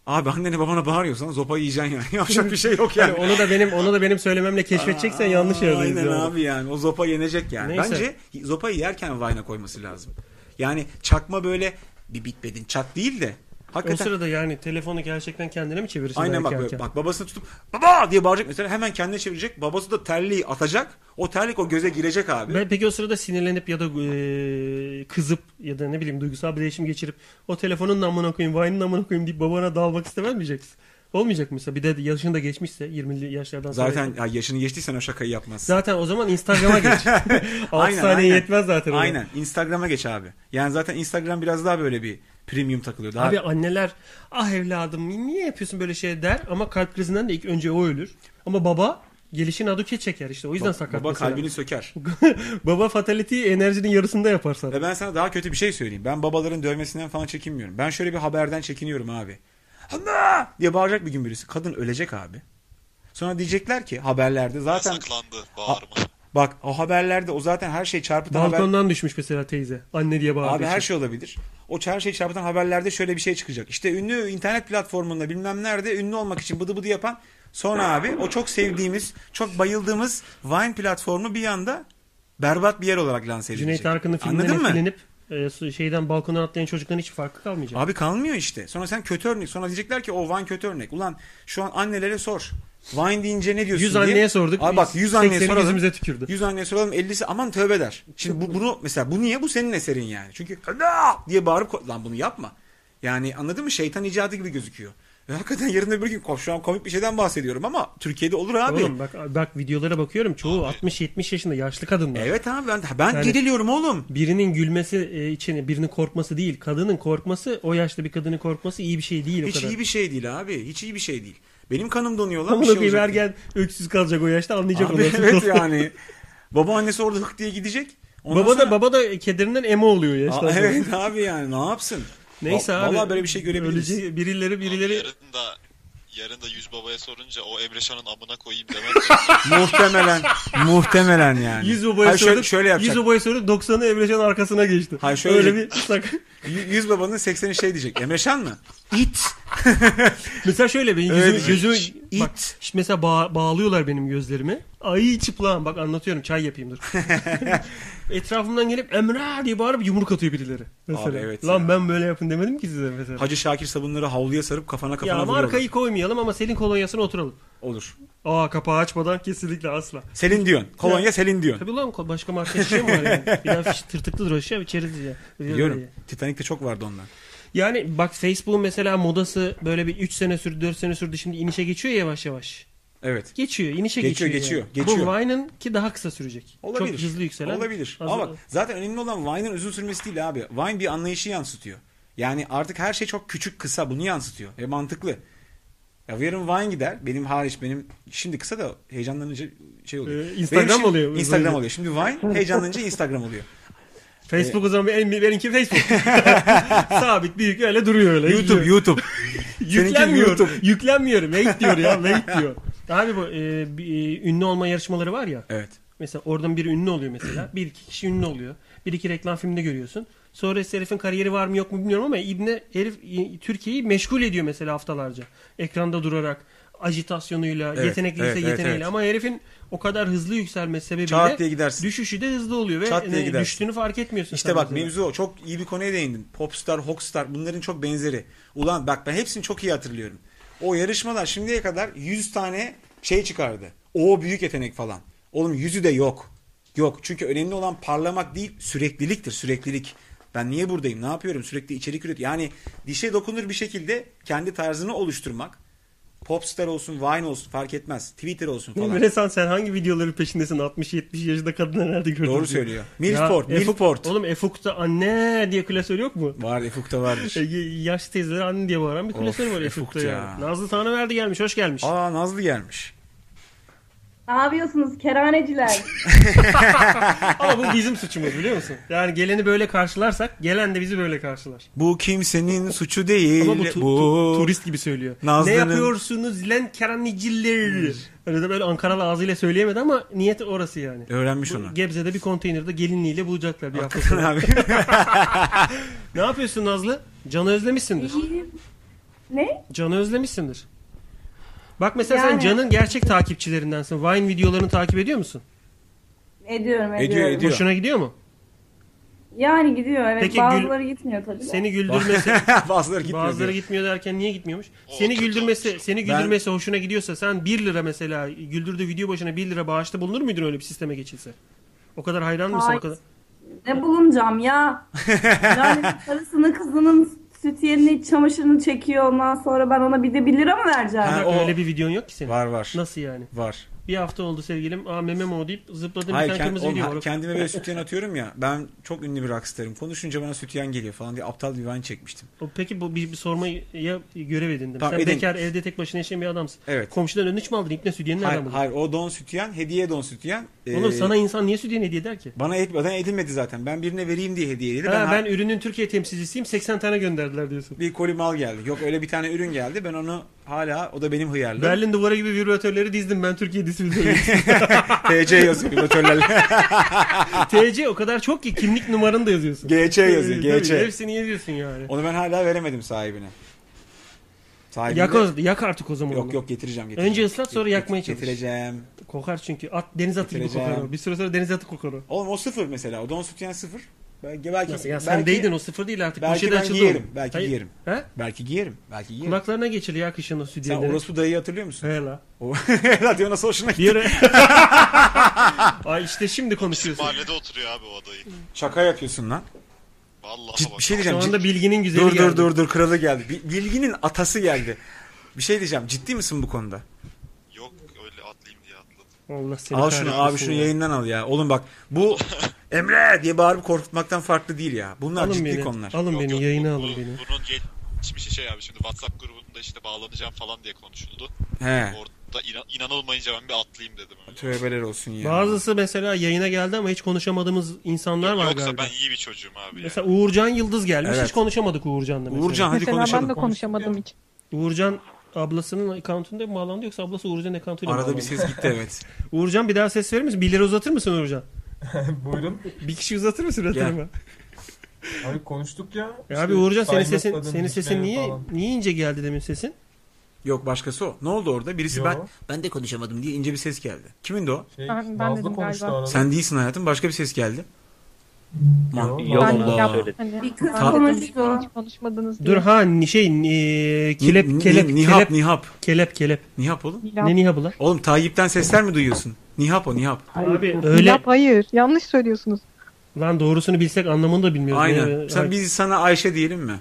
Abi annene babana bağırıyorsan zopa yiyeceksin yani. Yapacak bir şey yok yani. Hani onu da benim onu da benim söylememle keşfedeceksen yanlış yerdeyiz. Aynen yani. abi yani. O zopa yenecek yani. Neyse. Bence zopayı yerken vayna koyması lazım. Yani çakma böyle bir bitmedin çak değil de. O Hakikaten sırada yani telefonu gerçekten kendine mi çevirirsin? Aynen belki bak erken? böyle, bak babasını tutup baba diye bağıracak mesela hemen kendine çevirecek. Babası da terliği atacak. O terlik o göze girecek abi. Ben peki o sırada sinirlenip ya da e, kızıp ya da ne bileyim duygusal bir değişim geçirip o telefonun namına koyayım, Vine'ın namına koyayım deyip babana dalmak istemez miyeceksin? Olmayacak mı mesela? Bir de yaşın da geçmişse 20'li yaşlardan sonra. Zaten ya yaşını geçtiysen o şakayı yapmaz. Zaten o zaman Instagram'a geç. 6 Aynen, saniye aynen. yetmez zaten. ona. Aynen. Instagram'a geç abi. Yani zaten Instagram biraz daha böyle bir premium takılıyor. Daha Abi anneler ah evladım niye yapıyorsun böyle şey der ama kalp krizinden de ilk önce o ölür. Ama baba gelişini aduke çeker işte o yüzden Ba- sakat Baba mesela. kalbini söker. baba fatality enerjinin yarısında yapar sana. Ve ben sana daha kötü bir şey söyleyeyim. Ben babaların dövmesinden falan çekinmiyorum. Ben şöyle bir haberden çekiniyorum abi. Ama diye bağıracak bir gün birisi. Kadın ölecek abi. Sonra diyecekler ki haberlerde zaten Yasaklandı bağırma. bak o haberlerde o zaten her şey çarpıtan haber- Balkondan düşmüş mesela teyze. Anne diye bağırdı. Abi her şey olabilir. O her şey çarpıtan haberlerde şöyle bir şey çıkacak. İşte ünlü internet platformunda bilmem nerede ünlü olmak için bıdı bıdı yapan sonra abi o çok sevdiğimiz, çok bayıldığımız Vine platformu bir anda berbat bir yer olarak lanse edilecek. Cüneyt Arkın'ın filminden Anladın mı? etkilenip e, su- şeyden balkondan atlayan çocukların hiç farkı kalmayacak. Abi kalmıyor işte. Sonra sen kötü örnek. Sonra diyecekler ki o Vine kötü örnek. Ulan şu an annelere sor. Vine deyince ne diyorsun Yüz diye. anneye sorduk. Abi bak 100 anneye 80'i soralım. yüzümüze tükürdü. 100 anneye soralım 50'si aman tövbe der. Şimdi bu, bunu mesela bu niye? Bu senin eserin yani. Çünkü "Ana!" diye bağırıp ko- lan bunu yapma. Yani anladın mı? Şeytan icadı gibi gözüküyor. Ve hakikaten yarın öbür gün ko- şu an komik bir şeyden bahsediyorum ama Türkiye'de olur abi. Oğlum bak bak videolara bakıyorum çoğu 60-70 yaşında yaşlı kadınlar. Evet abi ben ben geriliyorum oğlum. Birinin gülmesi e, için birinin korkması değil. Kadının korkması o yaşta bir kadının korkması iyi bir şey değil o Hiç kadar. iyi bir şey değil abi. Hiç iyi bir şey değil. Benim kanım donuyor lan. Tam bir şey şey olacak diye. ergen öksüz kalacak o yaşta anlayacak Abi onu. evet yani. Babaannesi orada hık diye gidecek. Ondan baba da sonra- baba da kederinden emo oluyor Aa, yaşta. evet abi yani ne yapsın? Neyse Va- abi. Vallahi böyle bir şey görebiliriz. Öleceği- birileri birileri Yarın da yarın da yüz babaya sorunca o Emre Şan'ın amına koyayım demez. muhtemelen muhtemelen yani. 100 obaya Hayır, şöyle- sorduk. şöyle 100 yapacak. obaya sorduk 90'ı Emrecan arkasına geçti. Hayır şöyle Öyle bir diyecek. sak. Y- Yüz babanın 80'i şey diyecek. Emreşan mı? İt. Mesela şöyle benim gözümü, Evet. gözümü İt. bak işte mesela bağ- bağlıyorlar benim gözlerimi. Ay çıplağım bak anlatıyorum çay yapayım dur. Etrafımdan gelip Emre diye bağırıp yumruk atıyor birileri. Mesela. Abi evet Lan ben böyle yapın demedim ki size mesela. Hacı Şakir sabunları havluya sarıp kafana kafana ya vuruyorlar. markayı koymayalım ama Selin kolonyasına oturalım. Olur. Aa kapağı açmadan kesinlikle asla. Selin diyorsun. Kolonya Ya- Selin diyorsun. Tabii lan ko- başka marka şey mi var yani? Bir daha fiş- tırtıklıdır o şey içeriz ya. Biliyorum. Titanic'te çok vardı ondan. Yani bak Facebook mesela modası böyle bir 3 sene sürdü 4 sene sürdü şimdi inişe geçiyor ya yavaş yavaş. Evet. Geçiyor inişe Geçiyor, geçiyor. geçiyor, yani. geçiyor. Bu Vine'ın ki daha kısa sürecek. Olabilir. Çok hızlı yükselen. Olabilir. Az- Ama bak zaten önemli olan Vine'ın uzun sürmesi değil abi. Vine bir anlayışı yansıtıyor. Yani artık her şey çok küçük kısa bunu yansıtıyor. E mantıklı. Ya yarın Vine gider. Benim hariç benim şimdi kısa da heyecanlanınca şey oluyor. Ee, Instagram Benim şimdi- oluyor. Instagram oluyor. Şimdi Vine heyecanlanınca Instagram oluyor. e, Facebook o zaman en benimki Facebook. Sabit büyük öyle duruyor öyle. YouTube, YouTube. Yüklenmiyor. Seninki YouTube. Yüklenmiyor. Wait diyor ya. Wait diyor. Abi bu e, bir, e, ünlü olma yarışmaları var ya. Evet. Mesela oradan biri ünlü oluyor mesela. Bir iki kişi ünlü oluyor. Bir iki reklam filminde görüyorsun. Sonra herifin kariyeri var mı yok mu bilmiyorum ama İbne herif e, Türkiye'yi meşgul ediyor mesela haftalarca. Ekranda durarak agitasyonuyla, Evet, yetenekliyse evet, evet, yeteneğiyle evet. ama herifin o kadar hızlı yükselmesi Çat diye sebebiyle gidersin. düşüşü de hızlı oluyor ve Çat diye e, gidersin. düştüğünü fark etmiyorsun. İşte sen bak mesela. mevzu o. Çok iyi bir konuya değindin. Popstar, Hockstar bunların çok benzeri. Ulan bak ben hepsini çok iyi hatırlıyorum. O yarışmalar şimdiye kadar 100 tane şey çıkardı. O büyük yetenek falan. Oğlum yüzü de yok. Yok. Çünkü önemli olan parlamak değil sürekliliktir. Süreklilik. Ben niye buradayım? Ne yapıyorum? Sürekli içerik üret. Yani dişe dokunur bir şekilde kendi tarzını oluşturmak. Popstar olsun, Vine olsun fark etmez. Twitter olsun Ya falan. Emre sen, sen hangi videoların peşindesin? 60-70 yaşında kadına nerede gördün? Doğru diye. söylüyor. Milford, Ya Efuk- Milford. Oğlum Efuk'ta anne diye klasör yok mu? Var Efuk'ta vardır. E, y- Yaş teyzeleri anne diye bağıran bir Of, klasör var Efuk'ta Efuk'ta ya. yani. Nazlı sana verdi gelmiş, hoş gelmiş. Aa Nazlı gelmiş. Ne yapıyorsunuz keraneciler? Ama bu bizim suçumuz biliyor musun? Yani geleni böyle karşılarsak gelen de bizi böyle karşılar. Bu kimsenin suçu değil. Ama bu tu- tu- turist gibi söylüyor. Nazlı'nın- Ne yapıyorsunuz lan keraneciler? Öyle de böyle Ankaralı ağzıyla söyleyemedi ama niyeti orası yani. Öğrenmiş Bu onu. Gebze'de bir konteynerde gelinliğiyle bulacaklar bir hafta Hakikaten sonra. abi. ne yapıyorsun Nazlı? Can'ı özlemişsindir. ne? Can'ı özlemişsindir. Bak mesela sen Yani. Can'ın gerçek takipçilerindensin. Vine videolarını takip ediyor musun? Ediyorum ediyorum. Hoşuna gidiyor mu? Yani gidiyor evet. Peki, Bazıları gitmiyor tabii. de. Seni güldürmesi bazıları gitmiyor Bazıları diyor. gitmiyor derken niye gitmiyormuş? Seni güldürmesi, seni Ben- güldürmesi hoşuna gidiyorsa sen 1 lira mesela güldürdüğü video başına 1 lira bağışta bulunur muydun öyle bir sisteme geçilse? O kadar hayran mısın o Hayır. kadar? Ne bulunacağım ya? yani karısını kızının süt yerine iç çamaşırını çekiyor ondan sonra ben ona bir de 1 lira mı vereceğim? Ha, Öyle bir videon yok ki senin. Var var. Nasıl yani? Var. Bir hafta oldu sevgilim. Aa meme mi o deyip zıpladım bir Hayır tane kend, kırmızı oğlum, video ha- var. kendime böyle sütyen atıyorum ya. Ben çok ünlü bir rockstarım. Konuşunca bana sütyen geliyor falan diye aptal bir vine çekmiştim. O- Peki bu bir, bir sormaya görev edindim. Tamam, Sen edin. bekar evde tek başına yaşayan bir adamsın. Evet. Komşudan önüne hiç mi aldın? İpne sütyenini nereden Hayır, buldun? hayır o don sütyen, hediye don sütyen. Oğlum Ee, sana insan niye sütyen hediye eder ki? bana et, bana edilmedi zaten. Ben birine vereyim diye hediye edildi. Ha, ben, ben, ürünün Türkiye temsilcisiyim 80 tane gönderdiler diyorsun. bir koli mal geldi. Yok öyle bir tane ürün geldi. Ben onu hala o da benim hıyarlığım. Berlin duvarı gibi vibratörleri dizdim ben Türkiye dizdim. TC yazıyor vibratörlerle. TC o kadar çok ki kimlik numaranı da yazıyorsun. GC yazıyor, Tabii, GC. Hepsini yazıyorsun yani. Onu ben hala veremedim sahibine. Sahibine Yak, de- o- yak artık o zaman. Yok onu. yok getireceğim getireceğim. Önce ıslat sonra Get- yakmaya çalış. Getireceğim. Kokar çünkü. At deniz atı gibi Getireceğim. kokar o. Bir süre sonra deniz atı kokar o. Oğlum o sıfır mesela. O don sütyen sıfır. Belki, belki, Nasıl ya belki, sen değdin o sıfır değil artık. belki Poşeti ben açıldı giyerim, onun. belki Hayır. giyerim. He? Belki giyerim. Belki giyerim. Kulaklarına geçir ya kışın o Sen sütyenleri. orospu dayıyı hatırlıyor musun? He la. Helal diyor nasıl hoşuna gitti. Ay işte şimdi konuşuyorsun. Mahallede oturuyor abi o adayı. Şaka yapıyorsun lan. Vallahi Cid- bir şey diyeceğim. Şu anda cid- bilginin güzeli dur, geldi. Dur dur dur kralı geldi. Bi- Bilginin atası geldi. Bir şey diyeceğim. Ciddi misin bu konuda? Allah seni Al şunu kahretmesin abi şunu ya. yayından al ya. Oğlum bak bu Emre diye bağırıp korkutmaktan farklı değil ya. Bunlar Alın ciddi beni. konular. Alın beni yayına alın beni. Bunun geçmişi şey abi şimdi WhatsApp grubunda işte bağlanacağım falan diye konuşuldu. He. Orada inan- inanılmayınca ben bir atlayayım dedim. Tövbeler olsun ya. Bazısı mesela yayına geldi ama hiç konuşamadığımız insanlar var Yoksa galiba. ben iyi bir çocuğum abi. Mesela Uğurcan Yıldız gelmiş. Evet. Hiç konuşamadık Uğurcan'la mesela. Uğurcan, hadi Mesela ben de konuşalım. konuşamadım hiç. Uğurcan ablasının accountunda mı bağlandı yoksa ablası Uğurcan accountuyla mı Arada bir bağlandı? ses gitti evet. Uğurcan bir daha ses verir misin? 1 lira uzatır mısın Uğurcan? Buyurun. Bir kişi uzatır mısın ratarıma? Abi konuştuk ya. E İşte abi Uğurcan senin saymakladın, sesin senin sesin dişlerin niye falan. niye ince geldi demin sesin? Yok başkası o. Ne oldu orada? Birisi Yo. ben ben de konuşamadım diye ince bir ses geldi. Kimin de o? Şey, Ben- ben Nazlı dedim konuştu galiba. arada. Sen değilsin hayatım. Başka bir ses geldi. Man- Ben Yok Allah. yaptım. Hani Bir kız fark konuştu. ettim, hiç konuşmadınız Dur diye. ha ni- şey e, kelep Ni- ni- kelep nihap, kelep nihap. kelep kelep. Nihap oğlum. Nilap. Ne nihabı lan? Oğlum Tayyip'ten sesler mi duyuyorsun? Nihap o nihap. Abi öyle Nilap, hayır. Yanlış söylüyorsunuz. lan doğrusunu bilsek anlamını da bilmiyoruz. Aynen. Ne- Sen Ay- biz sana Ayşe diyelim mi?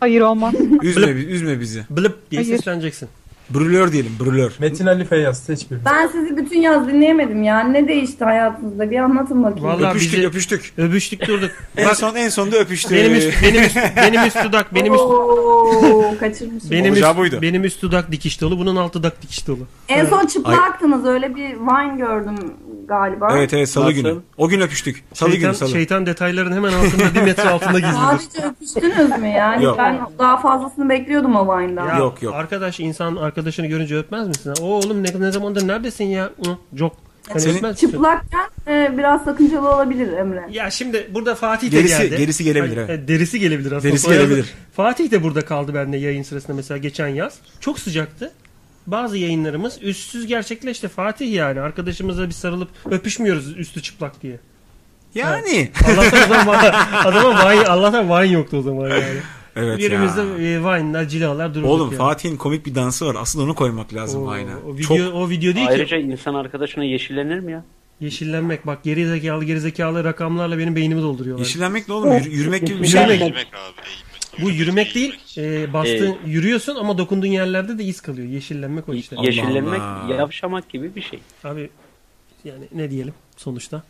Hayır olmaz. Üzme, bi- üzme bizi. Blıp diye Hayır. sesleneceksin. Brülör diyelim brülör. Metin Ali Feyyaz seç birini. Ben sizi bütün yaz dinleyemedim ya. Ne değişti hayatınızda? Bir anlatın bakayım. Vallahi öpüştük bizi- öpüştük. Öpüştük durduk. En son en sonunda öpüştük. Benim üst, benim üst, benim üst dudak, benim üst, Oo, kaçırmışım. benim Olacağı üst, buydu. benim üst dudak dikiş dolu, bunun alt dudak dikiş dolu. En son çıplaktınız. Öyle bir Vine gördüm galiba. Evet evet salı Nasıl? günü. O gün öpüştük. Salı şeytan, günü salı. Şeytan detayların hemen altında, bir metre altında gizlidir. Sadece öpüştünüz mü yani? Hani Yok. Ben daha fazlasını bekliyordum o Vine'dan. Yok, yok. Arkadaş insan arkadaşını görünce öpmez misin? O oğlum ne, ne zamandır neredesin ya? Hı, Yok. Senin... Çıplakken e, biraz sakıncalı olabilir Emre. Ya şimdi burada Fatih de Gerisi- geldi. gerisi gelebilir, Hani, evet. e, Derisi gelebilir aslında. Derisi O yazı- gelebilir. Fatih de burada kaldı bende yayın sırasında mesela geçen yaz. Çok sıcaktı. Bazı yayınlarımız üstsüz gerçekleşti. Fatih yani. Arkadaşımıza bir sarılıp öpüşmüyoruz üstü çıplak diye. Yani. Ha. Allah'tan o zaman adama wine, Allah'tan wine yoktu o zaman yani. Evet Yerimizde ya. e, vine'lar, cilalar dururduk Oğlum yani. Fatih'in komik bir dansı var. Asıl onu koymak lazım Oo, aynen. o video- o video değil ki. Ayrıca insan arkadaşına yeşillenir mi ya? Yeşillenmek bak geri zekalı geri zekalı rakamlarla benim beynimi dolduruyorlar. Yeşillenmek ne oğlum? Yürü- yürümek gibi bir şey. Eğilmek Bu yürümek değil. E, bastığın, yürüyorsun ama dokunduğun yerlerde de iz kalıyor. Yeşillenmek o işte. Yeşillenmek yavşamak gibi bir şey. Abi yani ne diyelim sonuçta.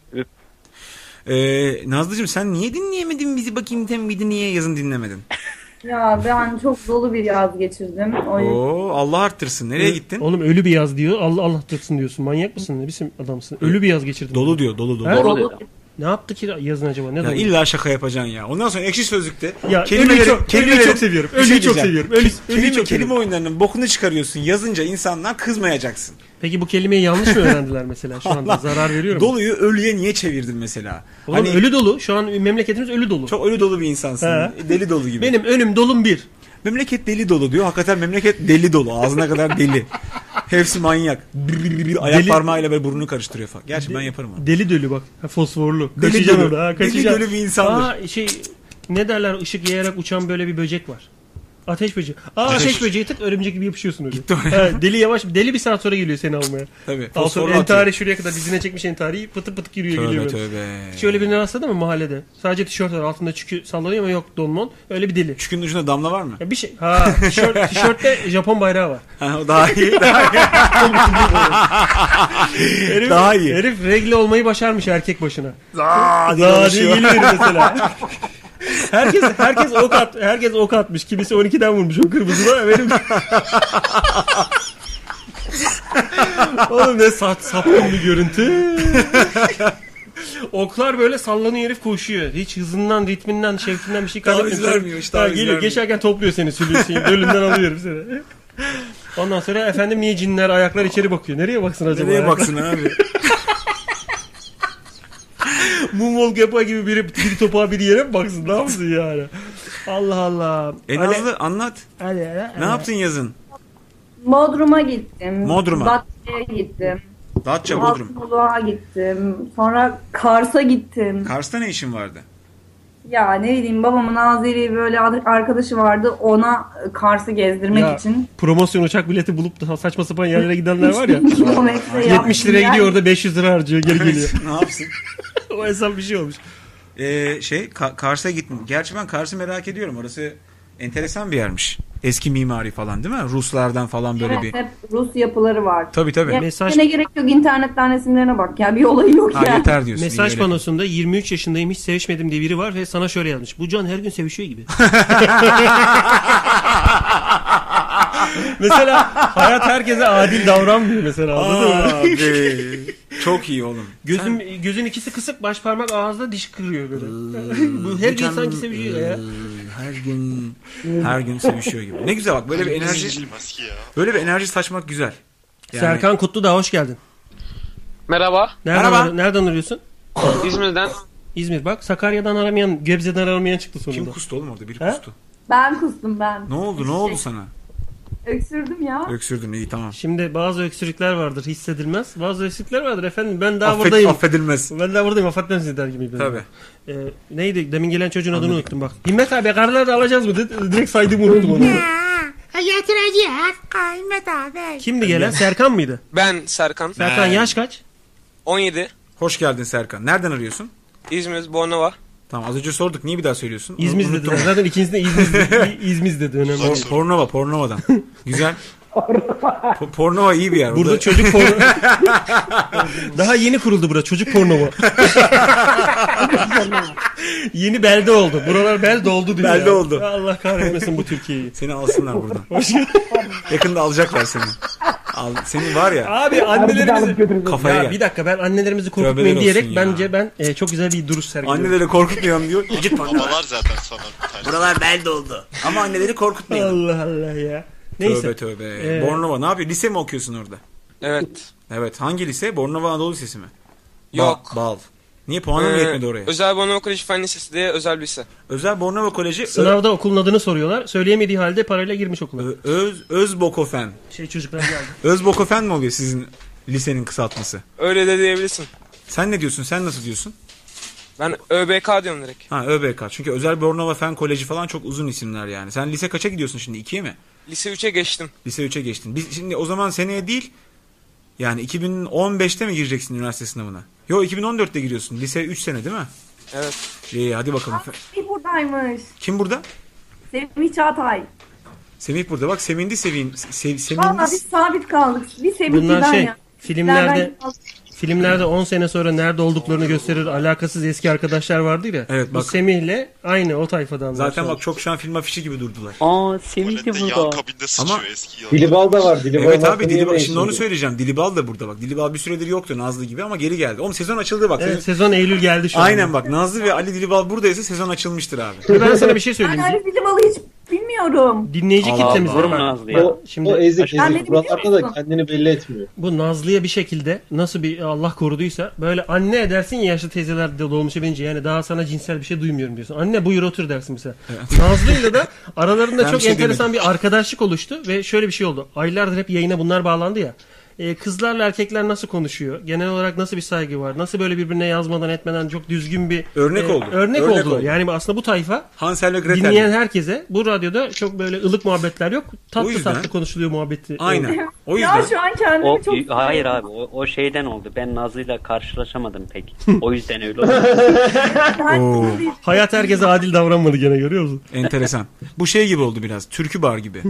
Ee, Nazlıcığım sen niye dinleyemedin bizi bakayım tembidi niye yazın dinlemedin? Ya ben çok dolu bir yaz geçirdim. O yüzden Oo Allah arttırsın. Ee, Nereye gittin? Oğlum ölü bir yaz diyor. Allah Allah tutsun diyorsun. Manyak mısın? Ne biçim adamsın? Ölü bir yaz geçirdim. Dolu diyor dolu dolu. Ha? Dolu diyor. Ne yaptı ki yazın acaba? Ne Ya dolu? illa şaka yapacaksın ya. Ondan sonra ekşi sözlükte Ya ölüyü çok- ölüyü çok seviyorum. Bir şey Ölüyü çok diyeceğim. seviyorum. Ke- Ölü- ölüyü kelime, çok seviyorum. kelime oyunlarının bokunu çıkarıyorsun. Yazınca insandan kızmayacaksın. Peki bu kelimeyi yanlış mı öğrendiler mesela şu anda? Allah. Zarar veriyor mu? Doluyu ölüye niye çevirdin mesela? Hani Oğlum ölü dolu. Şu an memleketimiz ölü dolu. Çok ölü dolu bir insansın. He. Deli dolu gibi. Benim önüm dolum bir. Memleket deli dolu diyor. Hakikaten memleket deli dolu. Ağzına kadar deli. Hepsi manyak. Bir, bir, bir, bir ayak Deli- parmağıyla böyle burnunu karıştırıyor falan. Gerçi ben yaparım onu. Deli dölü bak. Ha, fosforlu. Deli kaçacağım dölü. orada. Ha, Deli kaçacağım. dölü bir insandır. Aa, şey ne derler ışık yayarak uçan böyle bir böcek var. Ateş böceği. Aa ateş, Ateş böceği tık örümcek gibi yapışıyorsun öyle. Ha, deli yavaş deli bir saat sonra geliyor seni almaya. Tabii. Al Fosforlu sonra atıyor. entari şuraya kadar dizine çekmiş entariyi pıtı pıtı giriyor Tövbe, geliyor. böyle. tövbe. Hiç öyle birine rastladın mı mahallede? Sadece tişört var altında çükü sallanıyor ama yok dolmon. Öyle bir deli. Çükünün ucunda damla var mı? Ya bir şey. Ha tişört, tişörtte Japon bayrağı var. Ha, o daha iyi. Daha iyi. herif, Daha iyi. Herif regle olmayı başarmış erkek başına. Zaa diye Zaa dolaşıyor. geliyor mesela. herkes herkes ok at, herkes ok atmış. Kimisi 12'den vurmuş o kırmızıda. Benim Oğlum ne sat sapkın bir görüntü. Oklar böyle sallanıyor herif koşuyor. Hiç hızından, ritminden, şevkinden bir şey Taviz kaybetmiyor. vermiyor, hiç taviz Ha, geliyor. vermiyor. Geçerken topluyor seni, sürüyor seni. Bölümden alıyor herif seni. Ondan sonra efendim niye cinler ayaklar içeri bakıyor? Nereye baksın acaba? Nereye ayaklar? baksın abi? Moonwalk yapar gibi biri, biri topa bir yere mi baksın? Ne yapsın yani? Allah Allah. E Hani- Nazlı anlat. Ne yaptın yazın? Bodrum'a gittim. Bodrum'a. Datça'ya gittim. Datça Bodrum. Altınoluk'a gittim. Sonra Kars'a gittim. Kars'ta ne işin vardı? Ya ne bileyim babamın Azeri böyle ad- arkadaşı vardı. Ona Kars'ı gezdirmek Ya, için. Promosyon uçak bileti bulup da saçma sapan yerlere gidenler var ya. Kilometre yaptım 70 liraya yani. gidiyor orada 500 lira harcıyor geri geliyor. ne yapsın? o hesap bir şey olmuş. Ee, şey Ka- Kars'a gittim. Gerçi ben Kars'ı merak ediyorum. Orası enteresan bir yermiş. Eski mimari falan değil mi? Ruslardan falan böyle Evet, bir. hep Rus yapıları var. Tabii tabii. Ya, Mesaj- Yine gerek yok internetten resimlerine bak ya bir olayı yok ya. Mesaj panosunda 23 yaşındayım hiç sevişmedim diye biri var ve sana şöyle yazmış. Bu can her gün sevişiyor gibi. mesela hayat herkese adil davranmıyor mesela. anladın mı? Abi, çok iyi oğlum. Gözüm, gözün ikisi kısık, baş parmak ağızda diş kırıyor böyle. Bu her gün Can- sanki sevişiyor şey ya. Her gün her gün sevişiyor gibi. Ne güzel bak böyle bir enerji. Böyle bir enerji saçmak güzel. Yani- Serkan Kutlu da hoş geldin. Merhaba. Nereden, ar- nereden arıyorsun? İzmir'den. İzmir bak Sakarya'dan aramayan, Gebze'den aramayan çıktı sonunda. Kim kustu oğlum orada? Biri kustu. Ben kustum ben. Ne oldu? Ne oldu sana? Öksürdüm ya. Öksürdün iyi tamam. Şimdi bazı öksürükler vardır hissedilmez. Bazı öksürükler vardır efendim ben daha Affet- buradayım. affedilmez. Ben daha buradayım affetmem sizi der gibi. böyle. Tabii. Ee, neydi demin gelen çocuğun adını unuttum bak. Himmet abi karlar da alacağız mı? dedi. Direkt saydım unuttum onu. Hayatı Recep. Kaymet abi. Kimdi gelen? Serkan mıydı? Ben Serkan. Serkan yaş kaç? 17. Hoş geldin Serkan. Nereden arıyorsun? İzmir Bornova. Tamam az önce sorduk. Niye bir daha söylüyorsun? İzmir Unuttum. dedi. Zaten ikincisi de İzmir dedi. İzmir dedi. Önemli. değil. Por- Pornova, Pornova'dan. Güzel. Po- Pornova iyi bir yer. Burada Orada- çocuk porno... Daha yeni kuruldu bura çocuk porno bu. yeni belde oldu. Buralar belde oldu diyor. Belde ya. oldu. Allah kahretmesin bu Türkiye'yi. Seni alsınlar buradan. Hoş geldin. Yakında alacaklar seni. Al, seni var ya. Abi annelerimizi Kafaya ya, gel. bir dakika ben annelerimizi Tövbeler korkutmayın olsun diyerek ya. bence ben e, çok güzel bir duruş sergiliyorum. Anneleri korkutmayalım diyor. Git Babalar zaten sana. Buralar belde oldu. Ama anneleri korkutmayalım. Allah Allah ya. Neyse. Neyse. Tövbe tövbe. Ee, Bornova ne yapıyor? Lise mi okuyorsun orada? Evet. Evet. Hangi lise? Bornova Anadolu Lisesi mi? Yok. Ba- bal. Niye puanım Ee, yetmedi oraya? Özel Bornova Koleji Fen Lisesi diye özel bir lise. Özel Bornova Koleji Sınavda okulun adını soruyorlar. Söyleyemediği halde parayla girmiş okula. Öz, Özbokofen. Şey çocuklar geldi. Özbokofen mi oluyor sizin lisenin kısaltması? Öyle de diyebilirsin. Sen ne diyorsun? Sen nasıl diyorsun? Ben ÖBK diyorum direkt. Ha ÖBK. Çünkü Özel Bornova Fen Koleji falan çok uzun isimler yani. Sen lise kaça gidiyorsun şimdi? 2'ye mi? Lise 3'e geçtim. Lise 3'e geçtin. Biz şimdi o zaman seneye değil yani 2015'te mi gireceksin üniversite sınavına? Yok 2014'te giriyorsun. Lise 3 sene değil mi? Evet. İyi hadi bakalım. Semih buradaymış. Kim burada? Semih Çağatay. Semih burada. Bak Semih'in seveyim. Se, Semih'in Valla biz sabit kaldık. Bir Semih Bunlar Fidan şey ya. filmlerde Fidan'dan- filmlerde 10 sene sonra nerede olduklarını gösterir alakasız eski arkadaşlar vardı ya. Evet, Bu bak. Semih'le aynı o tayfadan. Zaten bak çok şu an film afişi gibi durdular. Aa Semih de burada. Ama Dilibal da var. Dilibal evet abi hakkını Dilibal yemeyin şimdi onu söyleyeceğim. Dilibal da burada bak. Dilibal bir süredir yoktu Nazlı gibi ama geri geldi. Oğlum sezon açıldı bak. Evet, sezon Eylül geldi şu an. Aynen bak Nazlı ve Ali Dilibal buradaysa sezon açılmıştır abi. Ve ben sana bir şey söyleyeyim. Ben Ali Bidimalı hiç bilmiyorum. Dinleyici Allah kitlemiz Allah. var. Bak, Nazlı bak, ya. Ee, Şimdi O ezik Aşırı- ezik. Buralarda da kendini belli etmiyor. bu Nazlı'ya bir şekilde nasıl bir Allah koruduysa böyle anne edersin ya yaşlı teyzeler de dolmuşa binince yani daha sana cinsel bir şey duymuyorum diyorsun. Anne buyur otur dersin mesela. Nazlı'yla da aralarında Ben bir çok şey enteresan demedim. bir arkadaşlık oluştu ve şöyle bir şey oldu. Aylardır hep yayına bunlar bağlandı ya. Ee, kızlarla erkekler nasıl konuşuyor? Genel olarak nasıl bir saygı var? Nasıl böyle birbirine yazmadan etmeden çok düzgün bir Örnek e, oldu. Örnek, Örnek oldu. oldu. Yani aslında bu tayfa Hansel ve Gretel. dinleyen herkese bu radyoda çok böyle ılık muhabbetler yok. Tatlı O yüzden- tatlı konuşuluyor muhabbeti. e, Aynen. O Ya şu an kendimi O, çok... hayır abi o, o şeyden oldu. Ben Nazlı'yla karşılaşamadım pek. O yüzden öyle oldu. Hayat herkese adil davranmadı gene görüyor musun? Enteresan. Bu şey gibi oldu biraz. Türkü bar gibi. Ya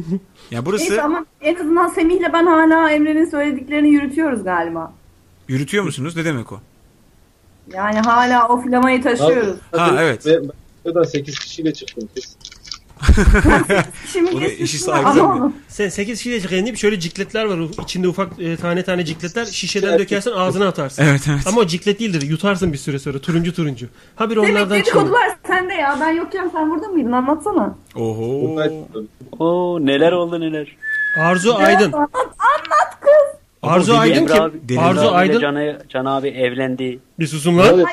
Neyse burası ama en azından Semih'le ben hala Emre'nin söylediklerini yürütüyoruz galiba. yürütüyor musunuz? Ne demek o? Yani hala o flamayı taşıyoruz. Ha evet. Ben, ben da 8 kişiyle çıktım. Şimdi Oraya kesin işi bunlar- saygı Ama duymuyor. Sen 8 şişe çıkarıp şöyle cikletler var. Uf- içinde ufak e, tane tane cikletler. Şişeden dökersen ağzına atarsın. Evet, evet. Ama o ciklet değildir. Yutarsın bir süre sonra. Turuncu turuncu. Ha bir Semih onlardan çıkıyor. dedikodular sende ya. Ben yokken sen burada mıydın? Anlatsana. Oho. Oo neler oldu neler. Arzu Aydın. Anlat, anlat kız. Arzu Emre Aydın abi- kim? Emre Arzu abiyle Aydın. Can, abi- Can abi evlendi. Bir susun lan. Ay Emre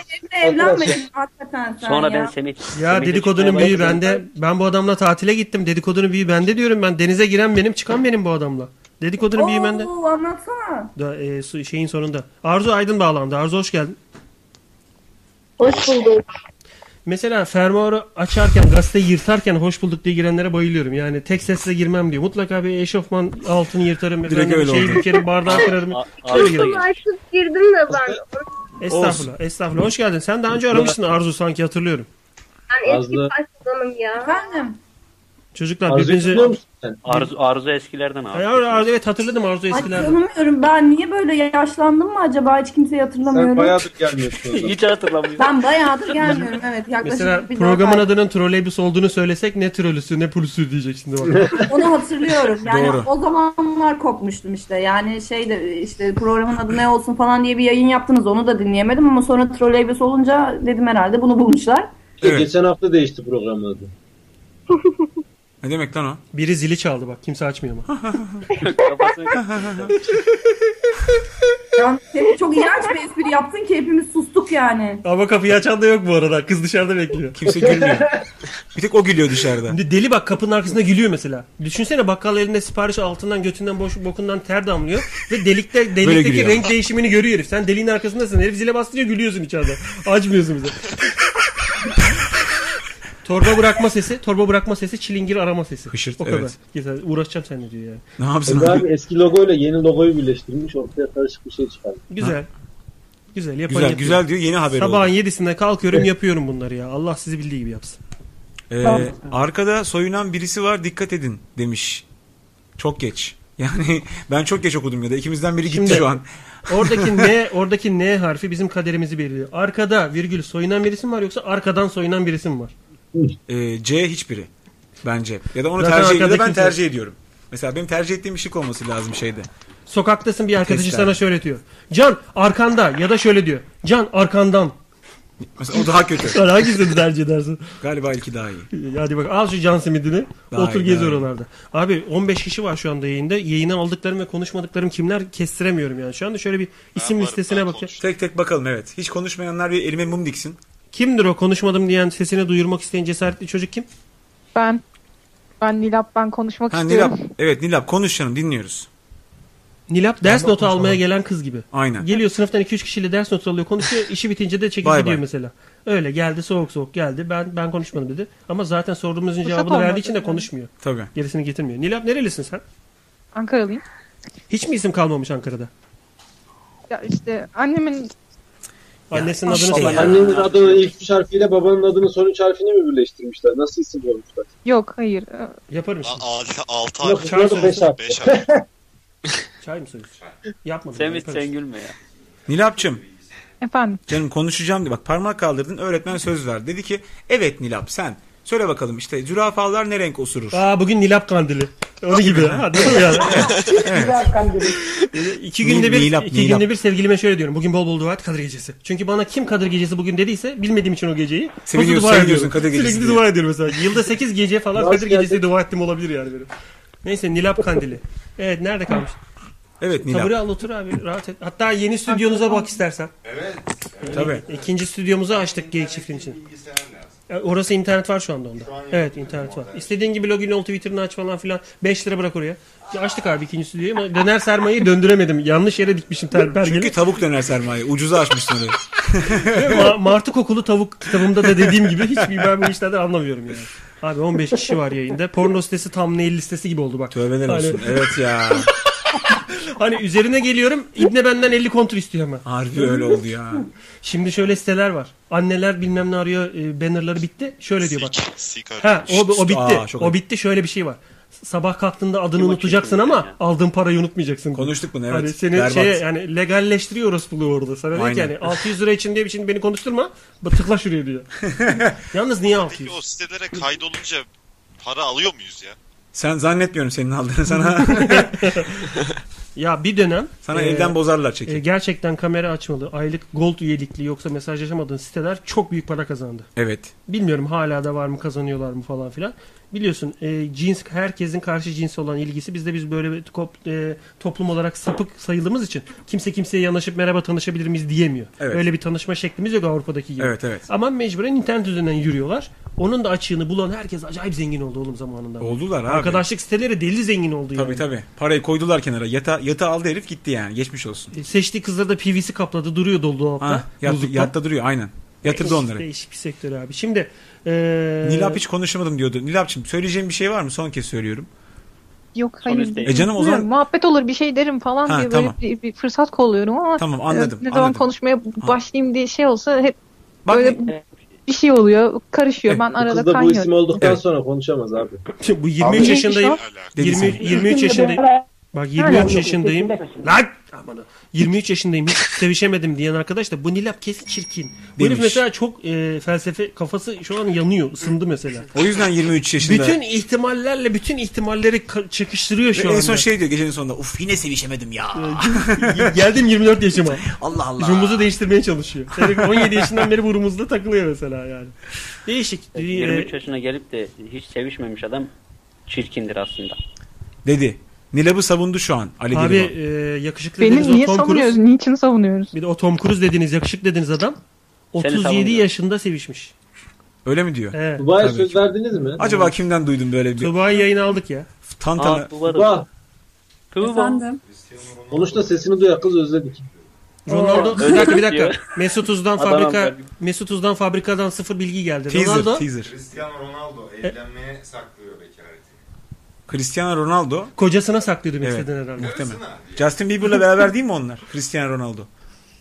evlenmedin hakikaten sen Sonra ya. ben Semih. Ya Semih'le dedikodunun çıkmaya büyüğü başladım. bende. Ben bu adamla tatile gittim. Dedikodunun büyüğü bende diyorum ben. Denize giren benim çıkan benim bu adamla. Dedikodunun büyüğü bende. Oo, anlatsana. Da, e, su- şeyin sonunda. Arzu Aydın bağlandı. Arzu hoş geldin. Hoş bulduk. Mesela fermuarı açarken, gazete yırtarken hoş bulduk diye girenlere bayılıyorum. Yani tek sesle girmem diyor. Mutlaka bir eşofman altını yırtarım. Direkt efendim, öyle şeyi oldu. bükerim, bardağı kırarım. Öyle Kutumu girerim. açıp girdim de ben. Estağfurullah, estağfurullah. Hoş geldin. Sen daha önce aramışsın Arzu sanki hatırlıyorum. Ben eski Fazla. pastanım ya. Efendim? Çocuklar Arzu birbirinize... hatırlıyor musun Arzu, Arzu eskilerden abi. Ay, Arzu, Arzu, evet hatırladım Arzu Ay eskilerden. tanımıyorum. Ben niye böyle yaşlandım mı acaba? Hiç kimseyi hatırlamıyorum. gelmiyorsun. Hiç hatırlamıyorum. Ben bayağıdır gelmiyorum. Evet yaklaşık Mesela bir programın dört ay. adının troleybüs olduğunu söylesek ne trolüsü ne pulüsü diyecek şimdi bak. Onu hatırlıyorum. Yani Doğru. o zamanlar kopmuştum işte. Yani şey de işte programın adı ne olsun falan diye bir yayın yaptınız. Onu da dinleyemedim ama sonra troleybüs olunca dedim herhalde bunu bulmuşlar. Geçen hafta değişti programın adı. Ne demek lan o? Biri zili çaldı bak kimse açmıyor ama. Yani Semih Şey, çok iğrenç bir espri yaptın ki hepimiz sustuk yani. Ama kapıyı açan da yok bu arada. Kız dışarıda bekliyor. Kimse gülmüyor. Bir tek o gülüyor dışarıda. De- Deli bak kapının arkasında gülüyor mesela. Düşünsene bakkal elinde sipariş altından götünden boş bokundan ter damlıyor ve delikte delikteki gülüyor. renk değişimini görüyor herif. Sen deliğin arkasındasın. Herif zile bastırıyor gülüyorsun içeride. Açmıyorsun bize. torba bırakma sesi, torba bırakma sesi, çilingir arama sesi. Hışırt, o kadar. evet. Yeter, uğraşacağım seninle diyor yani. Ne yapsın Ömer abi? abi eski logoyla yeni logoyu birleştirmiş ortaya karışık bir şey çıkardı. Güzel. Güzel yapan Güzel, yapıyor. güzel diyor, yeni haber Sabahın 7'sinde kalkıyorum yapıyorum bunları ya. Allah sizi bildiği gibi yapsın. Ee, arkada soyunan birisi var dikkat edin demiş. Çok geç. Yani ben çok geç okudum ya da ikimizden biri gitti Şimdi- şu an. Oradaki N, oradaki N harfi bizim kaderimizi belirliyor. Arkada virgül soyunan birisi mi var yoksa arkadan soyunan birisi mi var? Ee, C hiçbiri bence. Ya da onu Zaten tercih ya da arkada ben kimse- tercih ediyorum. Mesela benim tercih ettiğim ışık olması lazım şeyde. Sokaktasın bir arkadaşı Testler. sana şöyle diyor. Can arkanda ya da şöyle diyor. Can arkandan. Mesela o daha kötü. Sen hangisini tercih edersin? Galiba ilki daha iyi. Hadi bak al şu can simidini. Daha otur iyi, gez daha iyi. oralarda. Abi 15 kişi var şu anda yayında. Yayına aldıklarım ve konuşmadıklarım kimler kestiremiyorum yani. Şu anda şöyle bir isim listesine bakayım. Tek tek bakalım evet. Hiç konuşmayanlar bir elime mum diksin. Kimdir o konuşmadım diyen sesini duyurmak isteyen cesaretli çocuk kim? Ben. Ben Nilap ben konuşmak Ha istiyorum. Nilap. Evet Nilap konuş canım dinliyoruz. Nilap ders notu almaya gelen kız gibi. Aynen. Geliyor sınıftan 2-3 kişiyle ders notu alıyor konuşuyor. işi bitince de çekip Bay gidiyor bay. mesela. Öyle geldi soğuk soğuk geldi. Ben ben konuşmadım dedi. Ama zaten sorduğumuzun Bu cevabını sap verdiği olmadı için de yani. konuşmuyor. Tabii. Gerisini getirmiyor. Nilap nerelisin sen? Ankaralıyım. Hiç mi isim kalmamış Ankara'da? Ya işte annemin Annesinin adını söyle. Annenin adını ilk üç harfiyle babanın adını son üç harfini mi birleştirmişler? Nasıl isim koymuşlar? yok hayır. Ee, Yaparım şimdi. Altı, altı Yok, harf. bunlar da beş harf. Beş harf. Çay mı söylüyorsun? Yapmadım. Semit yaparız. sen gülme ya. Nilapçım Efendim. canım konuşacağım diye bak parmak kaldırdın öğretmen söz verdi. Dedi ki evet Nilap sen söyle bakalım işte zürafalar ne renk osurur? Aa bugün Nilap kandili. Onu gibi. ha, değil mi yani? İki günde bir, Nilap, iki Nilap. günde bir sevgilime şöyle diyorum. Bugün bol bol dua et Kadir Gecesi. Çünkü bana kim Kadir Gecesi bugün dediyse bilmediğim için o geceyi. nasıl Seviniyorsun, dua ediyorum. seviniyorsun Kadir Gecesi Sürekli diye. dua ediyorum mesela. Yılda 8 gece falan Hoş Kadir geldin. Gecesi'ne dua ettim olabilir yani benim. Neyse Nilap kandili. Evet nerede kalmış? Evet Nilap. Tabure al otur abi rahat et. Hatta yeni stüdyonuza bak istersen. Evet. Tabii. İkinci stüdyomuzu açtık geyik çiftliğin için. E, Orası internet var şu anda onda. Evet internet var. İstediğin gibi login ol Twitter'ını aç falan filan. 5 lira bırak oraya. Ya Açtık abi ikinci stüdyoyu ama döner sermayeyi döndüremedim. Yanlış yere dikmişim ter Çünkü pergeli. tavuk döner sermaye. Ucuza açmışsın öyle. Ma- Martı kokulu tavuk kitabımda da dediğim gibi hiçbir ben bu işlerden anlamıyorum yani. Abi 15 kişi var yayında. Porno sitesi thumbnail listesi gibi oldu bak. Tövbeler Hani- olsun. Evet ya. Hani üzerine geliyorum İbne benden 50 kontrol istiyor hemen. Harbi öyle oldu ya. Şimdi şöyle siteler var. Anneler bilmem ne arıyor e, bannerları bitti. Şöyle diyor bak. Ha, o, o bitti. Aa, çok o ayıp. bitti şöyle bir şey var. Sabah kalktığında adını unutacaksın ama aldığın parayı unutmayacaksın. Konuştuk bunu, evet. Hani seni Berbat. şeye yani legalleştiriyor orospu'luğu orada. Sana diyor ki Aynen. yani 600 lira için diye bir şimdi beni konuşturma. bak Tıkla şuraya diyor. Yalnız niye 600? O sitelere kaydolunca para alıyor muyuz ya? Sen zannetmiyorum senin aldığını sana. Ya bir dönem Sana elden bozarlar çeki. e, gerçekten kamera açmalı, aylık gold üyelikli yoksa mesajlaşamadığın siteler çok büyük para kazandı. evet. Bilmiyorum hala da var mı kazanıyorlar mı falan filan. Biliyorsun e, cins herkesin karşı cinse olan ilgisi bizde biz böyle bir kop- e, toplum olarak sapık sayıldığımız için kimse kimseye yanaşıp merhaba tanışabilir miyiz diyemiyor. Evet. Öyle bir tanışma şeklimiz yok Avrupa'daki gibi. Evet, evet. Ama mecburen internet üzerinden yürüyorlar. Onun da açığını bulan herkes acayip zengin oldu oğlum zamanında. Oldular abi. Arkadaşlık siteleri deli zengin oldu yani. Tabii tabii. Parayı koydular kenara. Yata, yata aldı herif gitti yani. Geçmiş olsun. E, Seçtiği kızları da PVC kapladı duruyor dolu dolapta. Ha, yat, buzlukta. yatta duruyor aynen. Yatırdı Değişik- onları. Değişik bir sektör abi. Şimdi e, Nilap hiç konuşamadım diyordu. Nilapçım söyleyeceğim bir şey var mı? Son kez söylüyorum. Yok hayır. E canım o Bilmiyorum, zaman- Muhabbet olur bir şey derim falan Ha, diye tamam. böyle bir, bir fırsat kolluyorum ama Tamam, anladım, e, ne zaman anladım. konuşmaya başlayayım diye şey olsa hep Bak e- böyle bir şey oluyor karışıyor ben arada Kız da bu isim kaynıyorum. olduktan sonra konuşamaz abi. bu 23 yaşındayım. Deli 20, sen. 23 yaşındayım. şey. Bak 23 yaşındayım. Lan aman. 23 yaşındayım hiç sevişemedim diyen arkadaş da bu Nilap kesin çirkin. Bu herif Demiş. mesela çok e, felsefe kafası şu an yanıyor, ısındı mesela. O yüzden 23 yaşında. Bütün ihtimallerle bütün ihtimalleri ka- çakıştırıyor şu Ve anda. en son şey diyor gecenin sonunda. Uf yine sevişemedim E, ya. Geldim 24 yaşıma. Allah Allah. Rumumuzu değiştirmeye çalışıyor. Herif 17 yaşından beri bu rumuzla takılıyor mesela yani. Değişik. E, E, 23 yaşına gelip de hiç sevişmemiş adam çirkindir aslında. Dedi. Nilap'ı savundu şu an. Ali Abi Abi, e, yakışıklı Beni dediğiniz niye o Tom Cruise. savunuyoruz? Niçin savunuyoruz? Bir de o Tom Cruise dediğiniz yakışıklı dediğiniz adam Seni 37 savunuyor. yaşında sevişmiş. Öyle mi diyor? Evet. Dubai'ye Tabii. söz verdiniz mi? Acaba kimden duydun böyle bir Tuba'yı yayına aldık ya. tantana? Tuba. Konuş da sesini duyar kız özledik. Ronaldo bir dakika bir dakika. Mesut Uz'dan Adam fabrika verdi. Mesut Uz'dan fabrikadan sıfır bilgi geldi. Teaser, Ronaldo teaser. Cristiano Ronaldo evlenmeye saklıyor bekaretini. Cristiano Ronaldo. kocasına saklıyordu Evet. Messi'den herhalde. Muhtemelen. Justin Bieber'la beraber değil mi onlar? Cristiano Ronaldo.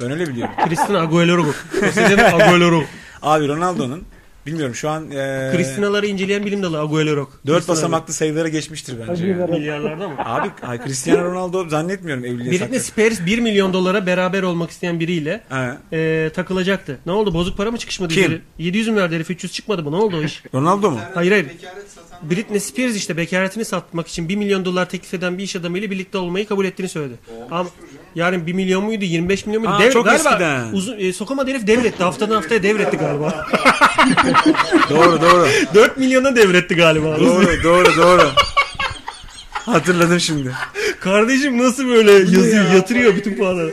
Ben öyle biliyorum. Cristiano Agüero bu. Messi'den Agüero. Abi Ronaldo'nun bilmiyorum şu an eee Kristinaları inceleyen bilim dalı Agüero. dört basamaklı sayılara geçmiştir bence. yani. milyarlarda mı? Abi ay, Cristiano Ronaldo zannetmiyorum evliliğe Britney saklı. Spears 1 milyon dolara beraber olmak isteyen biriyle Ha. e, takılacaktı. Ne oldu? Bozuk para mı çıkışmadı? Kim? üzeri? 700 mü verdi herif? 300 çıkmadı mı? Ne oldu o iş? Ronaldo mu? Hayır hayır. Britney Spears işte bekaretini satmak için 1 milyon dolar teklif eden bir iş adamıyla birlikte olmayı kabul ettiğini söyledi. Ama, Yarın 1 milyon muydu 25 milyon muydu? Aa, çok eskiden. Uzun, e, sokamadı herif devretti. Haftadan haftaya devretti galiba. Doğru doğru. 4 milyona devretti galiba. Doğru doğru doğru. Hatırladım şimdi. Kardeşim nasıl böyle yazıyor yatırıyor bütün puanları.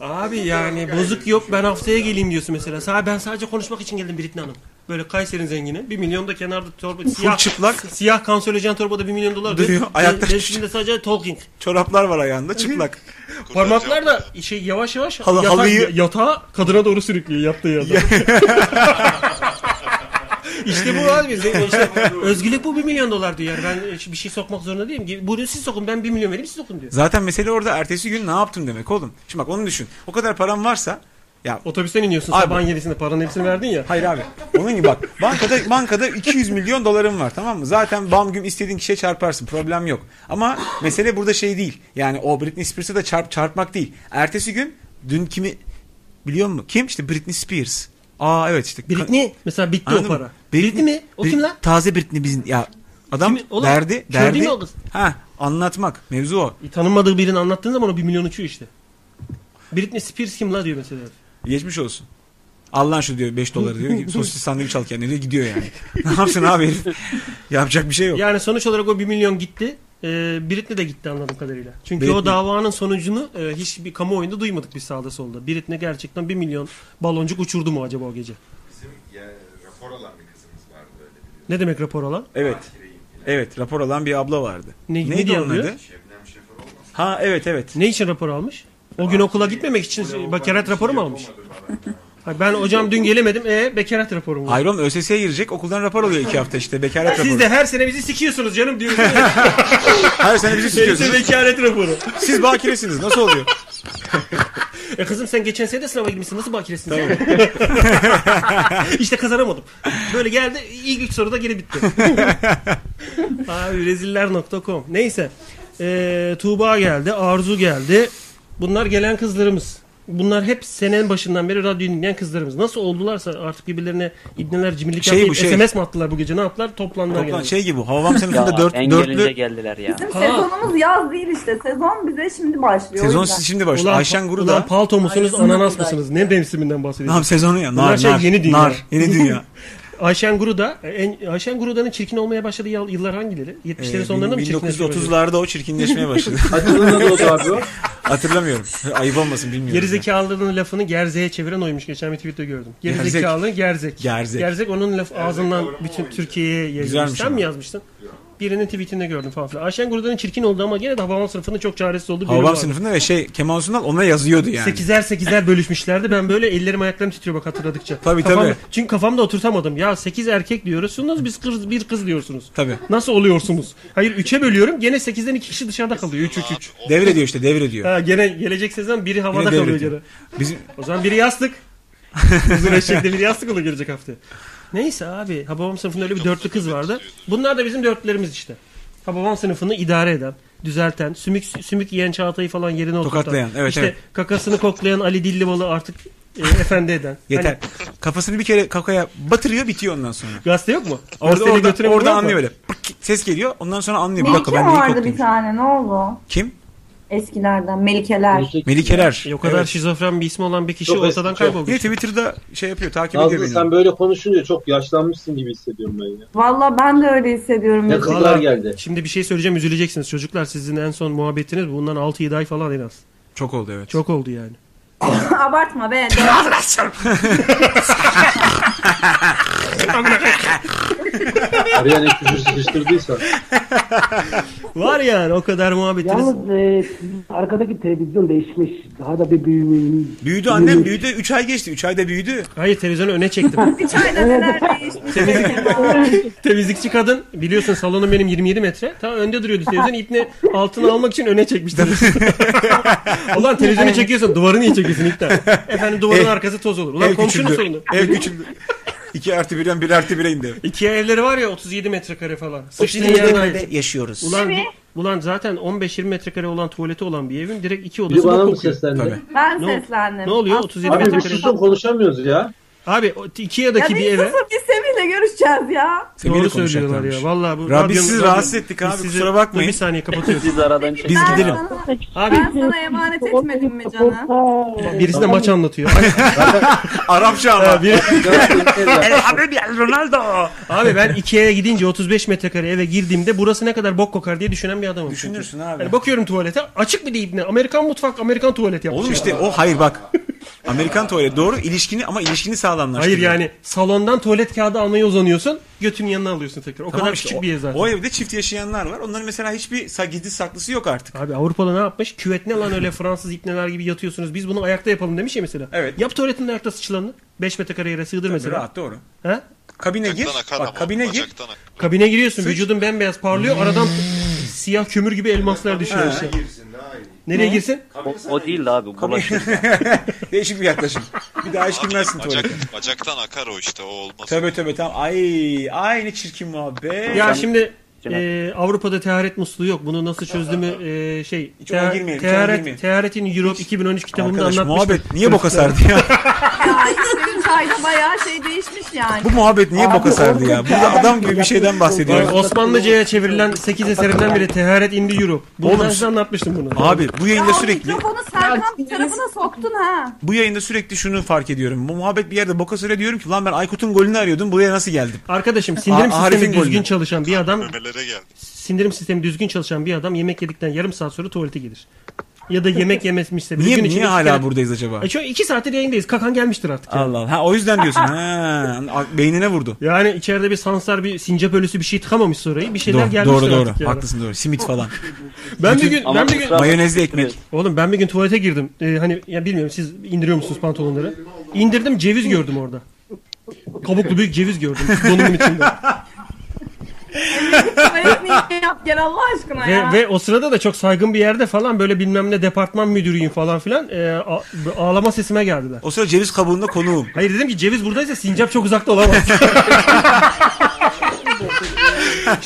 Abi yani bozuk yok ben haftaya geleyim diyorsun mesela. Sa- Ben sadece konuşmak için geldim Britney Hanım. Böyle Kayseri'nin zengini. 1 milyon da kenarda torba siyah çıplak. siyah kanserojen torbada 1 milyon dolar Duruyor, Ve- ayakta ve üstünde sadece talking. Çoraplar var ayağında çıplak. Parmaklar da şey yavaş yavaş Halı- yatağa- halıyı- yatağa kadına doğru sürüklüyor yaptığı yerden. işte bu abi. ze- işte özgürlük bu 1 milyon dolar diyor. Yani ben bir şey sokmak zorunda değilim. Bunu siz sokun ben 1 milyon vereyim siz sokun diyor. Zaten mesele orada ertesi gün ne yaptın demek oğlum. Şimdi bak onu düşün. O kadar param varsa ya otobüsten iniyorsun sabahın yedisinde paranın hepsini verdin ya. Hayır abi. Onun gibi bak bankada bankada 200 milyon dolarım var tamam mı? Zaten bam güm istediğin kişiye çarparsın. Problem yok. Ama mesele burada şey değil. Yani o Britney Spears'a da çarp çarpmak değil. Ertesi gün dün kimi biliyor musun? Kim? İşte Britney Spears. Aa evet işte. Britney mesela bitti Anladın o mı? para. Britney mi? O Brit- kim lan? Taze Britney bizim ya adam oğlum? derdi Kör derdi. değil mi o kız? Ha anlatmak mevzu o. Tanınmadığı birini anlattığın zaman o 1 milyon uçuyor işte. Britney Spears kim la diyor mesela. Geçmiş olsun. Allah'ın şu diyor 5 doları diyor. ki, Sosis sandviç al kendine diyor, gidiyor yani. ne yapsın abi herif? Yapacak bir şey yok. Yani sonuç olarak o 1 milyon gitti. Ee, Britney de gitti anladığım kadarıyla. Çünkü o Britney. davanın sonucunu e, hiçbir kamuoyunda duymadık biz sağda solda. Britney gerçekten 1 milyon baloncuk uçurdu mu acaba o gece? Bizim ya, rapor alan bir kızımız vardı öyle biliyorsun. Ne demek rapor alan? Evet. Evet rapor alan bir abla vardı. Ne- ne Neydi diye onun alıyor? adı? Ha evet evet. Ne için rapor almış? O gün okula şey, gitmemek için bekaret raporu mu almış? Ha, ben hocam dün gelemedim. E bekaret raporu mu? Hayır oğlum ÖSS'ye girecek okuldan rapor alıyor iki hafta işte bekaret raporu. Siz de her sene bizi sikiyorsunuz canım diyor. Her sene bizi sikiyorsunuz. Herifte bekaret raporu. Siz bakiresiniz nasıl oluyor? E kızım sen geçen sene de sınava girmişsin. Nasıl bakiresin? sen? işte kazanamadım. Böyle geldi. ilk üç soruda geri bitti. Abi reziller.com. Neyse. Ee, Tuğba geldi. Arzu geldi. Bunlar gelen kızlarımız. Bunlar hep senenin başından beri radyo dinleyen kızlarımız. Nasıl oldularsa artık birbirlerine ibneler cimrilik Şey yapmayıp bu, şey. SMS mi attılar bu gece? Ne yaptılar? Toplandılar. Toplan gene. şey gibi havam sınıfında Ya, dört, en dörtlü. gelince geldiler ya. Bizim sezonumuz yaz değil işte. Sezon bize şimdi başlıyor. o Sezon yüzden. şimdi başladı. Ulan, Ayşen Guru ulan da. palto musunuz, Ayşen ananas Guru da. mısınız? Ne mevsiminden bahsediyorsun? Nam sezonu ya. Bunlar Nar, şey nar, yeni dünya. nar, yeni dünya. Ayşen Guruda, e, en, Ayşen Guruda'nın çirkin olmaya başladığı yıl- yıllar hangileri? 70'lerin Ee, sonlarında mı çirkinleşmeye başladı? 1930'larda o çirkinleşmeye başladı. Hatırlamıyorum. Ayıp olmasın bilmiyorum. Gerizekalının lafını gerzeğe çeviren oymuş. Geçen bir tweette gördüm. Gerzek. Gerizekalının gerzek. Gerzek. onun laf ağzından bütün Türkiye'ye yayılmış. Güzelmiş Sen ama. mi yazmıştın? Birinin tweetinde gördüm falan filan. Ayşen Guruda'nın çirkin oldu ama gene de Havan sınıfının çok çaresiz olduğu bir bölüm Havam vardı. sınıfında ve şey Kemal Sunal ona yazıyordu yani. Sekizer sekizer bölüşmüşlerdi. Ben böyle ellerim ayaklarım titriyor bak hatırladıkça. Tabii, Kafam- tabii. Çünkü kafamda oturtamadım. Ya sekiz erkek diyorsunuz biz kız, bir kız diyorsunuz. Tabii. Nasıl oluyorsunuz? Hayır üçe bölüyorum. Gene sekizden iki kişi dışarıda kalıyor. Üç üç üç. Devrediyor işte devrediyor. Ha, gene gelecek sezon biri havada Yine kalıyor gene. devrediyor. Bizim O zaman biri yastık. Uzun eşekli biri yastık olur gelecek hafta. Neyse abi Hababam sınıfında öyle bir dörtlü kız vardı. Bunlar da bizim dörtlerimiz işte. Hababam sınıfını idare eden, düzelten, sümük sümük yiyen Çağatay'ı falan yerine oturtan. Tokatlayan, evet, işte evet. kakasını koklayan Ali Dillibalı artık e, efendi eden. yeter. Hani Kafasını bir kere kakaya batırıyor bitiyor ondan sonra. gazete yok mu? Orada, Gazeteyle orada, götüren orada yok mu? anlıyor öyle. Pık, ses geliyor. Ondan sonra anlıyor. Bir Melike dakika ben neyi vardı koptum? bir tane ne oldu? Kim? Eskilerden Melikeler. Melikeler. O kadar şey Evet. şizofren bir ismi olan bir kişi Çok ortadan eski, çok. kaybolmuş. Niye Twitter'da şey yapıyor takip ediyor Nazlı beni. sen böyle konuşunca çok yaşlanmışsın gibi hissediyorum ben ya. Valla ben de öyle hissediyorum. Ne Melike. kızlar Valla geldi. Şimdi bir şey söyleyeceğim üzüleceksiniz. Çocuklar sizin en son muhabbetiniz bundan 6-7 ay falan en az. Çok oldu evet. Çok oldu yani. Abartma be. Araya ne küfür sıkıştırdıysan. Var yani o kadar muhabbetiniz. Yalnız e, arkadaki televizyon değişmiş. Daha da bir büyümüş. Büyüdü annem büyüdü. 3 ay geçti. 3 ayda büyüdü. Hayır televizyonu öne çektim. Hiç ayda neler değişmiş. Temizlikçi kadın biliyorsun salonum benim 27 metre. Ta önde duruyordu televizyon. İpne altına almak için öne çekmiş televizyonu. Ulan televizyonu çekiyorsun duvarı niye çekiyorsun iptal. Efendim duvarın Ev- arkası toz olur. Ulan komşunun küçüldü. sorunu. Ev küçüldü. 2 artı 1'den 1 artı 1'e indi. İki evleri var ya 37 metrekare falan. Sıçtığın Otuz yedi yerine metrekare ait. yaşıyoruz. Ulan, Evet. ulan zaten 15-20 metrekare olan tuvaleti olan bir evin direkt iki Biri odası bana bak mı kokuyor. seslendi? Ben Ne ol- seslendim. Ne oluyor 37 Abi bir metrekare? susun konuşamıyoruz ya. Abi o t- Ikea'daki ya bir eve Nasıl bir Semih'le görüşeceğiz ya? doğru söylüyorlar ya. Vallahi bu Rabbi radyo- sizi radyo- rahatsız ettik biz abi, sizi- kusura bakmayın. Bir saniye kapatıyoruz. Biz aradan çekelim. Biz Ben gidelim. sana- Ben sana emanet etmedim mi canım? Birisi de maç anlatıyor. Arapça ama. El Habibi El Ronaldo. Abi ben Ikea'ya gidince 35 metrekare eve girdiğimde burası ne kadar bok kokar diye düşünen bir adamım. Düşünürsün abi. Yani bakıyorum tuvalete açık bir değil. Ne? Amerikan mutfak, Amerikan tuvalet yapmış. Oğlum işte o hayır bak. Amerikan tuvalet doğru ilişkini ama ilişkini Hayır sağlamlaştırıyor. yani salondan tuvalet kağıdı almaya uzanıyorsun. Götünün yanına alıyorsun tekrar. O Tamam kadar işte, küçük bir yer zaten. O evde çift yaşayanlar var. Onların mesela hiçbir sa- gizli saklısı yok artık. Abi Avrupa'da ne yapmış? Küvet ne lan öyle Fransız ipneler gibi yatıyorsunuz. Biz bunu ayakta yapalım demiş ya mesela. Evet. Yap tuvaletinde ayakta sıçılanını. 5 metrekare yere sığdır mesela. rahat, doğru. He? Kabine gir. Bak kabine gir. Kabine giriyorsun. Vücudun bembeyaz parlıyor. Aradan siyah kömür gibi elmaslar düşüyor işte. Nereye girsin? O, o değil de abi. Bulaşır. Değişik bir yaklaşım. Bir daha hiç girmezsin tuvalete. Bacaktan akar o işte o olmaz. Tabii tabii tamam. Ay, aynı çirkin muhabbet. Ya şimdi e, Avrupa'da teharet musluğu yok. Bunu nasıl çözdüğümü e, şey. Hiç ona teha- girmeyelim, hiç ona girmeyelim. Teharet, teharetin Europe 2013 kitabında Arkadaş, anlatmıştım. muhabbet niye boka sardı ya? Ya işte üç ayda bayağı şey değişmiş yani. Bu muhabbet niye boka sardı ya? Burada adam gibi bir şeyden bahsediyoruz. Vay, Osmanlıca'ya çevrilen 8 eserinden biri Teharet indi Europe. Bunu Oğlum, ben size anlatmıştım bunu. Abi bu yayında sürekli Mikrofonu Serkan bir tarafına soktun ha. bu yayında sürekli şunu fark ediyorum. Bu muhabbet bir yerde boka söyle diyorum ki lan ben Aykut'un golünü arıyordum. Buraya nasıl geldim? Arkadaşım sindirim A- Arif'in sistemi düzgün golünü. çalışan bir adam Memelere geldi. sindirim sistemi düzgün çalışan bir adam yemek yedikten yarım saat sonra tuvalete gelir. Ya da yemek yemesmişse bir Niye- gün niye içinde iki hala kere- buradayız acaba? E çünkü iki saattir yayındayız. Kakan gelmiştir artık. Allah Allah. Ha o yüzden diyorsun. ha beynine vurdu. Yani içeride bir sansar, bir sincap ölüsü bir şey tıkamamış sorayı. Bir şeyler doğru, gelmiştir doğru, doğru. artık yani. Haklısın doğru. Simit falan. Ben bir Bütün- gün ben bir gün mayonezli ekmek. Oğlum ben bir gün tuvalete girdim. Ee, hani ya bilmiyorum siz indiriyor musunuz pantolonları? İndirdim ceviz gördüm orada. Kabuklu büyük ceviz gördüm donumun içinde. Evet niye yap gel Allah aşkına ve, ya. ve o sırada da çok saygın bir yerde falan böyle bilmem ne departman müdürüyüm falan filan Ee, a- ağlama sesime geldiler. O sırada ceviz kabuğunda konuğum. Hayır dedim ki ceviz buradaysa sincap çok uzakta olamaz.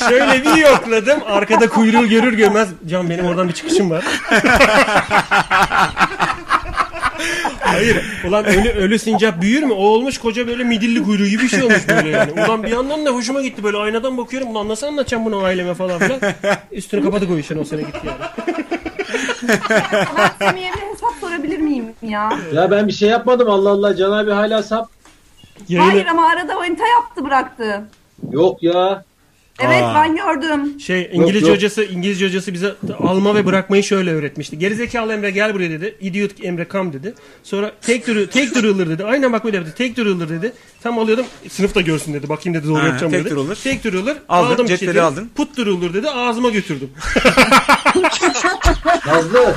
Şöyle bir yokladım. Arkada kuyruğu görür görmez. Can benim oradan bir çıkışım var. Hayır. Ulan ölü, ölü sincap büyür mü? O olmuş koca böyle midilli kuyruğu gibi bir şey olmuş böyle yani. Ulan bir yandan da hoşuma gitti böyle aynadan bakıyorum. Ulan nasıl anlatacağım bunu aileme falan filan. Üstünü kapadık o işin o sene gitti yani. Ben Semih'e bir hesap sorabilir miyim ya? Ya ben bir şey yapmadım Allah Allah. Can abi hala sap. Hayır ama arada manita yaptı bıraktı. Yok ya. Evet Aa. ben gördüm. Şey İngilizce yok. hocası İngilizce hocası bize alma ve bırakmayı şöyle öğretmişti. Gerizekalı Emre gel buraya dedi. Idiot Emre come dedi. Sonra take the, take the ruler dedi. Aynen bak böyle yaptı. Take the ruler dedi. Tam alıyordum. Sınıfta görsün dedi. Bakayım dedi doğru Ha, yapacağım take dedi. the ruler. Take the ruler. Aldın, aldım cetveli çeteli. aldın. Put the ruler dedi. Ağzıma götürdüm. Nazlı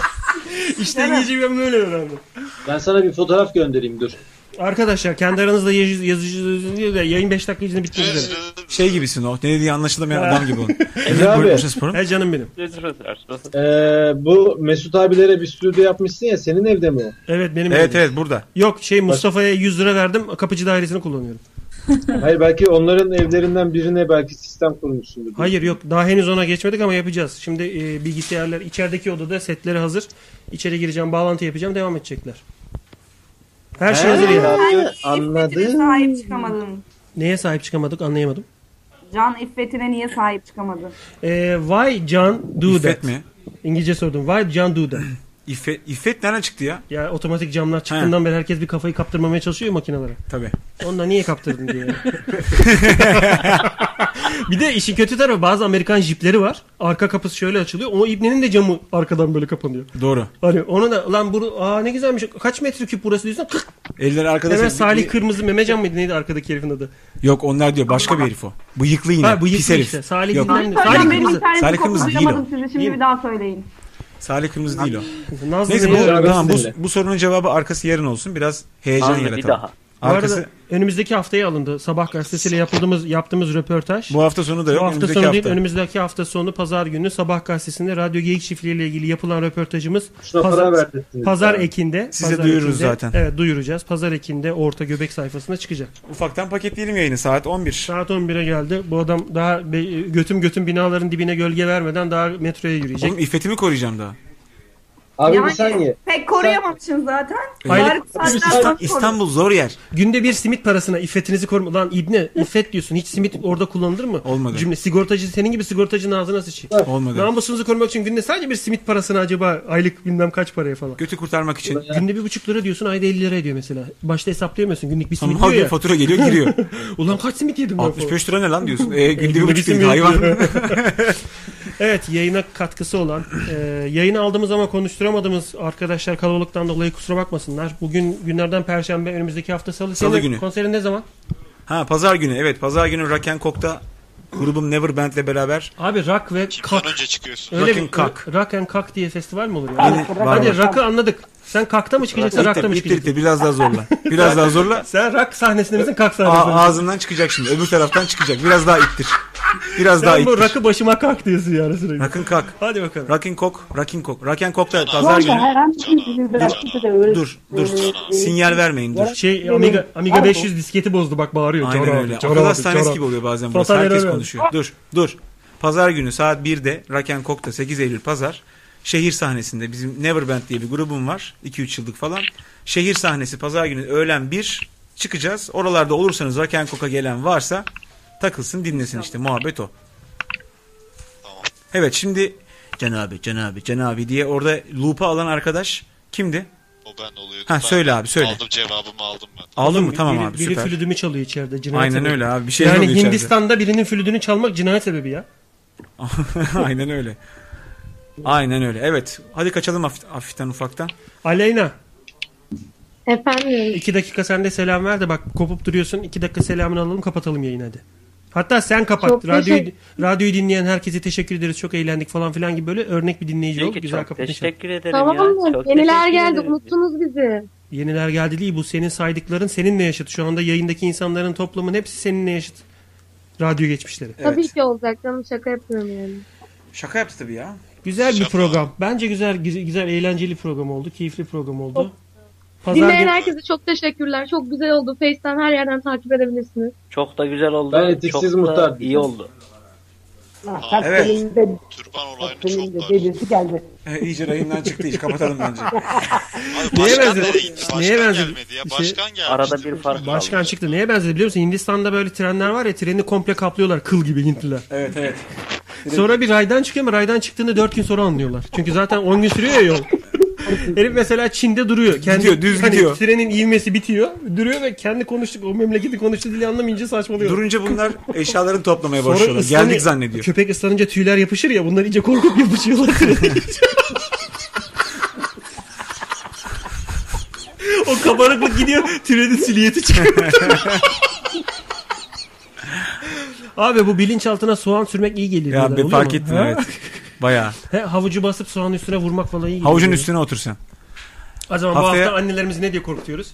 işte İngilizce ben böyle öğrendim. ben sana bir fotoğraf göndereyim dur. Arkadaşlar kendi aranızda yazı- yazıcı da yayın 5 dakika içinde bitti Ee, üzere. Şey gibisin o. Ne dediği anlaşılamayan adam E gibi onun. Emre abi. He canım benim. Ee, bu Mesut abilere bir stüdyo yapmışsın ya senin evde mi o? Evet benim. Evet, benim. evet, burada. Yok şey Mustafa'ya 100 lira verdim. Kapıcı dairesini kullanıyorum. Hayır belki onların evlerinden birine belki sistem kurmuşsundur. Hayır yok daha henüz ona geçmedik ama yapacağız. Şimdi e, bilgisayarlar içerideki odada setleri hazır. İçeri gireceğim, bağlantı yapacağım, devam edecekler. Her şey He, hazır yani. Ben Anladım. sahip çıkamadım. Neye sahip çıkamadık anlayamadım. Can iffetine niye sahip çıkamadın? E, why Can do İffet that? mi? İngilizce sordum. Why Can do that? İffet, İffet nereden çıktı ya? Ya otomatik camlar çıktığından beri herkes bir kafayı kaptırmamaya çalışıyor ya makinelere. Tabii. Onunla niye kaptırdın diye. bir de işin kötü tarafı bazı Amerikan jipleri var. Arka kapısı şöyle açılıyor. O ibnenin de camı arkadan böyle kapanıyor. Doğru. Hani onu da lan bu aa ne güzelmiş. Kaç metreküp burası diyorsun? Kık. Eller arkada. Hemen sevdi- Salih Kırmızı Memecan mıydı neydi arkadaki herifin adı? Yok onlar diyor başka bir herif o. Bıyıklı yine. Ha, bıyıklı pis herif. işte, Salih Yok. bilmem ne. Hocam Salih benim Kırmızı. interneti Salih Kırmızı değil o. kopyalayamadım sizi Değil şimdi mi? bir daha söyleyin. Salih Kırmızı değil o. Nazlı Neyse Bey- bu, Nazlı tamam, bu, Bey. bu sorunun cevabı arkası yarın olsun. Biraz heyecan Nazlı bir yaratalım. daha. Bu Arkası arada önümüzdeki haftaya alındı. Sabah gazetesiyle yaptığımız yaptığımız röportaj. Bu hafta sonu da yok, Bu hafta önümüzdeki sonu değil, hafta. önümüzdeki hafta sonu pazar günü Sabah gazetesinde Radyo Geyik Çiftliği ile ilgili yapılan röportajımız Şuna para pazar, verdirsiniz. pazar Yani. ekinde. Size pazar duyururuz zaten. Evet duyuracağız. Pazar ekinde orta göbek sayfasında çıkacak. ufaktan paketleyelim yayını saat 11. Saat 11'e geldi. Bu adam daha be- götüm götüm binaların dibine gölge vermeden daha metroya yürüyecek. Oğlum iffetimi koruyacağım daha. Abi Yani bir saniye. Pek koruyamamışsın zaten. Aylık- Bari saatten sonra- Ee, zor yer. Günde bir simit parasına iffetinizi koruma. Lan İbni iffet diyorsun. Hiç simit orada kullanılır mı? Olmadı. Cümle sigortacı senin gibi sigortacının ağzına sıçayım. Olmadı. Namusunuzu korumak için günde sadece bir simit parasına acaba aylık bilmem kaç paraya falan. Götü kurtarmak için. Günde bir buçuk lira diyorsun ayda 50 lira ediyor mesela. Başta hesaplayamıyorsun günlük bir simit Ama diyor ya. bir fatura geliyor, giriyor. Ulan kaç simit yedim ben 65 lira ne lan diyorsun? E, Ee, günde bir buçuk simit hayvan. evet yayına katkısı olan e, yayını aldığımız ama konuşturamadığımız arkadaşlar kalabalıktan dolayı kusura bakmasınlar. Bugün günlerden perşembe önümüzdeki hafta salı. Salı Senin günü. Konserin ne zaman? ha pazar günü evet pazar günü Rock and Coke'ta grubum Never Band'le beraber. Abi rock ve kak. önce çıkıyorsun. Öyle Rock bir and Coke. rock and kak diye festival mi olur ya? Yine- Hadi, var, hadi var. rock'ı anladık. Sen kakta mı çıkacaksın, İttir, rock'ta mı ittir, çıkacaksın? ittir. biraz daha zorla. Biraz daha zorla. Sen rock sahnesinde misin, kak sahnesinde misin? A- ağzından çıkacak şimdi. Öbür taraftan çıkacak. Biraz daha ittir. Biraz Sen daha bu ittir. rock'ı başıma kak diyorsun yani sürekli. Rock'ın kak. Hadi bakalım. Rock'ın kok. Rock'ın kok. Rock'ın kok da Bu pazar arada günü. herhangi bir bıraktığı da öyle. Dur dur. Sinyal vermeyin dur. Şey Amiga, Amiga 500 disketi bozdu bak bağırıyor. Aynen Can abi, öyle. Can Akıl abi, hastanesi Can gibi abi. oluyor bazen burası. Total Herkes error. konuşuyor. Dur dur. Pazar günü saat 1'de Rock and Coke'ta 8 Eylül pazar. Şehir sahnesinde bizim Neverband diye bir grubum var. 2-3 yıllık falan. Şehir sahnesi pazar günü öğlen 1 çıkacağız. Oralarda olursanız Rock and Coke'a gelen varsa takılsın dinlesin işte muhabbet o. Evet şimdi Can abi, Can abi, Can abi diye orada loop'a alan arkadaş kimdi? O ben oluyordu. Ha, Ben söyle abi, söyle. Aldım cevabımı aldım ben. Aldın mı? Biri- Tamam abi biri süper. flütümü çalıyor içeride. Cinayet Aynen sebebi. öyle abi. Bir şey yani oluyor içeride. Hindistan'da birinin flütünü çalmak cinayet sebebi ya. Aynen öyle. Aynen öyle. Evet. Hadi kaçalım haf- hafiften ufaktan. Aleyna Efendim. iki dakika sen de selam ver de bak kopup duruyorsun. iki dakika selamını alalım kapatalım yayını hadi. Hatta sen kapat. Çok radyoyu, teşekkür- radyoyu dinleyen herkese teşekkür ederiz. Çok eğlendik falan filan gibi böyle örnek bir dinleyici ol. Peki, Güzel çok kapatış. teşekkür ederim Tamam ya. mı? Çok Yeniler teşekkür geldi. ederim. Unuttunuz bizi. Yeniler geldi değil bu senin saydıkların seninle yaşıt. Şu anda yayındaki insanların toplamın hepsi seninle yaşıt. Radyo geçmişleri. Tabii ki olacak canım şaka yapıyorum yani. Şaka yaptı tabii ya. Güzel bir program. Bence güzel güzel, güzel, eğlenceli program oldu. Keyifli program oldu. Dinleyen gün- herkese çok teşekkürler. Çok güzel oldu. Face'ten her yerden takip edebilirsiniz. Çok da güzel oldu. Ben etiksiz çok muhtar da iyi oldu. Evet. Takviminde- takviminde belirti geldi. E, iyice rayından çıktı. iyice kapatalım bence. Neye başkan benzedi? nereye gitti? Neye Başkan benzedi? gelmedi ya. İşte- Başkan gelmişti. Arada bir fark Başkan çıktı. Neye benzedi biliyor musun? Hindistan'da böyle trenler var ya treni komple kaplıyorlar kıl gibi Hintliler. Evet evet. Sonra bir raydan çıkıyor ama raydan çıktığını 4 gün sonra anlıyorlar. Çünkü zaten 10 gün sürüyor ya yol. Herif mesela Çin'de duruyor. Kendi, Gidiyor, düz hani gidiyor. Trenin ivmesi bitiyor. Duruyor ve kendi konuştuk o memleketi konuştuğu dili anlamayınca saçmalıyor. Durunca bunlar eşyalarını toplamaya Sonra başlıyorlar. ıslanıyor. Geldik zannediyor. Köpek ıslanınca tüyler yapışır ya bunlar iyice korkup yapışıyorlar. o kabarıklık gidiyor tüylerin silüeti çıkıyor. Abi bu bilinçaltına soğan sürmek iyi gelir. Ya diyorlar, bir oluyor fark mu? ettim Ha? evet. Bayağı. He, havucu basıp soğanın üstüne vurmak falan iyi Havucun geliyor. üstüne otursan. O zaman Haftaya- bu hafta annelerimizi ne diye korkutuyoruz?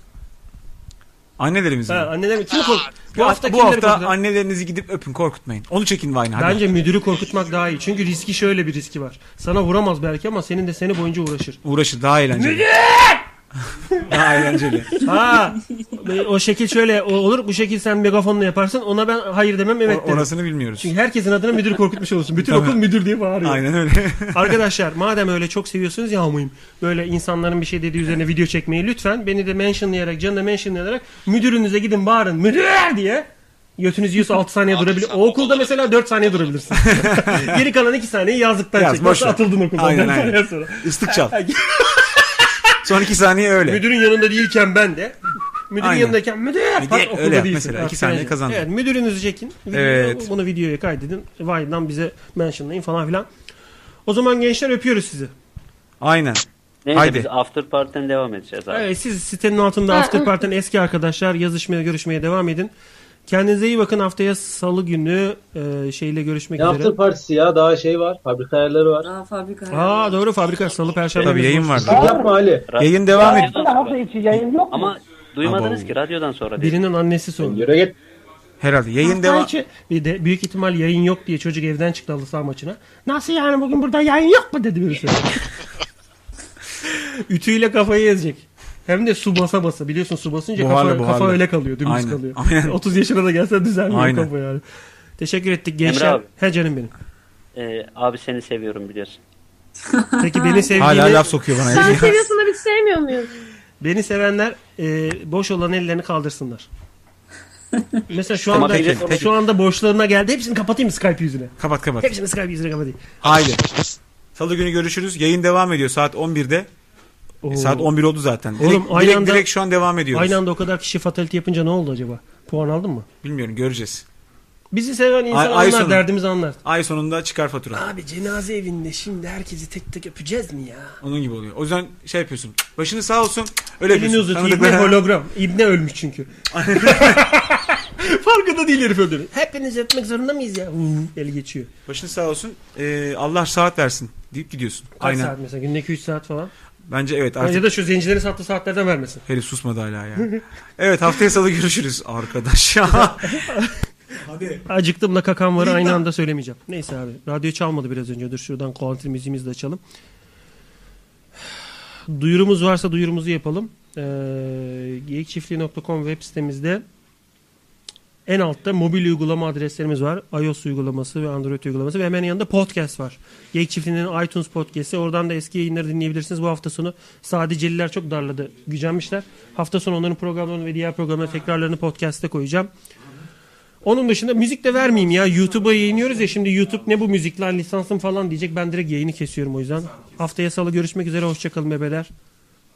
Annelerimiz mi? Ha, annelerimizi kimi kork- Hmm. Ah, Bu hafta, bu hafta korkutalım? annelerinizi gidip öpün korkutmayın. Onu çekin Vayne hadi. Bence müdürü korkutmak daha iyi. Çünkü riski şöyle bir riski var. Sana vuramaz belki ama senin de seni boyunca uğraşır. Uğraşır daha eğlenceli. daha eğlenceli. Ha, o şekil şöyle o- olur. Bu şekil sen megafonla yaparsın. Ona ben hayır demem evet O- derim. orasını bilmiyoruz. Çünkü herkesin adına müdür korkutmuş olursun. Bütün Tabii. okul müdür diye bağırıyor. Aynen öyle. Arkadaşlar madem öyle çok seviyorsunuz ya hamuim. Böyle insanların bir şey dediği üzerine video çekmeyi lütfen. Beni de mentionlayarak, canı da mentionlayarak müdürünüze gidin bağırın müdür diye. Götünüz yiyorsa 6 saniye durabilir. O okulda mesela 4 saniye durabilirsin. Geri kalan 2 saniyeyi yazlıktan Yaz, çek. boş Nasıl ver. atıldın okuldan? Aynen, dört aynen. saniye sonra. Islık çal. Son iki saniye öyle. Müdürün yanında değilken ben de. Müdürün Aynen. yanındayken müdür Müdür, pat, öyle okulda yap değilsin. mesela, Bak, iki saniye yani. kazandın. Evet müdürünüzü çekin. Videoyu- Evet. Bunu videoya kaydedin. Vibe'dan bize mentionlayın falan filan. O zaman gençler öpüyoruz sizi. Aynen. Neyse Haydi. biz after party'den devam edeceğiz abi. Evet siz sitenin altında Ha, After evet. Party'den eski arkadaşlar yazışmaya görüşmeye devam edin. Kendinize iyi bakın haftaya salı günü e, şeyle görüşmek Ne üzere. yaptın partisi ya? Daha şey var. Fabrika ayarları var. Aa fabrika Aa doğru fabrika salı perşembe. Tabii, yayın var. vardı. Yapma Ali. Yayın devam ediyor. ediyor. Hafta içi yayın yok mu? Ama duymadınız ki radyodan sonra. değil. Birinin annesi sordu. Yürü git. Herhalde yayın Hafta devam. içi- Bir de büyük ihtimal yayın yok diye çocuk evden çıktı halı saha maçına. Nasıl yani bugün burada yayın yok mu dedi birisi. Ütüyle kafayı ezecek. Hem de su basa basa. Biliyorsun su basınca Buharlı, kafa, kafa buharlı. öyle kalıyor. Dümdüz Aynen, kalıyor. aynen. 30 yaşına da gelse düzelmiyor Aynen. kafa yani. Teşekkür ettik gençler. abi. He canım benim. Ee, abi seni seviyorum biliyorsun. Peki beni sevdiğini... Hala laf sokuyor bana. Sen seviyorsun da biz sevmiyor muyuz? Beni sevenler e, boş olan ellerini kaldırsınlar. Mesela şu Tamam, anda peki, peki. şu anda boşlarına geldi. Hepsini kapatayım mı Skype yüzüne? Kapat kapat. Hepsini Skype yüzüne kapatayım. Haydi. Salı günü görüşürüz. Yayın devam ediyor saat 11'de. E, Saat 11 oldu zaten. Direkt, Oğlum aynı direkt, anda- direkt şu an devam ediyoruz. Aynı anda o kadar kişi fatality yapınca ne oldu acaba? Puan aldın mı? Bilmiyorum göreceğiz. Bizi seven insan Ay- ay anlar sonu. derdimizi anlar. Ay sonunda çıkar fatura. Abi cenaze evinde şimdi herkesi tek tek öpeceğiz mi ya? Onun gibi oluyor. O yüzden şey yapıyorsun. Başını sağ olsun. Öyle Elini yapıyorsun. uzat. İbne Tanıdıklara- hologram. İbne ölmüş çünkü. Farkında değil herif öldüğünü. Hepiniz öpmek zorunda mıyız ya? Uf, el geçiyor. Başını sağ olsun. Ee, Allah saat versin deyip gidiyorsun. Kaç saat mesela? Gündeki 3 saat falan. Bence evet Ya artık. da şu zencilerin sattığı saatlerden vermesin. Herif susmadı hala ya. evet haftaya salı görüşürüz arkadaş ya. Hadi. Acıktımla kakam var aynı anda söylemeyeceğim. Neyse abi. Radyo çalmadı biraz önce. Dur şuradan kuantri müziğimizi de açalım. Duyurumuz varsa duyurumuzu yapalım. Ee, geyikçiftliği.com web sitemizde en altta mobil uygulama adreslerimiz var. iOS uygulaması ve Android uygulaması ve hemen yanında podcast var. Geyik Çiftliği'nin iTunes podcast'i. Oradan da eski yayınları dinleyebilirsiniz. Bu hafta sonu sadeceliler çok darladı. Gücenmişler. Hafta sonu onların programlarını ve diğer programların tekrarlarını podcast'te koyacağım. Onun dışında müzik de vermeyeyim ya. YouTube'a yayınlıyoruz ya şimdi YouTube ne bu müzik lan lisansım falan diyecek. Ben direkt yayını kesiyorum o yüzden. Haftaya salı görüşmek üzere. Hoşçakalın bebeler.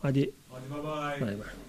Hadi. Hadi bye bye.